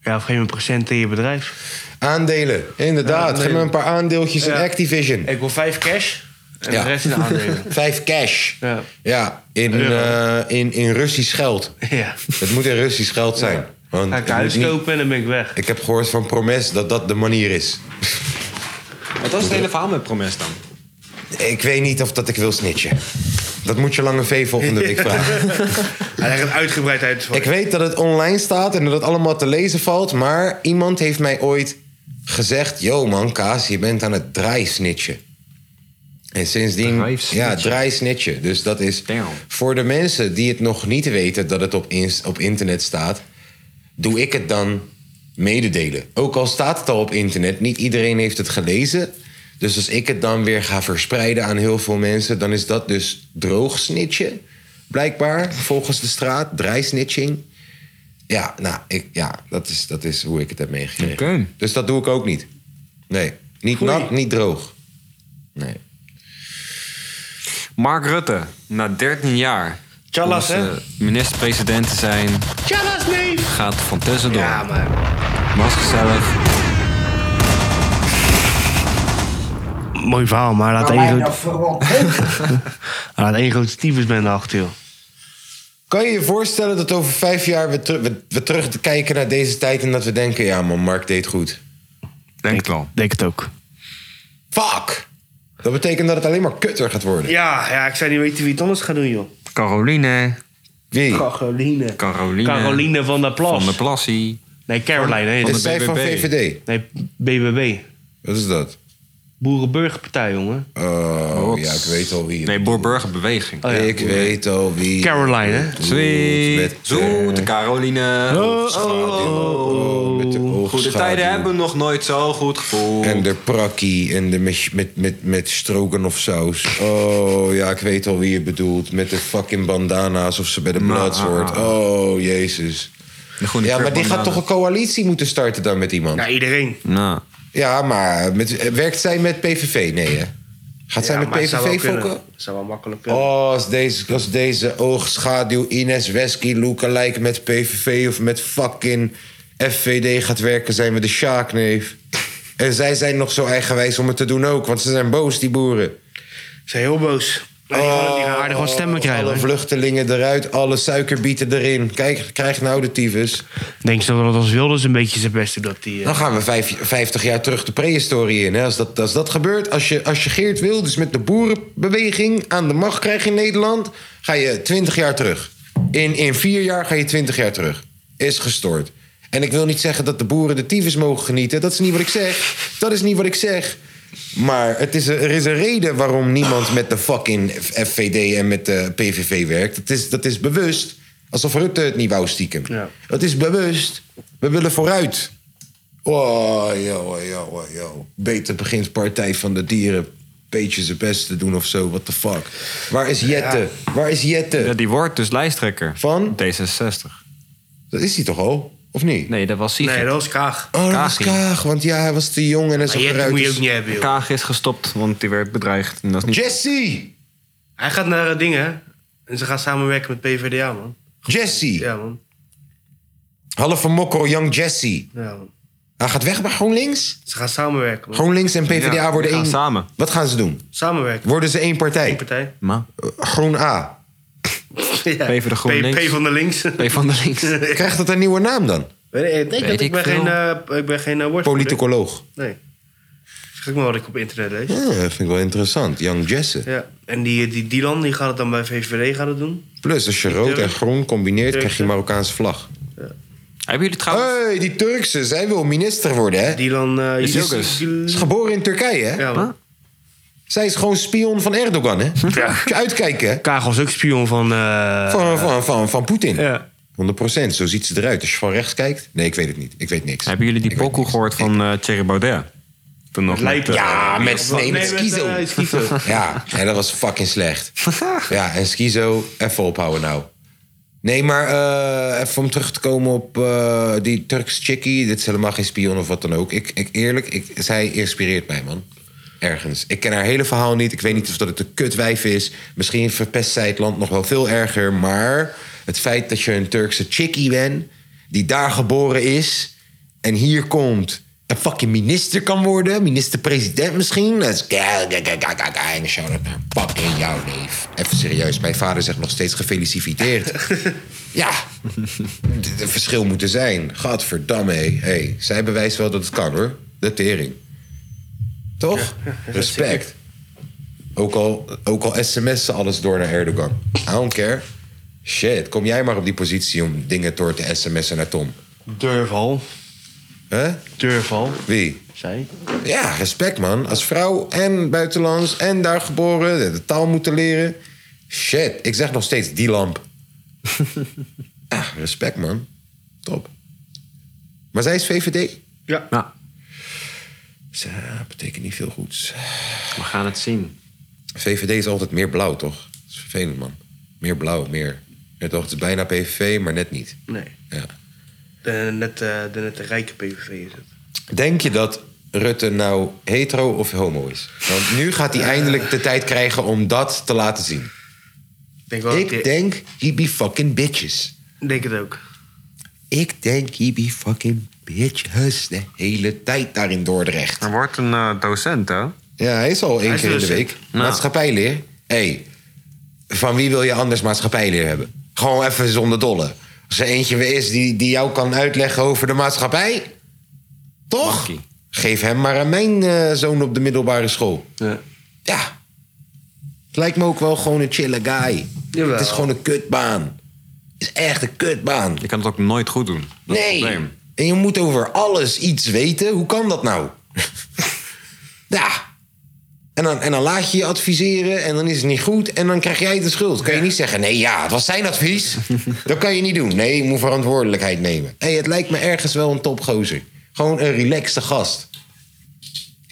Speaker 2: Ja, of geef een procent in je bedrijf.
Speaker 1: Aandelen, inderdaad. Geef me een paar aandeeltjes
Speaker 2: Ja.
Speaker 1: in Activision.
Speaker 2: Ik wil vijf cash en
Speaker 1: Ja.
Speaker 2: de rest in de
Speaker 1: [LAUGHS]
Speaker 2: aandelen.
Speaker 1: Vijf cash.
Speaker 2: Ja.
Speaker 1: Ja, in, eh, in, in Russisch geld.
Speaker 2: ja.
Speaker 1: Het moet in Russisch geld zijn. Want
Speaker 2: Ga ik
Speaker 1: het
Speaker 2: huis
Speaker 1: moet niet-
Speaker 2: kopen en dan ben ik weg.
Speaker 1: Ik heb gehoord van Promes dat dat de manier is.
Speaker 4: Wat was het hele verhaal met Promes dan?
Speaker 1: Ik weet niet of dat ik wil snitchen. Dat moet je Lange V volgende
Speaker 4: [LAUGHS]
Speaker 1: week vragen.
Speaker 2: Hij legt het uitgebreid uit.
Speaker 1: Ik weet dat het online staat en dat het allemaal te lezen valt. Maar iemand heeft mij ooit gezegd... Yo man, Kaas, je bent aan het draai snitchen. En sindsdien...
Speaker 4: Draaisnitchen.
Speaker 1: Ja, draai snitchen. Dus dat is...
Speaker 4: Damn.
Speaker 1: Voor de mensen die het nog niet weten dat het op, ins- op internet staat... doe ik het dan mededelen. Ook al staat het al op internet, niet iedereen heeft het gelezen. Dus als ik het dan weer ga verspreiden aan heel veel mensen... dan is dat dus droog snitchen, blijkbaar. Volgens de straat, draaisnitching. Ja, nou, ik, ja dat, is, dat is hoe ik het heb meegekregen.
Speaker 4: Oké.
Speaker 1: Dus dat doe ik ook niet. Nee, niet nat, niet droog. Nee.
Speaker 4: Mark Rutte, na 13 jaar.
Speaker 2: Tjallas,
Speaker 4: om,
Speaker 2: hè?
Speaker 4: eh, Minister-president te zijn.
Speaker 2: Tjallas, nee!
Speaker 4: Gaat van tussendoor.
Speaker 2: Ja, maar...
Speaker 4: Was gezellig.
Speaker 2: Mooi verhaal, maar laat één groot... [LAUGHS] laat één grote tyfusbende achter, joh.
Speaker 1: Kan je je voorstellen dat over vijf jaar we, teru- we, we terugkijken naar deze tijd... en dat we denken, ja man, Mark deed goed.
Speaker 4: Denk het wel.
Speaker 2: Denk het ook.
Speaker 1: Fuck! Dat betekent dat het alleen maar kutter gaat worden.
Speaker 2: Ja, ja, ik zou niet weten wie het anders gaat doen, joh.
Speaker 4: Caroline.
Speaker 1: Wie?
Speaker 2: Caroline.
Speaker 4: Caroline.
Speaker 2: Caroline van der Plas.
Speaker 4: Van de Plassie.
Speaker 2: Nee, Caroline. Nee,
Speaker 1: Is zij van
Speaker 4: BBB.
Speaker 1: VVD?
Speaker 2: nee, BBB.
Speaker 1: Wat is dat?
Speaker 2: Boerenburgerpartij, jongen.
Speaker 1: Oh, ja, ik weet al wie.
Speaker 4: Nee, Boerburgerbeweging.
Speaker 2: Oh ja.
Speaker 1: Ik weet al wie.
Speaker 2: Caroline, hè?
Speaker 1: eh,
Speaker 4: Sweet. Zoete Caroline.
Speaker 1: Met de
Speaker 4: Goede
Speaker 1: oogschaduw.
Speaker 4: tijden hebben nog nooit zo goed gevoeld.
Speaker 1: Oh, En de prakkie en de mes- met, met, met stroken of saus. Oh ja, ik weet al wie je bedoelt. Met de fucking bandana's of ze bij de Bloods hoort. Oh, jezus.
Speaker 4: De groene
Speaker 1: Ja, maar die gaat toch
Speaker 4: peerbananen.
Speaker 1: een coalitie moeten starten dan met iemand?
Speaker 2: Ja, iedereen.
Speaker 4: Nou,
Speaker 1: Ja, maar met, werkt zij met PVV? Nee, hè? Gaat zij
Speaker 2: Ja,
Speaker 1: met
Speaker 2: maar het zou wel
Speaker 1: PVV
Speaker 2: kunnen.
Speaker 1: fokken?
Speaker 2: Het zou wel makkelijk kunnen.
Speaker 1: Oh, als deze, als deze oogschaduw Ines Wesky lookalike met PVV of met fucking FVD gaat werken, zijn we de Sjaakneef. En zij zijn nog zo eigenwijs om het te doen ook, want ze zijn boos, die boeren.
Speaker 2: Ze zijn heel boos. Maar die gaan- die gaan aardig wat stemmen
Speaker 1: Oh. Alle
Speaker 2: krijgen. hoor.
Speaker 1: vluchtelingen eruit, alle suikerbieten erin. Kijk, krijg nou de tyfus.
Speaker 2: Denk je dat als Wilders een beetje zijn best doet dat die... eh,
Speaker 1: Dan gaan we vijf, 50 jaar terug de prehistorie in. Hè? Als, dat, als dat gebeurt, als je, als je Geert wil, dus met de boerenbeweging aan de macht krijgt in Nederland, ga je 20 jaar terug. In, in vier jaar ga je 20 jaar terug. Is gestoord. En ik wil niet zeggen dat de boeren de tyfus mogen genieten. Dat is niet wat ik zeg. Dat is niet wat ik zeg. Maar het is, een- er is een reden waarom niemand met de fucking F- FVD en met de PVV werkt. Dat is, dat is bewust. Alsof Rutte het niet wou stiekem.
Speaker 2: Ja.
Speaker 1: Dat is bewust. We willen vooruit. Oh, yo, yo, yo. Beter begint Partij van de Dieren. Beetje zijn best te doen of zo. What the fuck. Waar is Jette? Waar is
Speaker 4: ja,
Speaker 1: Jette?
Speaker 4: die wordt dus lijsttrekker.
Speaker 1: Van?
Speaker 4: D66.
Speaker 1: Dat is hij toch al? Of niet?
Speaker 4: Nee, dat was Sigrid.
Speaker 2: Nee, dat is Kaag.
Speaker 1: Oh, dat was
Speaker 4: Kaag.
Speaker 1: Kaag. Want ja, hij was te jong en hij
Speaker 2: Maar
Speaker 1: zag
Speaker 2: Jette
Speaker 1: eruit.
Speaker 2: moet je
Speaker 1: als-
Speaker 2: ook niet hebben, joh.
Speaker 4: Kaag is gestopt, want die werd bedreigd. En dat is niet...
Speaker 1: Jesse!
Speaker 2: Hij gaat naar eh, dingen. En ze gaan samenwerken met PvdA, man.
Speaker 1: Jesse!
Speaker 2: Ja, man.
Speaker 1: Halve mokro, young Jesse.
Speaker 2: Ja, man.
Speaker 1: Hij gaat weg bij GroenLinks?
Speaker 2: Ze gaan samenwerken, man.
Speaker 1: GroenLinks en PvdA
Speaker 4: Ja,
Speaker 1: worden
Speaker 4: die gaan
Speaker 1: één.
Speaker 4: samen.
Speaker 1: Wat gaan ze doen?
Speaker 2: Samenwerken.
Speaker 1: Worden ze één partij? Eh,
Speaker 2: Eén partij.
Speaker 4: Maar,
Speaker 1: Groen A.
Speaker 2: Ja.
Speaker 4: P voor de GroenLinks.
Speaker 2: P, P van de links.
Speaker 4: P van de
Speaker 2: [LAUGHS]
Speaker 4: links.
Speaker 1: Krijgt dat een nieuwe naam dan?
Speaker 2: Nee, ik denk dat
Speaker 4: Weet
Speaker 2: ik,
Speaker 4: ik
Speaker 2: ben
Speaker 4: veel.
Speaker 2: geen, eh, ik ben geen eh, woordvoerder.
Speaker 1: Politicoloog.
Speaker 2: Nee. Schrik me wat ik op internet lees.
Speaker 1: Ja, dat vind ik wel interessant. Young Jesse.
Speaker 2: Ja. En die, eh, die Dylan, die gaat het dan bij VVD gaan het doen.
Speaker 1: Plus, als je rood en
Speaker 2: Turk.
Speaker 1: groen combineert,
Speaker 2: Turkse.
Speaker 1: krijg je Marokkaanse vlag.
Speaker 4: Hebben jullie
Speaker 1: Hé,
Speaker 4: trouwens...
Speaker 1: hey, die Turkse, zij wil minister worden, hè?
Speaker 2: Dylan... eh
Speaker 4: Is die ook
Speaker 2: Yusuf-
Speaker 4: eens?
Speaker 1: Is geboren in Turkije, hè?
Speaker 2: Ja, man.
Speaker 1: Zij is gewoon spion van Erdogan, hè? Moet je uitkijken, hè?
Speaker 2: Kaag was ook spion van... eh,
Speaker 1: Van, van, van, van Poetin.
Speaker 2: Ja.
Speaker 1: 100%, zo ziet ze eruit. Als je van rechts kijkt... Nee, ik weet het niet. Ik weet niks.
Speaker 4: Hebben jullie die
Speaker 1: Ik weet
Speaker 4: pokoe
Speaker 1: niks.
Speaker 4: gehoord van eh Thierry Baudet? Toen nog
Speaker 2: Lijp.
Speaker 4: met, eh,
Speaker 1: Ja, met, nee, met
Speaker 2: eh,
Speaker 1: Schizo. [LAUGHS]
Speaker 2: Schizo.
Speaker 1: Ja, en dat was fucking slecht. Ja, en Schizo, even ophouden nou. Nee, maar eh, even om terug te komen op eh, die Turks chickie. Dit is helemaal geen spion of wat dan ook. Ik, ik, eerlijk, ik, zij inspireert mij, man. Ergens. Ik ken haar hele verhaal niet. Ik weet niet of dat het een kutwijf is. Misschien verpest zij het land nog wel veel erger. Maar het feit dat je een Turkse chickie bent... die daar geboren is en hier komt... en fucking minister kan worden. Minister-president misschien. Dat is... En shout out naar pap in jouw neef. Even serieus. Mijn vader zegt nog steeds gefeliciteerd. ja. Het verschil moet er zijn. Gadverdamme. hé. Hey, zij bewijst wel dat het kan, hoor. De tering. Toch? Respect. Ook al, ook al sms'en alles door naar Erdogan. I don't care. Shit, kom jij maar op die positie om dingen door te sms'en naar Tom.
Speaker 2: Durf al.
Speaker 1: Huh?
Speaker 2: Durf al.
Speaker 1: Wie?
Speaker 2: Zij.
Speaker 1: Ja, respect man. Als vrouw en buitenlands en daar geboren, de taal moeten leren. Shit, ik zeg nog steeds die lamp. ah, respect man. Top. Maar zij is VVD?
Speaker 2: Ja.
Speaker 4: [LAUGHS] Ja.
Speaker 1: Ze eh, betekent niet veel goeds.
Speaker 4: We gaan het zien.
Speaker 1: VVD is altijd meer blauw, toch? Dat is vervelend, man. Meer blauw, meer. Net toch, het is bijna PVV, maar net niet.
Speaker 2: Nee.
Speaker 1: Ja.
Speaker 2: De, net, eh, de net de rijke PVV is het.
Speaker 1: Denk je dat Rutte nou hetero of homo is? Want nu gaat hij eindelijk de tijd krijgen om dat te laten zien.
Speaker 2: Ik Denk wel dat die-
Speaker 1: Ik denk, he be fucking bitches.
Speaker 2: denk het ook.
Speaker 1: Ik denk, he be fucking bitches de hele tijd daar in Dordrecht.
Speaker 4: Hij wordt een eh, docent, hè?
Speaker 1: Ja, hij is al één
Speaker 2: Hij is
Speaker 1: keer in de
Speaker 2: dus-
Speaker 1: week.
Speaker 4: Nou.
Speaker 1: Maatschappijleer. Hé, hey, van wie wil je anders maatschappijleer hebben? Gewoon even zonder dolle. Als er eentje weer is die, die jou kan uitleggen over de maatschappij. Toch?
Speaker 4: Makkie.
Speaker 1: Geef hem maar aan mijn eh, zoon op de middelbare school.
Speaker 2: Ja.
Speaker 1: Ja. Het lijkt me ook wel gewoon een chille guy.
Speaker 2: Jawel.
Speaker 1: Het is gewoon een kutbaan. Het is echt een kutbaan.
Speaker 4: Je kan het ook nooit goed doen. Dat is het
Speaker 1: Nee.
Speaker 4: probleem.
Speaker 1: En je moet over alles iets weten. Hoe kan dat nou? [LAUGHS] ja. En dan, en dan laat je je adviseren en dan is het niet goed. En dan krijg jij de schuld. Kan je niet zeggen, nee, ja, het was zijn
Speaker 4: [LAUGHS]
Speaker 1: advies. dat kan je niet doen. Nee, je moet verantwoordelijkheid nemen. hey, het lijkt me ergens wel een topgozer. Gewoon een relaxte gast.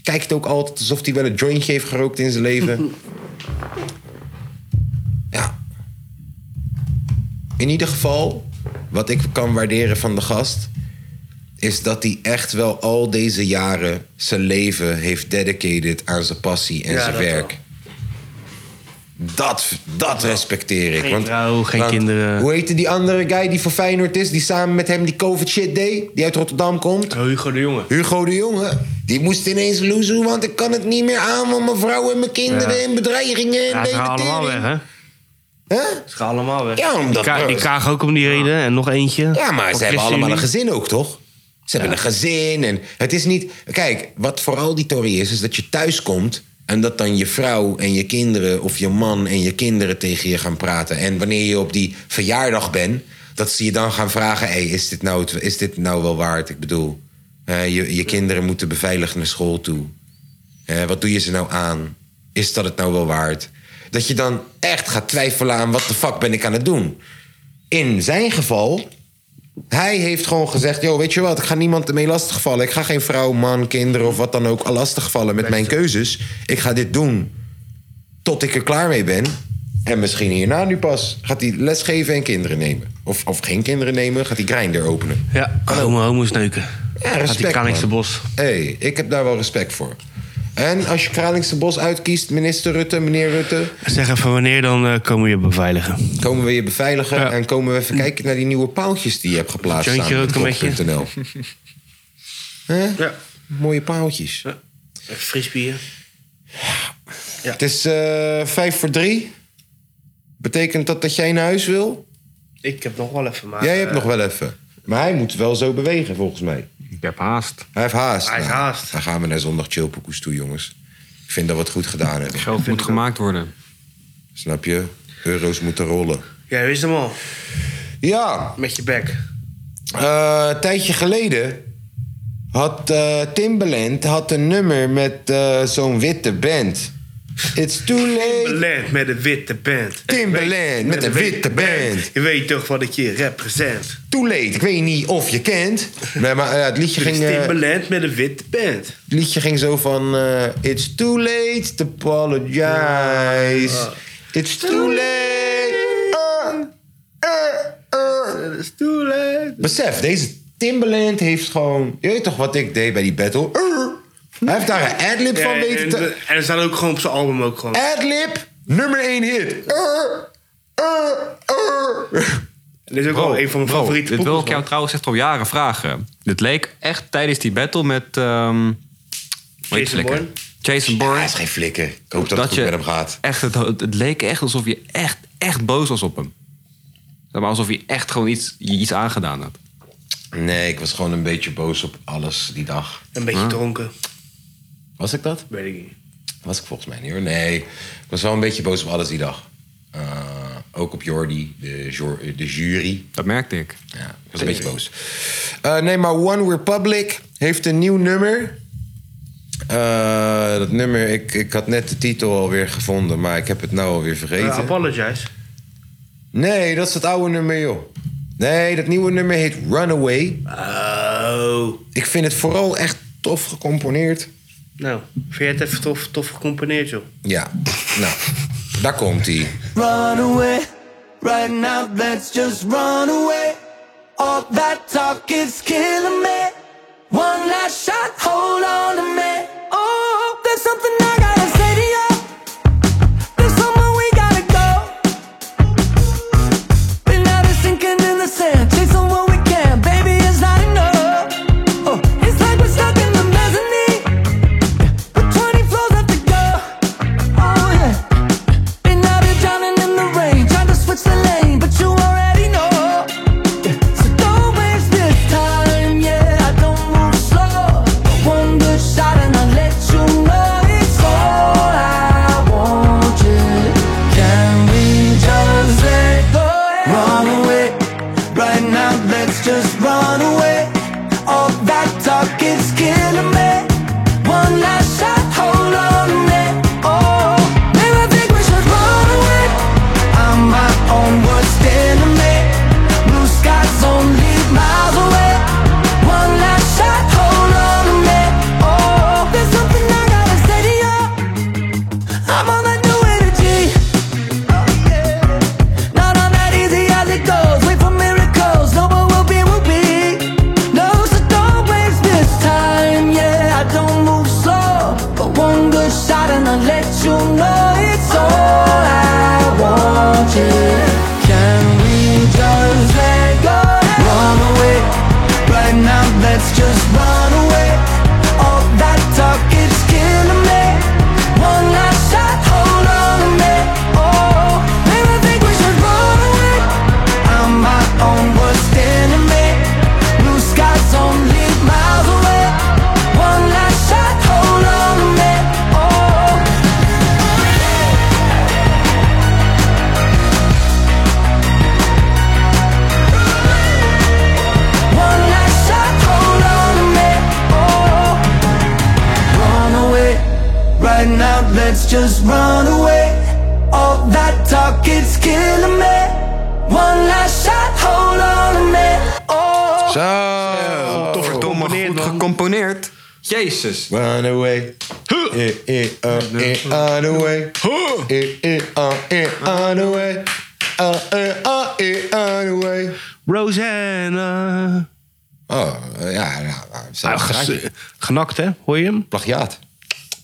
Speaker 1: Kijkt ook altijd alsof hij wel een jointje heeft gerookt in zijn
Speaker 2: [LAUGHS]
Speaker 1: leven. ja, in ieder geval, wat ik kan waarderen van de gast, is dat hij echt wel al deze jaren zijn leven heeft dedicated aan zijn passie en
Speaker 2: Ja,
Speaker 1: zijn
Speaker 2: dat
Speaker 1: werk. Dat, dat respecteer ik.
Speaker 2: Geen vrouw, geen kinderen.
Speaker 1: Hoe heette die andere guy die voor Feyenoord is, die samen met hem die COVID shit deed, die uit Rotterdam komt?
Speaker 2: Hugo de Jonge.
Speaker 1: Hugo de Jonge, die moest ineens loezoe, want ik kan het niet meer aan, want mijn vrouw en mijn kinderen
Speaker 2: Ja.
Speaker 1: en bedreigingen en
Speaker 2: Ja, ze gaan allemaal weg,
Speaker 1: debatering.
Speaker 2: hè?
Speaker 1: Huh?
Speaker 2: Ze gaan allemaal weg.
Speaker 1: Ja, omdat-
Speaker 2: die, ka- die Kaag ook om die reden. En nog eentje.
Speaker 1: Ja, maar
Speaker 2: Van
Speaker 1: ze hebben allemaal een
Speaker 2: ChristenUnie.
Speaker 1: gezin ook, toch? Ze hebben een gezin en het is niet... Kijk, wat vooral die Tory is, is dat je thuis komt... en dat dan je vrouw en je kinderen of je man en je kinderen tegen je gaan praten. En wanneer je op die verjaardag bent, dat ze je dan gaan vragen... Hey, is, dit nou het- is dit nou wel waard? Ik bedoel, eh, je, je kinderen moeten beveiligd naar school toe. Eh, wat doe je ze nou aan? Is dat het nou wel waard? Dat je dan echt gaat twijfelen aan wat de fuck ben ik aan het doen. In zijn geval, hij heeft gewoon gezegd: Yo, weet je wat, ik ga niemand ermee lastigvallen. Ik ga geen vrouw, man, kinderen of wat dan ook lastigvallen met mijn keuzes. Ik ga dit doen tot ik er klaar mee ben. En misschien hierna nu pas gaat hij lesgeven en kinderen nemen. Of, of geen kinderen nemen, gaat hij Grindr openen.
Speaker 2: Ja, homo, homo's neuken.
Speaker 1: Ja,
Speaker 2: Gaat die
Speaker 1: respect,
Speaker 2: Kralingse
Speaker 1: man.
Speaker 2: bos.
Speaker 1: Hé, hey, ik heb daar wel respect voor. En als je Kralingse Bos uitkiest, minister Rutte, meneer Rutte...
Speaker 2: Zeg even wanneer dan eh, komen we je beveiligen.
Speaker 1: komen we je beveiligen
Speaker 2: Ja.
Speaker 1: en komen we even kijken naar die nieuwe paaltjes die je hebt geplaatst.
Speaker 2: Jointje
Speaker 1: samen met
Speaker 2: roken met je.
Speaker 1: kop.nl. Hè?
Speaker 2: Ja.
Speaker 1: Mooie paaltjes.
Speaker 2: Frisbier.
Speaker 1: Het is eh, vijf voor drie. Betekent dat dat jij naar huis wil?
Speaker 2: Ik heb nog wel even, maar...
Speaker 1: jij hebt
Speaker 2: eh,
Speaker 1: nog wel even. Maar hij moet wel zo bewegen, volgens mij.
Speaker 4: Ik heb haast.
Speaker 1: Hij heeft haast.
Speaker 2: Hij heeft
Speaker 1: Nou,
Speaker 2: haast.
Speaker 1: Dan gaan we naar zondag chillpokoes toe, jongens. Ik vind dat we het goed gedaan hebben.
Speaker 4: Geld moet gemaakt worden.
Speaker 1: Snap je? Euro's moeten rollen.
Speaker 2: Jij wist hem al.
Speaker 1: Ja,
Speaker 2: Met je bek.
Speaker 1: Eh, een tijdje geleden had eh, Timbaland had een nummer met eh, zo'n witte band. It's too late.
Speaker 2: Timberland met een witte band.
Speaker 1: Timberland met een witte band.
Speaker 2: Je weet toch wat ik je represent.
Speaker 1: Too late. Ik weet niet of je kent. Nee, maar eh, het, liedje
Speaker 2: Dit is
Speaker 1: ging, eh, het
Speaker 2: Dus Timberland met een witte band.
Speaker 1: liedje ging zo van... eh, It's too late to apologize. It's too late. Ah, ah,
Speaker 2: is too late.
Speaker 1: Besef, deze Timbaland heeft gewoon... Je weet toch wat ik deed bij die battle? Urr. Hij heeft daar een adlib van
Speaker 2: Ja,
Speaker 1: weten Eh,
Speaker 2: en,
Speaker 1: te...
Speaker 2: en er staat ook gewoon op zijn album ook gewoon.
Speaker 1: Adlib, nummer 1 hit. Eh, Urr, urr, urr.
Speaker 2: Dit is ook wel Oh, een van mijn
Speaker 4: Bro,
Speaker 2: favoriete
Speaker 4: Dit wil
Speaker 2: poppels,
Speaker 4: ik jou
Speaker 2: man.
Speaker 4: trouwens echt al jaren vragen. Dit leek echt tijdens die battle met... ehm, hoe heet die
Speaker 2: Jason
Speaker 4: flikker?
Speaker 2: Bourne?
Speaker 4: Jason Bourne.
Speaker 1: Hij is geen flikker. Ik hoop dat, het goed
Speaker 4: je
Speaker 1: met hem gaat.
Speaker 4: Echt, het, het leek echt alsof je echt, echt boos was op hem. Zeg maar alsof je echt gewoon iets, je iets aangedaan had.
Speaker 1: Nee, ik was gewoon een beetje boos op alles die dag.
Speaker 2: Een beetje dronken.
Speaker 1: Was ik dat?
Speaker 2: Weet ik niet.
Speaker 1: Was ik volgens mij niet hoor. Nee, ik was wel een beetje boos op alles die dag. Eh, ook op Jordi, de, jor- de jury.
Speaker 4: Dat merkte ik.
Speaker 1: Ja, ik was een beetje boos. Eh, nee, maar One Republic heeft een nieuw nummer. Eh, dat nummer, ik, ik had net de titel alweer gevonden, maar ik heb het nou alweer vergeten.
Speaker 2: Eh, apologize.
Speaker 1: nee, dat is het oude nummer, joh. Nee, dat nieuwe nummer heet Runaway.
Speaker 2: Oh.
Speaker 1: Ik vind het vooral echt tof gecomponeerd.
Speaker 2: Nou, vind jij het even tof, tof gecomponeerd, joh?
Speaker 1: Ja, nou, daar komt hij.
Speaker 6: Run away, right now, let's just run away. All that talk is killing me. One last shot, hold on to me. Oh, there's something I gotta say to you. There's somewhere we gotta go. We're not sinking in the sand, chasing what we can. Baby, it's not enough. Oh, it's like we're stuck in the mezzanine. With 20 floors left to go. Oh, yeah. And now they're drowning in the rain, trying to switch the lane, but you already know. Yeah, So don't waste this time, yeah. I don't move slow. One good shot and I'll let you know it's all I wanted. Can we just let go? Run away, right now. Let's just run away. All that talk is killing me. One last shot, hold on to me. Oh, maybe I think we should run away. I'm my own worst enemy. Blue skies only miles away. One last shot, hold on to me. Oh, there's something I gotta say to you. I'm on that new energy. Oh yeah. Not on that easy as it goes. Wait for miracles. No one will be, will be. No, so don't waste this time. Yeah, I don't move slow. But one good shot and I'll let you know it's all I wanted. Can we just let go? Run away. Right now, let's just run away. All that talk is killing me. One last shot, hold on to me. Oh, maybe I think we should run away. I'm my own worst enemy. Blue skies only miles away. One last shot, hold on to me. Oh. One last shot, hold on to me. Oh, run away. Right now, let's just run away. All that talk is killing me. One last shot, hold on to me. Oh.
Speaker 1: Zo!
Speaker 4: Tof
Speaker 2: gecomponeerd,
Speaker 4: goed
Speaker 2: man.
Speaker 4: gecomponeerd. Jezus.
Speaker 1: Run away. Eh, eh, uh, eh, on the way. Eh, eh, uh, eh, on the way. Uh, eh, uh, eh, on the way.
Speaker 2: Rosanna.
Speaker 1: Oh, eh, ja, nou, nou, zelfs
Speaker 2: Ah, ges-
Speaker 1: draadje.
Speaker 2: genakt, hè? Hoor je hem?
Speaker 1: plagiaat.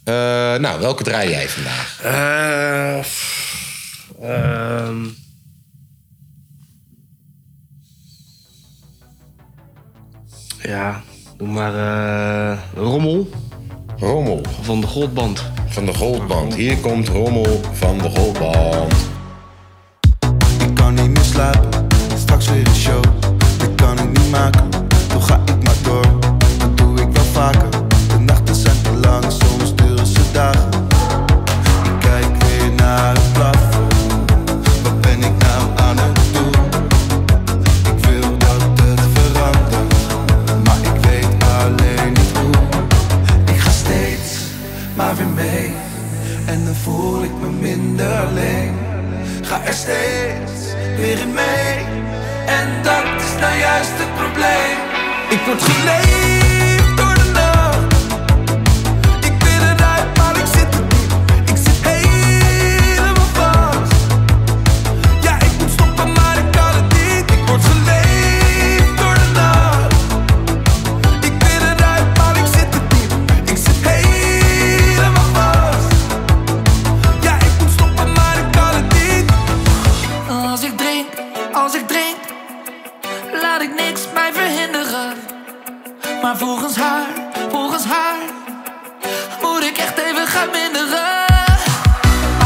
Speaker 1: Eh, nou, welke draai jij vandaag?
Speaker 2: Eh. pff, ehm. ja, doe maar eh, Rommel
Speaker 1: Rommel
Speaker 2: van de Goldband.
Speaker 1: van de Goldband. Hier komt Rommel van de Goldband.
Speaker 6: Ik kan niet meer slapen, straks weer een show. Ik kan het niet maken, toch ga ik maar door. Dat doe ik wel vaker, de nachten zijn te lang, soms duren ze dagen. Ik kijk weer naar het plafond, wat ben ik nou aan het doen? Ik wil dat het verandert, maar ik weet alleen niet hoe. Ik ga steeds maar weer mee En dan voel ik me minder alleen Ga er steeds weer in mee En dat is nou juist het probleem Ik word geleefd door de nacht Ik wil eruit, maar ik zit er diep Ik zit helemaal vast Ja, ik moet stoppen, maar ik kan het niet Ik word geleefd laat ik niks bij verhinderen. Maar volgens haar, volgens haar, moet ik echt even gaan minderen.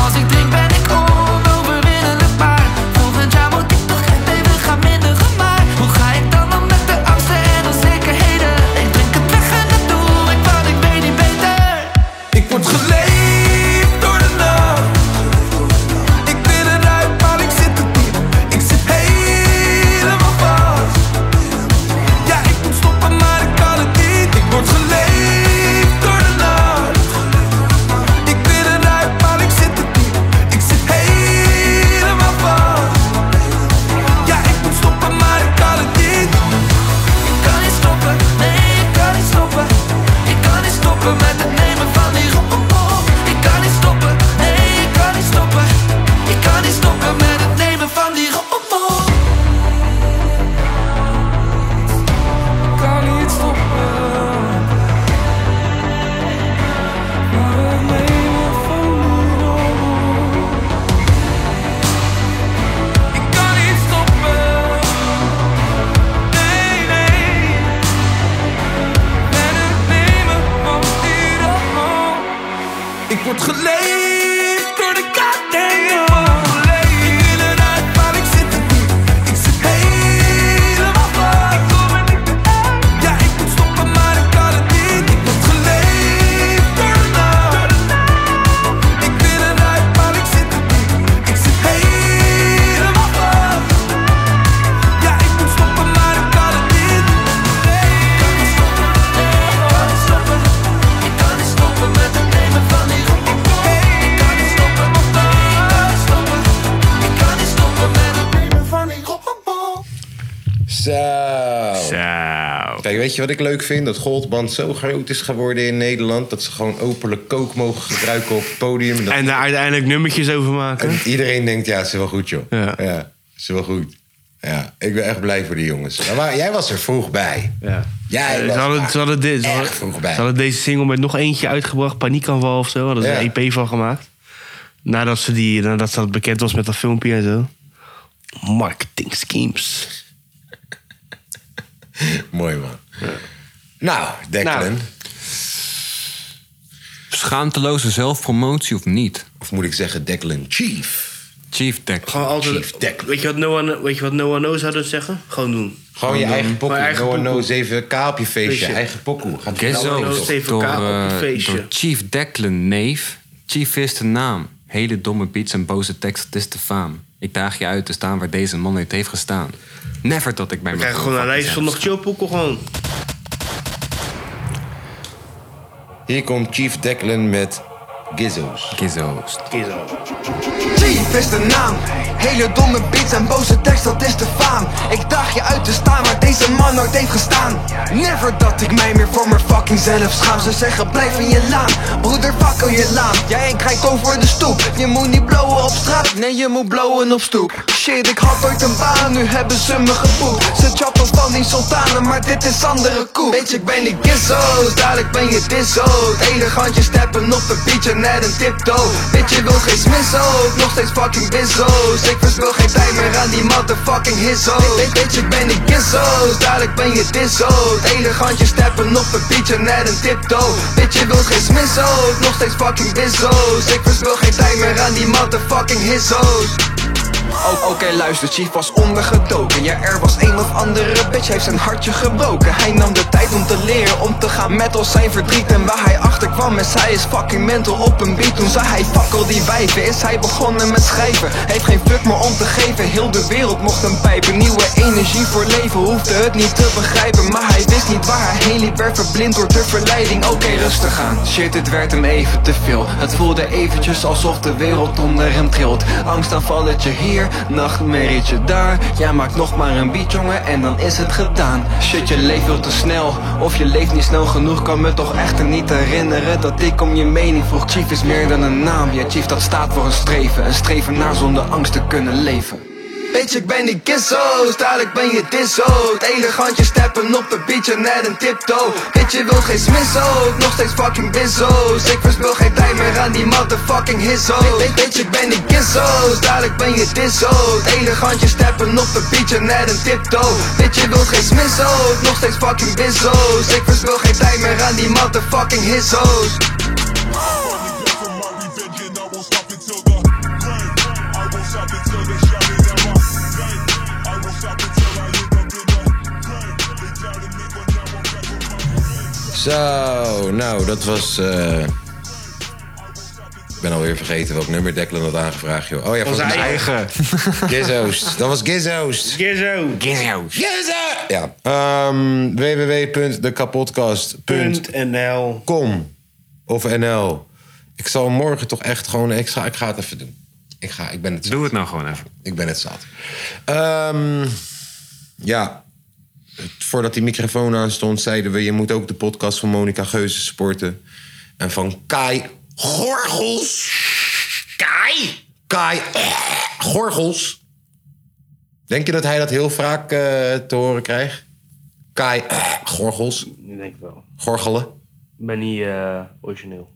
Speaker 6: Als ik drink ben ik onoverwinnelijk, maar volgend jaar moet ik toch echt even gaan minderen. Maar hoe ga ik dan om met de angsten en onzekerheden? Ik drink het weg en dat doe ik, want ik weet niet beter. Ik word geleefd door de nacht. Ik wil eruit, maar ik zit er diep. Ik zit helemaal vast. Ja, ik moet stoppen, maar ik kan het niet. Ik word geleefd door de nacht. Ik wil eruit, maar ik zit er diep. Ik zit helemaal vast. Ja, ik moet stoppen, maar ik kan het niet. Ik kan niet stoppen, nee, ik kan niet stoppen. Ik kan niet stoppen met het nemen van die rommel. Ik kan niet stoppen, nee, ik kan niet stoppen. Ik kan niet stoppen met het nemen van die rommel. Ik kan niet stoppen. met het nemen van die rommel. Ik kan niet stoppen. Nee, nee. Ben het nemen van die rommel. Ik word geleefd door de kat. Nee, ik word geleefd. Ik wil eruit, maar ik zit er diep. Ik zit helemaal vast. Ik kom er niet meer uit. Ja, ik moet stoppen, maar ik kan het niet. Ik word geleefd door de nacht. Ik wil eruit, maar ik zit er diep. Ik zit helemaal vast. Ja, ik moet stoppen, maar ik kan het niet. Nee, ik kan niet stoppen. Nee, ik kan niet stoppen. Ik kan niet stoppen met het nemen van die rommel. Ik kan niet stoppen. Nee, ik kan niet stoppen. Ik kan niet stoppen met het nemen van die rommel.
Speaker 1: Zo.
Speaker 2: Zo.
Speaker 1: Kijk, weet je wat ik leuk vind? Dat Goldband zo groot is geworden in Nederland... dat ze gewoon openlijk kook mogen gebruiken op het podium. Dat-
Speaker 2: En daar uiteindelijk nummertjes over maken.
Speaker 1: en iedereen denkt, ja, het is wel goed, joh.
Speaker 2: Ja.
Speaker 1: het is wel goed. Ja, ik ben echt blij voor die jongens. Maar, maar jij was er vroeg bij.
Speaker 2: Ja.
Speaker 1: Jij
Speaker 2: Eh,
Speaker 1: was
Speaker 2: Ze hadden,
Speaker 1: daar
Speaker 2: ze hadden, dit, ze
Speaker 1: erg
Speaker 2: hadden-
Speaker 1: vroeg bij.
Speaker 2: ze hadden deze single met nog eentje uitgebracht, Paniekaanval of zo. Hadden ze
Speaker 1: Ja.
Speaker 2: een EP van gemaakt. Nadat, ze die, nadat dat bekend was met dat filmpje en zo. Marketing schemes.
Speaker 1: Mooi, man. Nou, Declan.
Speaker 2: Nou.
Speaker 4: Schaamteloze zelfpromotie of niet?
Speaker 1: Of moet ik zeggen Declan Chief.
Speaker 4: Chief Deck.
Speaker 2: Gewoon altijd.
Speaker 1: Chief Declan.
Speaker 2: Weet je wat Noah, weet je wat Noah Noah zou dat zeggen? Gewoon doen.
Speaker 1: Gewoon je eigen pokoe.
Speaker 2: Mijn eigen
Speaker 1: No, no,
Speaker 2: pokoe.
Speaker 1: 7k op je feestje.
Speaker 2: Feestje.
Speaker 1: Eigen pokoe. Gaat die
Speaker 2: Zo,
Speaker 1: nou
Speaker 4: Gezo
Speaker 2: dat
Speaker 1: eens
Speaker 2: is
Speaker 1: op?
Speaker 2: even
Speaker 4: door,
Speaker 2: kaap op een
Speaker 4: eh,
Speaker 2: feestje.
Speaker 4: door Chief Declan Neef. Chief is de naam. Hele domme beats en boze tekst, het is de faam. Ik daag je uit te staan waar deze man niet heeft gestaan. Never dat ik bij
Speaker 2: We
Speaker 4: mijn
Speaker 2: krijgen gewoon een lijst van nog chillpoeken gewoon.
Speaker 1: Hier komt Chief Declan met Gizzo's.
Speaker 4: Gizzo's.
Speaker 2: Kiezo.
Speaker 8: Chief is de naam. Hele domme beats en boze tekst, dat is de faam. Ik daag je uit te staan waar deze man nooit heeft gestaan. Never dat ik mij meer voor mijn fucking zelf schaam. Ze zeggen blijf in je laan, broeder fakkel je laan. Jij en krijg over de stoep. Je moet niet blowen op straat, nee je moet blowen op stoep. Shit, ik had ooit een baan, nu hebben ze me gepoept. Ze chappen van die sultanen, maar dit is andere koek. Weet je, ik ben die gizzo's, dadelijk ben je disso's. Elegantje steppen op een beatje, net een tiptoe. Bitch, je wil geen smisso's, nog steeds fucking bizzo's. Ik verspil geen tijd meer aan die motherfucking hisso's. Weet, weet je, ik ben die gizzo's, dadelijk ben je disso's. Elegantje steppen op een beatje, net een tiptoe. Bitch, je wil geen smisso's, nog steeds fucking bizzo's. Ik verspil geen tijd meer aan die motherfucking hisso's. Oh, Oké, luister, Chief was ondergedoken. Ja, er was een of andere bitch, heeft zijn hartje gebroken. Hij nam de tijd om te leren, om te gaan met al zijn verdriet. En waar hij achter kwam, is hij is fucking mental op een beat. Toen zei hij, fuck al die wijven, is hij begonnen met schrijven. Heeft geen fuck meer om te geven, heel de wereld mocht hem pijpen. Nieuwe energie voor leven, hoefde het niet te begrijpen. Maar hij wist niet waar hij heen liep, werd verblind door de verleiding. Oké, rustig aan, shit, het werd hem even te veel. Het voelde eventjes alsof de wereld onder hem trilt. Angstaanvalletje hier, nachtmerrietje daar. Jij maakt nog maar een beat, jongen, en dan is het gedaan. Shit, je leeft veel te snel. Of je leeft niet snel genoeg, kan me toch echter niet herinneren dat ik om je mening vroeg. Chief is meer dan een naam, ja, chief, dat staat voor een streven. Een streven naar zonder angst te kunnen leven. Bitch, ik ben die kisso, dadelijk ben je disso. Het elegantje steppen op de beach en net een tiptoe. Bitch, je wil geen smisso, nog steeds fucking bizzo's. Ik verspil geen tijd meer aan die motherfucking hisso's. Bitch, Bitch, ik ben die kisso's, dadelijk ben je disso. Het elegantje steppen op de beach en net een tiptoe. Bitch, je wil geen smisso, nog steeds fucking bizzo's. Ik verspil geen tijd meer aan die motherfucking hisso's.
Speaker 1: Zo, nou, dat was. eh, Ik ben alweer vergeten welk nummer Declan had aangevraagd, joh. Oh ja, volgens mij. [LAUGHS]
Speaker 2: eigen.
Speaker 1: Gizzoost. Dat was Gizzoost.
Speaker 2: Gizzo.
Speaker 1: Gizzoost. Ja. Ehm www.dekapodcast.com
Speaker 2: NL.
Speaker 1: of NL. Ik zal morgen toch echt gewoon extra... Ik ga het even doen. Ik, ga, ik ben het
Speaker 4: Doe het nou gewoon even.
Speaker 1: ik ben het zat. Ehm, ja. Voordat die microfoon aan stond, zeiden we: je moet ook de podcast van Monica Geuze supporten. En van Kai Gorgels. Kai? Kai Gorgels. Denk je dat hij dat heel vaak eh, te horen krijgt? Kai Gorgels.
Speaker 2: Ik denk wel.
Speaker 1: Gorgelen.
Speaker 2: Ik ben niet eh, origineel.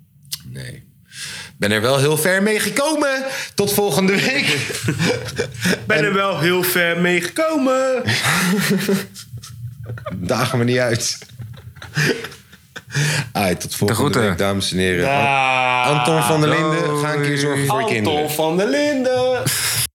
Speaker 1: Nee. Ik ben er wel heel ver mee gekomen. Tot volgende week.
Speaker 2: ben er wel heel ver mee gekomen.
Speaker 1: Dagen me niet uit. Ai, tot volgende
Speaker 4: groeten.
Speaker 1: week, dames en heren. Anton van der Linden, ga een keer zorgen voor je kinderen.
Speaker 2: van der Linden.